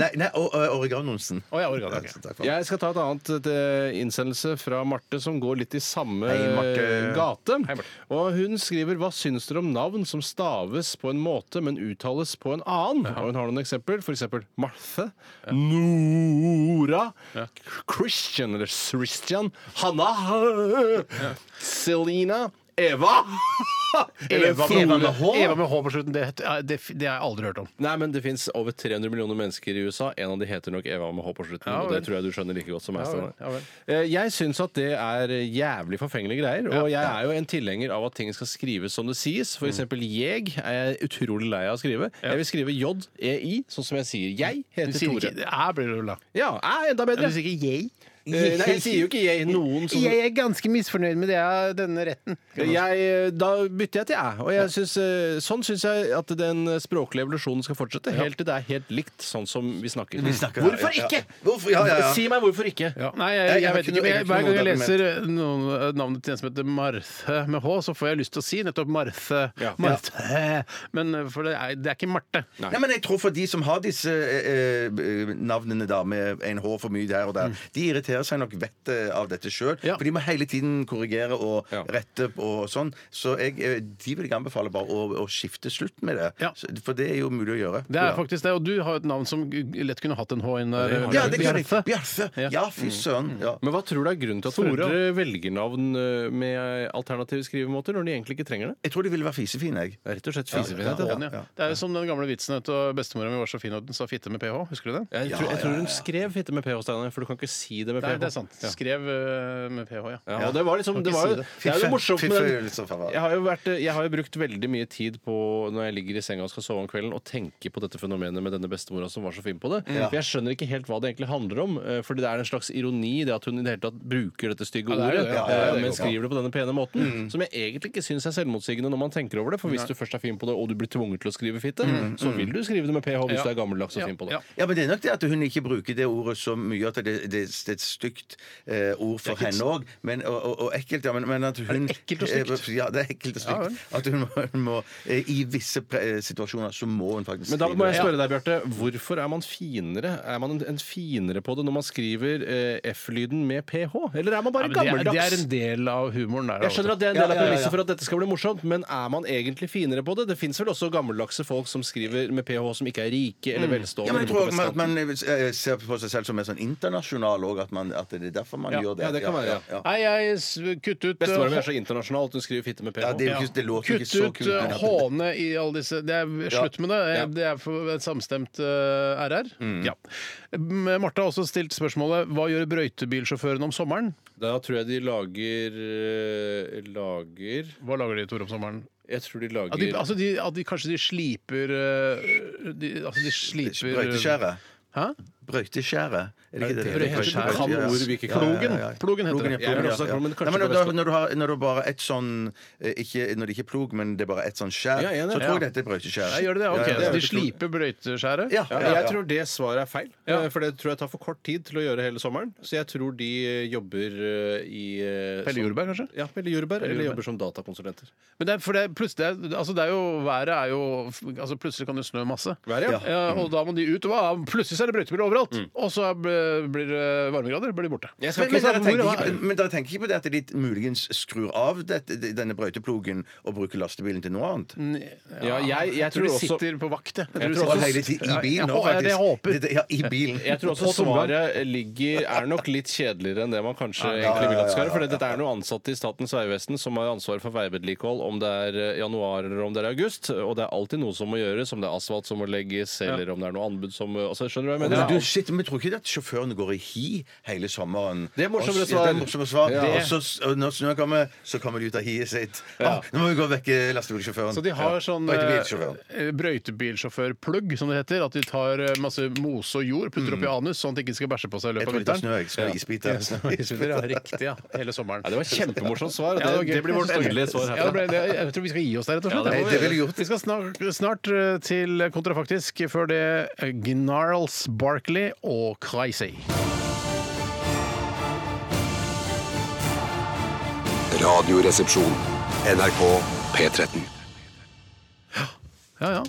S5: Mm. Nei, nei og, og Oreganosen.
S4: Å ja, Oregano. ok.
S5: Takk for meg.
S6: Jeg skal ta et annet eh, innsendelse fra Marte som går litt i samme
S5: Hei, Marte.
S6: gate. og hun skriver Hva syns dere om navn som staves på en måte, men uttales på en annen? Og hun har noen eksempel. For eksempel Marthe. Nora. Christian eller Christian. Hanna. Selina. Eva. Eller
S4: Eva,
S6: Frode.
S4: med H. Eva med H på slutten. Det, det, det har jeg aldri hørt om.
S6: Nei, men det fins over 300 millioner mennesker i USA. En av de heter nok Eva med H på slutten.
S4: Ja,
S6: og det
S4: vel.
S6: tror jeg du skjønner like godt som
S4: Ja,
S6: meg.
S4: vel,
S6: Steinar.
S4: ja, vel.
S6: Eh, Jeg syns at det er jævlig forfengelige greier. Og jeg er jo en tilhenger av at ting skal skrives som det sies.
S4: Mm.
S6: For eksempel jeg er jeg utrolig lei av å skrive. Jeg vil skrive J-E-I, sånn som jeg sier. Jeg
S4: Du
S6: heter
S4: sier
S6: Tore.
S4: ikke, jeg blir du la.
S6: Ja, jeg er enda bedre.
S4: sier ikke jeg?
S6: Eh, Nei, jeg sier jo ikke jeg noen sånne
S4: Jeg er ganske misfornøyd med det jeg, denne retten.
S6: jeg, eh, da bytter jeg til æ. Og jeg synes, eh, sånn syns jeg at den språklige evolusjonen skal fortsette. Helt til det er helt likt sånn som vi snakker. Hvorfor
S5: ja, ja.
S6: ikke?!
S5: Hvorfor- ja, ja, ja.
S6: Si meg hvorfor ikke!
S4: Ja, nei, jeg,
S5: Jeg-
S4: jeg,
S5: jeg har
S4: vet
S5: ikke
S4: ikke.
S5: noe- jeg har
S4: Jeg,
S5: ikke
S4: hver
S5: noe
S4: gang jeg
S5: argument.
S4: leser noen, eh, navnet til en som heter Marthe med H, så får jeg lyst til å si nettopp Marthe. Marthe. Men eh, for det er, det er ikke Marte.
S5: Nei, men jeg tror for de som har disse eh, eh, navnene da, med en H for mye der og der, de irriterer seg nok vettet eh, av dette sjøl.
S4: Ja.
S5: For de må hele tiden korrigere og
S6: Ja.
S5: rette og sånn. Så jeg, eh, de vil jeg anbefale bare å, å skifte slutt med det.
S4: Ja.
S5: Så- For det er jo mulig å gjøre.
S4: Det er faktisk det. Og du har jo et navn som lett kunne hatt en eh, H inn der.
S5: ja, det kan jeg.
S4: Bjarte.
S5: Bjarte.
S4: Ja.
S5: Ja, fy søren. Ja.
S6: Men hva tror du er grunnen til at
S4: Tore.
S6: foreldre velger navn eh, med alternative skrivemåter når de egentlig ikke trenger det?
S5: Jeg tror de ville være fisefine, jeg.
S6: Det er rett og slett
S5: Ja,
S6: fisefinhet.
S5: ja,
S6: Ja,
S4: Hån, ja. Det er jo som den gamle vitsen at uh, bestemora mi var så fin at hun sa fitte med ph. Husker du den?
S6: Jeg, tror, jeg tror hun skrev fitte med ph, Steinar, for du kan ikke si det med
S4: Nei,
S6: ph.
S4: det er sant.
S6: Ja.
S4: Skrev uh, med ph, ja.
S6: Ja, og det var liksom,
S4: Kan
S6: det,
S4: ikke
S6: var jo,
S4: si det.
S6: det er jo
S5: Fiffe.
S6: morsomt med
S5: Fiffe
S6: den.
S5: gjør det så faen.
S6: Jeg har, jo vært, jeg har jo brukt veldig mye tid på når jeg ligger i senga og skal sove om kvelden, og tenke på dette fenomenet med denne bestemora som var så fin på det. For jeg skjønner ikke helt hva det egentlig handler om, eh, fordi det er en slags ironi i det at hun i det hele tatt bruker dette stygge
S4: Ja, det er jo
S6: ordet,
S4: det, ja, det er jo
S6: eh,
S4: det, Mm.
S6: men
S4: ja.
S6: skriver det på denne pene måten, som jeg egentlig ikke syns er selvmotsigende når man tenker over det. For hvis du først er fin på det, og du blir tvunget til å skrive fitte, så vil du skrive det med ph hvis
S4: Mm. Ja.
S6: du er gammeldags og
S4: Ja,
S6: fin på det.
S4: ja.
S5: Ja, men det er nok det at hun ikke bruker det ordet så mye at det, det, det er et stygt eh, ord for henne òg. Og, og, og ekkelt, ja. Men, men at hun,
S4: det ekkelt og stygt?
S5: Eh, Ja, det er ekkelt og
S4: Ja,
S5: stygt. at hun må, hun må eh, I visse pre eh, situasjoner så må hun faktisk
S6: Men da må jeg
S5: skrive
S6: spørre deg, Bjarte. Hvorfor er man finere Er man en, en finere på det når man skriver eh, F-lyden med ph? Eller er man bare
S4: Nei, men det, er, det er
S6: gammeldags?
S4: en del av humoren der. altså.
S6: Jeg skjønner at det er en
S5: Ja,
S6: del av
S5: ja, ja,
S6: premisset
S5: ja.
S6: for at dette skal bli morsomt, men er man egentlig finere på det? Det fins vel også gammeldagse folk som skriver med ph som ikke er rike eller
S5: Mm. ja,
S6: velstående.
S5: men jeg
S6: eller
S5: tror
S6: på
S5: også at
S6: vestkanten.
S5: man eh, ser på seg selv som mer sånn internasjonal òg, at, man- at det er derfor man
S4: Ja.
S5: gjør det.
S6: Ja, det kan være, ja.
S5: ja.
S4: Nei, jeg s- kutt ut uh,
S6: Bestemora mi er så internasjonal at hun skriver fitte med ph.
S5: Ja, det er jo ikke, det låter jo
S4: Kutt
S5: ikke så
S4: ut
S5: kult. men-
S4: uh, håne i alle disse Det er slutt med det. Eh,
S6: Ja.
S4: Det er for et samstemt uh, RR. Ja. M- Marte har også stilt spørsmålet hva gjør brøytebilsjåføren om sommeren?
S6: Da tror jeg de lager eh, Lager
S4: Hva lager de, Tore, om sommeren?
S6: Jeg tror de
S4: At de,
S6: lager
S4: altså de, at de kanskje de sliper uh, de, Altså de sliper
S5: Brøyteskjæret.
S4: Hæ?
S5: Brøyteskjæret. Er det ikke det?
S4: For det heter-
S5: Brøyteskjæret,
S4: du kan
S5: ja.
S4: ord vi ikke kan.
S5: Ja, ja, ja, ja.
S4: Plogen. Plogen heter det.
S5: ja, plogen,
S6: Jeg vil
S5: ja,
S6: også snakke om, men
S5: ja.
S6: kanskje
S5: Nei, men
S6: på
S5: da,
S6: Vestlandet.
S5: når, du har, når du bare har ett sånn eh, ikke, Når det ikke er plog, men det er bare ett sånn skjær,
S6: Ja, jeg er enig.
S5: så tror jeg
S4: Ja.
S5: dette er brøyteskjær.
S4: Nei, gjør det det? Ok,
S5: Ja, ja,
S4: så
S5: ja.
S4: De sliper
S5: Ja,
S4: brøyteskjæret?
S6: Ja,
S5: ja, ja.
S6: Jeg tror det svaret er feil. Eh, For det tror jeg tar for kort tid til å gjøre hele sommeren. Så jeg tror de eh, jobber eh, i eh,
S4: Pelle
S6: som-
S4: Jordberg, kanskje?
S6: Ja, Pelle Jordbær, eller
S4: Jordbær.
S6: jobber som datakonsulenter.
S4: Men det er, for det er, plutselig, det er, altså det er jo, været er jo altså Plutselig kan det snø masse.
S6: Været, ja. Mm.
S4: og da må de ut. Og hva? plutselig så er det brøytebil overalt! Og så er- blir det varmegrader blir borte.
S6: Jeg skal
S5: Men, men,
S6: ikke
S5: dere
S6: snakke om
S5: tenker
S6: hvor-
S5: ikke, på- men dere tenker ikke på det at de muligens skrur av dette, denne brøyteplogen og bruker lastebilen til noe annet?
S6: Ja, jeg, jeg
S4: Jeg tror
S6: tror
S4: de
S6: også
S4: sitter på vakt, jeg.
S6: Jeg
S4: de
S6: tror
S5: Og
S4: sitter-
S5: hele tiden i bilen
S4: Ja,
S5: nå,
S4: jeg-
S5: faktisk.
S4: det håper.
S5: Det- det- Ja, i bilen.
S6: jeg tror også
S4: På tomgang.
S6: svaret ligger, er nok litt kjedeligere enn det man kanskje
S5: ja,
S6: egentlig vil at det skal
S5: ja,
S6: være.
S5: ja,
S6: For dette er noen ansatte i Statens vegvesen som har ansvar for veivedlikehold om det er eh, januar eller om det er august. Og det er alltid noe som må gjøres, om det er asfalt som må legges, eller om det er noe anbud som altså, Skjønner du hva jeg mener?
S5: Men du, shit, men tror ikke det at sjåførene går i hi hele sommeren?
S6: Det er morsommere
S5: Og s- ja, det er
S6: svar.
S5: morsommere svar.
S6: Ja.
S5: Og så, og når snøen kommer, så kommer de ut av hiet sitt. Ah, nå må vi gå og vekke lastebilsjåføren.
S4: Så de har sånn
S5: Og ikke bilsjåføren.
S4: eh, brøytebilsjåførplugg, som det heter. At de tar eh, masse mose og jord, putter opp i anus, sånn at de ikke skal bæsje på seg i
S5: Jeg
S4: løpet
S5: tror
S4: av
S5: de tar
S4: vinteren.
S5: snø, jeg skal isbite.
S4: Ja, Riktig, ja. Hele sommeren.
S6: Ja, det var kjempemorsomt svar. og
S4: Ja,
S6: Det,
S4: det var gøy.
S6: det blir vårt endelige svar
S4: Ja, det
S6: herfra.
S4: ble, det, jeg tror vi skal gi oss der, rett og slett.
S5: det må vi Det ville gjøre. gjort.
S4: vi skal snart, snart eh, til kontrafaktisk. Før det eh, Gnarls Barkley og Crazy.
S1: Radioresepsjon. NRK P13.
S4: Ja, ja.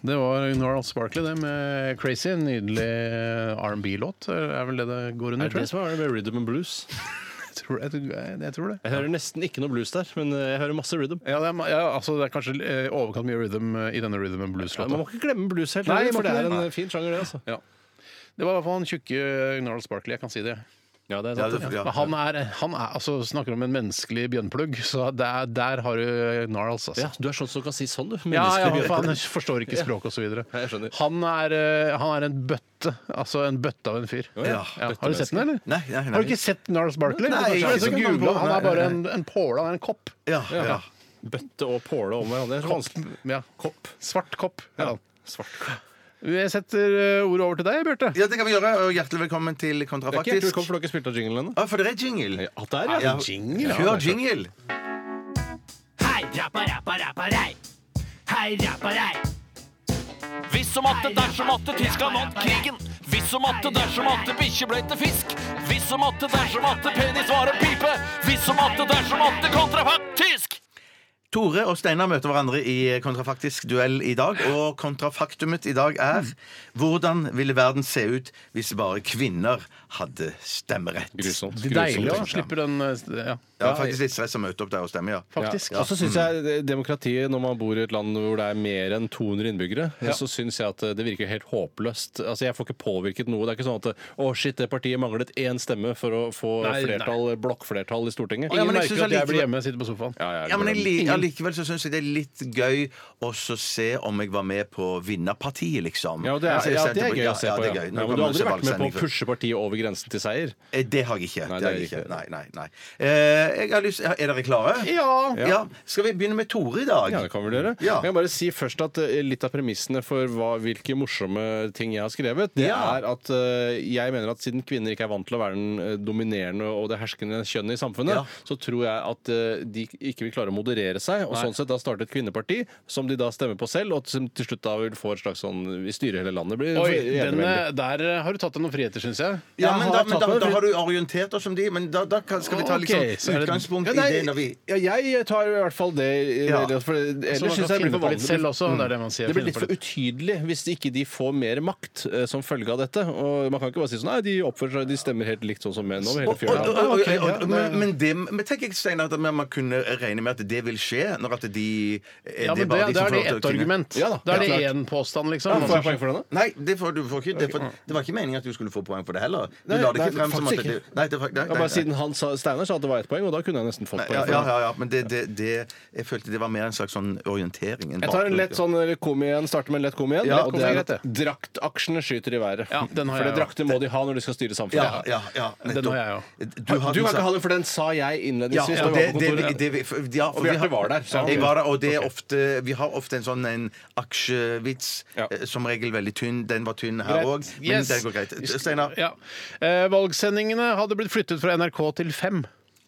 S4: Det var Gnarls Barkley, det med Crazy. En nydelig eh, R&B-låt, er vel det det går under?
S6: Er det
S4: tror
S6: det
S4: jeg?
S6: som er det med rhythm and blues?
S4: Jeg tror, jeg, tror- jeg tror det.
S6: Jeg hører nesten ikke noe blues der, men eh, jeg hører masse rhythm.
S4: Ja, det er, ma- ja, altså, det er kanskje eh, overkant mye rhythm eh, i denne rhythm and
S6: Man
S4: blues-låta.
S6: må ikke glemme blues helt,
S4: Nei,
S6: heller,
S4: man
S6: for det
S4: må
S6: er
S4: ikke
S6: en
S4: det.
S6: fin sjanger, det. altså.
S4: Ja. Det var i hvert fall han tjukke eh, Gnarls Barkley, jeg kan si det.
S6: Ja, det er
S5: Ja,
S6: sant.
S5: det-
S6: det.
S5: ja.
S4: Men han er, han er altså, snakker om en menneskelig bjønnplugg, så der, der har du Gnarls, altså.
S6: Ja, du er sånn som kan si sånn, du.
S4: Ja, ja,
S6: Menneskelig
S4: han
S6: bjørn.
S4: forstår ikke språk osv.
S6: jeg skjønner.
S4: Han, er, eh, han er en bøtte. Altså en bøtte av en fyr.
S5: ja.
S4: Har du sett den, eller?
S5: Nei, nei, nei.
S4: Har du ikke sett Nars Barkley?
S5: Nei,
S4: Det er
S5: jeg
S4: så-
S5: har
S4: det er så
S5: ikke sett han
S4: gula.
S5: på-
S4: Han er
S5: nei,
S4: bare
S5: nei.
S4: en, en påle, han er en kopp.
S5: Ja, ja.
S6: Bøtte og påle om hverandre. Det er så vanskelig.
S4: Ja.
S6: Kopp.
S4: sånn Svart kopp. er han.
S6: Svart kopp.
S4: Jeg setter eh, ordet over til deg, Bjarte.
S5: Ja, det kan vi gjøre. Og hjertelig velkommen til
S6: Det er ikke helt
S5: Kontrafaktisk.
S6: velkommen, for du har ikke spilt av jinglen ennå.
S5: Ja, for det er jingle.
S6: Ja, der, ja.
S5: Ja. Kjør jingle.
S10: Hei, rappa, rappa, rappa, rei. Hei, rappa, rei.
S11: Hvis og matte, dersom matte, Tyskland vant krigen. Hvis og matte, dersom matte, bikkje ble til fisk. Hvis og matte, dersom matte, penis var en pipe. Hvis og matte, dersom matte, kontrafaktisk!
S5: Tore og Steinar møter hverandre i kontrafaktisk duell i dag. Og kontrafaktumet i dag er hvordan ville verden se ut hvis bare kvinner hadde stemmerett?
S6: Grusomt.
S4: Det er deilig å
S6: grusomt.
S4: slippe den eh, ja.
S5: Ja, faktisk litt stress å møte opp der og stemme, ja.
S4: Faktisk.
S6: Og så syns jeg det- demokratiet, når man bor i et land hvor det er mer enn 200 innbyggere, så syns jeg at det virker helt håpløst. Altså, jeg får ikke påvirket noe. Det er ikke sånn at å shit, det partiet manglet én stemme for å få
S4: Nei, nei.
S6: flertall, blokkflertall i Stortinget.
S4: Ingen
S5: men jeg
S4: merker
S5: synes
S4: at jeg blir
S5: allikevel-
S4: hjemme og sitter på sofaen.
S5: Ja, men jeg li- Allikevel så syns jeg det er litt gøy også å se om jeg var med på vinnerpartiet, liksom.
S6: Ja, og det er,
S5: Altså, jeg
S6: ja,
S5: stemte
S6: det er gøy å se
S5: ja,
S6: på.
S5: det er
S6: Ja.
S5: gøy.
S6: Ja,
S5: Nå kan
S6: men du har
S5: man se
S6: aldri vært med på
S5: valgsending
S6: å
S5: for-
S6: pushe partiet over grensen til seier?
S5: Eh, Det har jeg ikke.
S6: Nei,
S5: det har jeg
S6: det er
S5: ikke.
S6: ikke.
S5: Nei, nei, nei. Eh, jeg har lyst, er dere klare?
S4: Ja.
S5: ja. Skal vi begynne med Tore i dag?
S6: Ja, det kan vi gjøre.
S5: Ja.
S6: Jeg kan bare si først at eh, litt av premissene for hva, hvilke morsomme ting jeg har skrevet, det
S5: Ja.
S6: er at eh, jeg mener at siden kvinner ikke er vant til å være den eh, dominerende og det herskende kjønnet i samfunnet,
S5: Ja.
S6: så tror jeg at eh, de ikke vil klare å moderere seg, og sånn sett da starte et kvinneparti som de da stemmer på selv, og som til slutt da vil få et slags sånn Vi styrer hele landet. Blir
S4: Oi,
S6: eneveldig.
S4: den, eh, der eh, har du tatt deg noen friheter, syns jeg.
S5: Ja,
S6: Jeg
S5: men
S6: har
S5: da, men
S6: tatt
S5: da,
S6: meg
S5: da
S6: for-
S5: har du orientert oss om de, men da, da kan, skal vi ta litt
S4: Ok, så
S5: sånn
S4: er det-
S5: utgangspunkt
S6: Ja,
S5: i det
S6: nei,
S5: når vi
S6: ja, jeg tar i hvert fall det. eh,
S5: Ja.
S6: det- For,
S4: Så man
S6: ellers
S4: kan
S6: syns jeg det
S4: finne
S6: blir
S4: på
S6: litt
S4: litt selv
S6: vanskelig.
S4: også. Det er det man sier.
S6: Det blir
S4: finne
S6: litt
S4: på
S6: for utydelig hvis ikke de får mer makt eh, som følge av dette. Og Man kan ikke bare si sånn Nei, de oppfører seg, de stemmer helt likt sånn som menn over hele
S5: Og- og-
S6: fjøla.
S5: og- og-
S4: Ja, ok,
S5: og-
S4: ja,
S5: Men men det men tenker jeg, Steinar, at man kunne regne med at det vil skje når at de er
S4: Ja, men det,
S5: bare de
S4: da
S5: som får lov til
S4: er det
S5: å
S4: ett
S5: kunne-
S4: argument.
S6: Ja da,
S4: Da er
S6: ja,
S4: det
S6: klart.
S4: én påstand,
S6: Ja,
S4: liksom.
S6: får jeg poeng for den, da?
S5: Nei, det, får, du får ikke, det, for, det var ikke meningen at du skulle få poeng for det heller. Du
S6: Nei,
S5: la det
S6: nei,
S5: ikke frem som at
S6: faktisk
S5: det,
S6: ikke.
S5: nei, det, var- nei,
S6: Ja,
S5: nei,
S6: bare
S5: nei.
S6: siden han sa, Steinar sa at det var ett poeng, og da kunne jeg nesten fått poeng.
S5: Ja,
S6: for
S5: ja,
S6: det.
S5: ja, ja, men det, det, det, jeg følte det var mer en slags sånn orientering. enn
S6: Jeg tar en
S5: bakgrunn.
S6: lett sånn eller kom igjen, starter med en lett kom igjen.
S5: Ja,
S6: og
S5: kom
S6: det er
S5: igjen,
S6: at Draktaksjene skyter i været.
S4: Ja, den har
S6: for
S4: jeg
S6: det drakter må de ha når de skal styre
S5: Ja,
S6: samfunnet.
S5: ja, ja,
S4: Den
S5: nettopp.
S4: har jeg jo.
S5: Du har
S6: Du
S5: den
S6: kan
S5: sa-
S6: ikke ha det, for den sa jeg
S5: Ja,
S6: innledningsvis. da
S5: og
S6: vi
S5: det,
S6: var på
S5: det,
S6: kontoret.
S5: det, det, for- ja, for
S6: Og
S5: vi
S6: Bjarte
S5: har-
S6: var der, så han-
S5: Jeg var der, og det er ofte, vi har ofte en sånn en aksjevits,
S6: Ja.
S5: eh, som regel veldig tynn. Den var tynn her òg, men
S4: Yes.
S5: den går greit. Steinar?
S4: Ja. Eh, valgsendingene hadde blitt flyttet fra NRK til fem.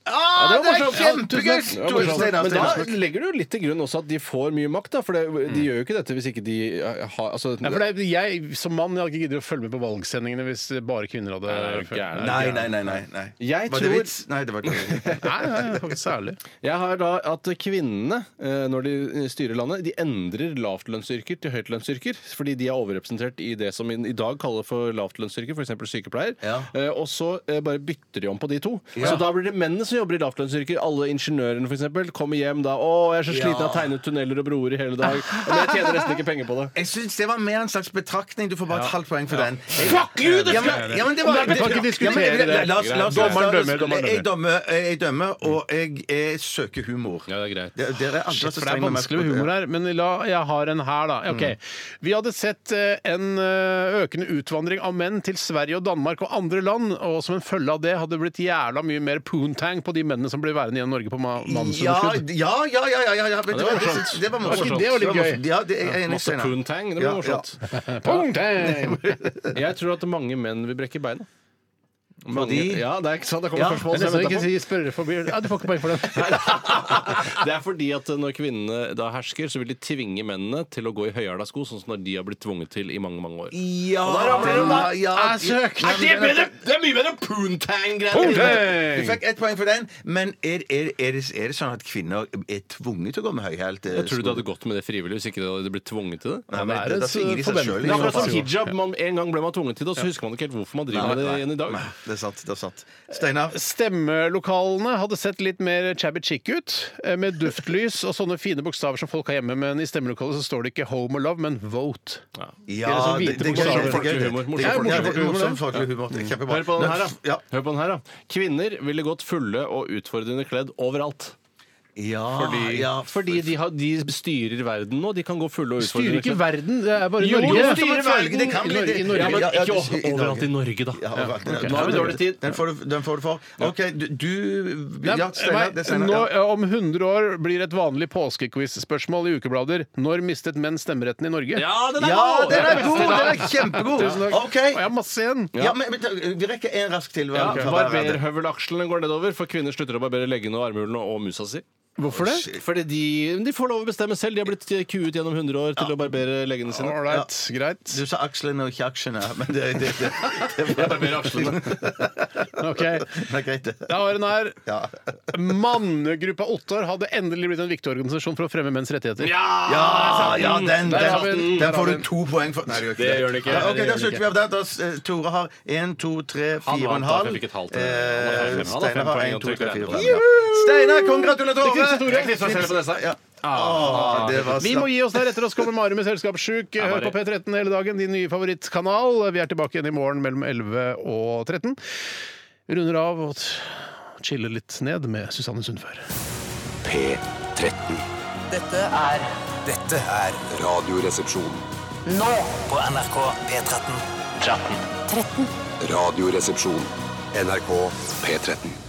S5: Ah,
S6: Ja,
S5: det er
S6: morsomt. Ja,
S5: kjempegøy!
S6: tusen takk.
S5: Tor
S6: Ja,
S5: Steinar,
S6: Men
S5: Steinar.
S6: da legger du jo litt til grunn også at de får mye makt, da. For det, de gjør jo ikke dette hvis ikke de eh, har altså,
S4: Nei, for det, er- jeg som mann jeg hadde ikke giddet å følge med på valgsendingene hvis bare kvinner hadde
S6: Nei, det er jo gæren.
S5: Nei, nei, nei. nei, nei.
S6: Jeg
S5: var
S6: tror-
S5: det vits? Nei, det var ikke vits.
S4: Nei, nei, faktisk særlig.
S6: Jeg har da at kvinnene, eh, når de styrer landet, de endrer lavtlønnsyrker til høytlønnsyrker. Fordi de er overrepresentert i det som i i dag kaller for lavtlønnsyrker, f.eks. sykepleier.
S5: Ja.
S6: Eh, Og så eh, bare bytter de om på de to. Så da blir det mennene som jobber i lavtlønnsyrker. Alle ingeniørene f.eks. kommer hjem da 'Å, jeg er så sliten av å tegne ut tunneler og broer i hele dag'. Men jeg tjener nesten ikke penger på det.
S5: Jeg syns det var mer en slags betraktning. Du får bare et halvt poeng for den.
S4: Fuck you, det
S5: Ja, men,
S4: skal jeg
S5: ja, men det
S4: gjøre.
S5: var,
S4: Vi kan ikke diskutere
S5: Ja, men-
S4: det.
S5: La oss, la oss, la oss,
S4: Dommeren dømmer,
S5: la oss-
S4: dommeren
S5: Jeg dømmer, jeg dømmer og jeg, eh, søker humor.
S6: Ja, det er greit.
S5: Det, dere er andre
S4: Shit,
S5: som
S4: for det er
S5: trenger meg
S4: vanskelig
S5: på
S4: med
S5: det.
S4: humor her, men la, jeg har en her, da.
S5: Mm.
S4: Ok. Vi hadde sett eh, en eh, økende utvandring av menn til Sverige og Danmark og andre land, og som en følge av det hadde det blitt jævla mye mer poontang på de mennene som ble værende igjen i Norge på ma-
S5: Ja,
S4: mannsunderskudd.
S5: ja, ja, ja, ja, ja, ja. men Det var morsomt. Det var
S4: Var
S5: morsomt.
S4: ikke det jo litt
S5: Det var morsomt.
S4: gøy?
S5: Ja, det er jeg enig i,
S6: Masse
S5: Steinar.
S6: poontang. Det blir
S5: Ja,
S6: morsomt.
S4: Poontang!
S6: Jeg tror at mange menn vil brekke beina.
S5: Fordi?
S6: Ja, det er ikke sant. Det kommer
S5: Ja,
S6: spørsmål
S4: Det er
S6: som
S4: nesten
S6: jeg
S4: ikke
S6: venter på.
S4: si spørre forbi. Ja, du får ikke poeng for den.
S6: Det er fordi at når kvinnene da hersker, så vil de tvinge mennene til å gå i høyhæla sko, sånn som de har blitt tvunget til i mange, mange år.
S5: Ja, ja,
S4: Jeg søker.
S5: Nei, men-
S6: er mye bedre poontang-greier!
S5: Du
S4: Poontang!
S5: fikk ett poeng for den, men er, er, er, det, er det sånn at kvinner er tvunget til å gå med høyhælt? eh,
S6: Jeg tror du det
S5: sko?
S6: hadde gått med det frivillig hvis ikke de hadde blitt tvunget til det?
S5: Nei, men
S4: Ja,
S5: det,
S4: det er
S5: da tvinger de seg
S4: forventning.
S5: selv i
S6: Det er akkurat
S5: så
S6: som
S5: fall.
S6: hijab. Man, en gang ble man tvunget til det, og så husker man ikke helt hvorfor man driver med det igjen i dag.
S5: Nei, det er sant. det er sant Steinar?
S4: Stemmelokalene hadde sett litt mer chabby chick ut, eh, med duftlys og sånne fine bokstaver som folk har hjemme, men i stemmelokalet så står det ikke 'home og love', men 'vote'.
S5: Ja,
S4: sånn
S5: det-
S4: hvite
S5: det er
S4: bokstaver.
S5: gøy, det er gøy, det.
S6: Morsom
S5: Det er
S6: folkelig
S5: gøy,
S6: humor, morsom
S5: det er
S6: folkelig humor,
S5: morsom
S6: det.
S5: folkelig humor. Det er Kjempebra.
S6: Hør på den her, da.
S5: Ja.
S6: Hør på den her, da. Kvinner ville gått fulle og utfordrende kledd overalt. Ja,
S4: Fordi,
S6: fordi, de, har, de styrer verden nå. De kan gå fulle og
S4: Styrer
S6: utfordre
S4: ikke verden, det er bare
S6: Jo,
S4: Norge.
S6: de styrer verden.
S5: Det kan bli
S4: I Norge, i
S5: det.
S4: Norge.
S6: Ja, men
S5: Ja, ja,
S6: ikke
S5: du sier i Norge.
S6: overalt i Norge, da.
S5: Ja, overalt i Norge.
S6: Nå har vi dårlig tid.
S5: Den får du, den får du for. OK, du, du
S4: Nei,
S5: Ja, Steinar.
S4: meg,
S5: det er Steinar,
S4: nå,
S5: ja.
S4: eh, om 100 år blir et vanlig påskequiz-spørsmål i ukeblader. Når mistet menn stemmeretten i Norge?
S6: Ja, den er
S5: Ja,
S6: god!
S5: den er god! Den er kjempegod!
S4: Tusen takk.
S5: OK.
S4: Og jeg har masse igjen.
S5: Ja, men, men ta- vi rekker en rask til.
S6: Ja,
S5: hva- hva- hva- hva-
S6: Barberhøvelakslene går nedover, for kvinner slutter å barbere leggene og armhulene og musa si.
S4: Hvorfor det?
S6: Fordi de, de får lov å bestemme selv. De har blitt kuet gjennom 100 år til å barbere leggene sine.
S4: Ålreit, greit.
S5: Du sa akslene og ikke aksjene, men det, det, det, det, det,
S6: Barbere akslene.
S4: Ok.
S5: er greit, det.
S4: Jeg har en her.
S5: Ja.
S4: Mannegruppa Ottar hadde endelig blitt en viktig organisasjon for å fremme menns rettigheter.
S5: Ja, ja den,
S4: Der
S5: den,
S4: har vi den.
S5: den
S4: Der har
S5: får
S4: vi
S5: du
S4: den.
S5: to poeng for. Nei, det
S6: Det gjør den ikke.
S5: Ja, ok,
S6: Det gjør
S5: Da
S6: den
S5: slutter vi av der. Da, s- eh, Tore har én, to, tre, fire og en
S6: vant da, for
S5: halv.
S6: jeg fikk et halvt. Han har
S5: Eh,
S6: fem, han har
S5: Steinar
S6: fem
S5: har
S6: poeng
S5: én,
S6: og
S5: to, tre,
S6: trykker
S5: fire,
S6: rett.
S5: fem. ja. Steinar, kongratulerer,
S4: Det
S5: Tore!
S4: knipser Tore.
S6: Jeg knipser selv på nesa.
S5: Ja. Ah, det var
S4: Vi må gi oss der. Etter oss kommer Mari med Selskapssjuk. Hør på P13 hele dagen, din nye favorittkanal. Vi er tilbake igjen i morgen mellom 11 og 13. Vi runder av og chiller litt ned med Susanne Sundfør.
S1: P13.
S2: Dette er
S3: Dette er
S1: Radioresepsjon.
S2: nå.
S3: på NRK P13.
S7: 13.
S1: Radioresepsjon. NRK P13.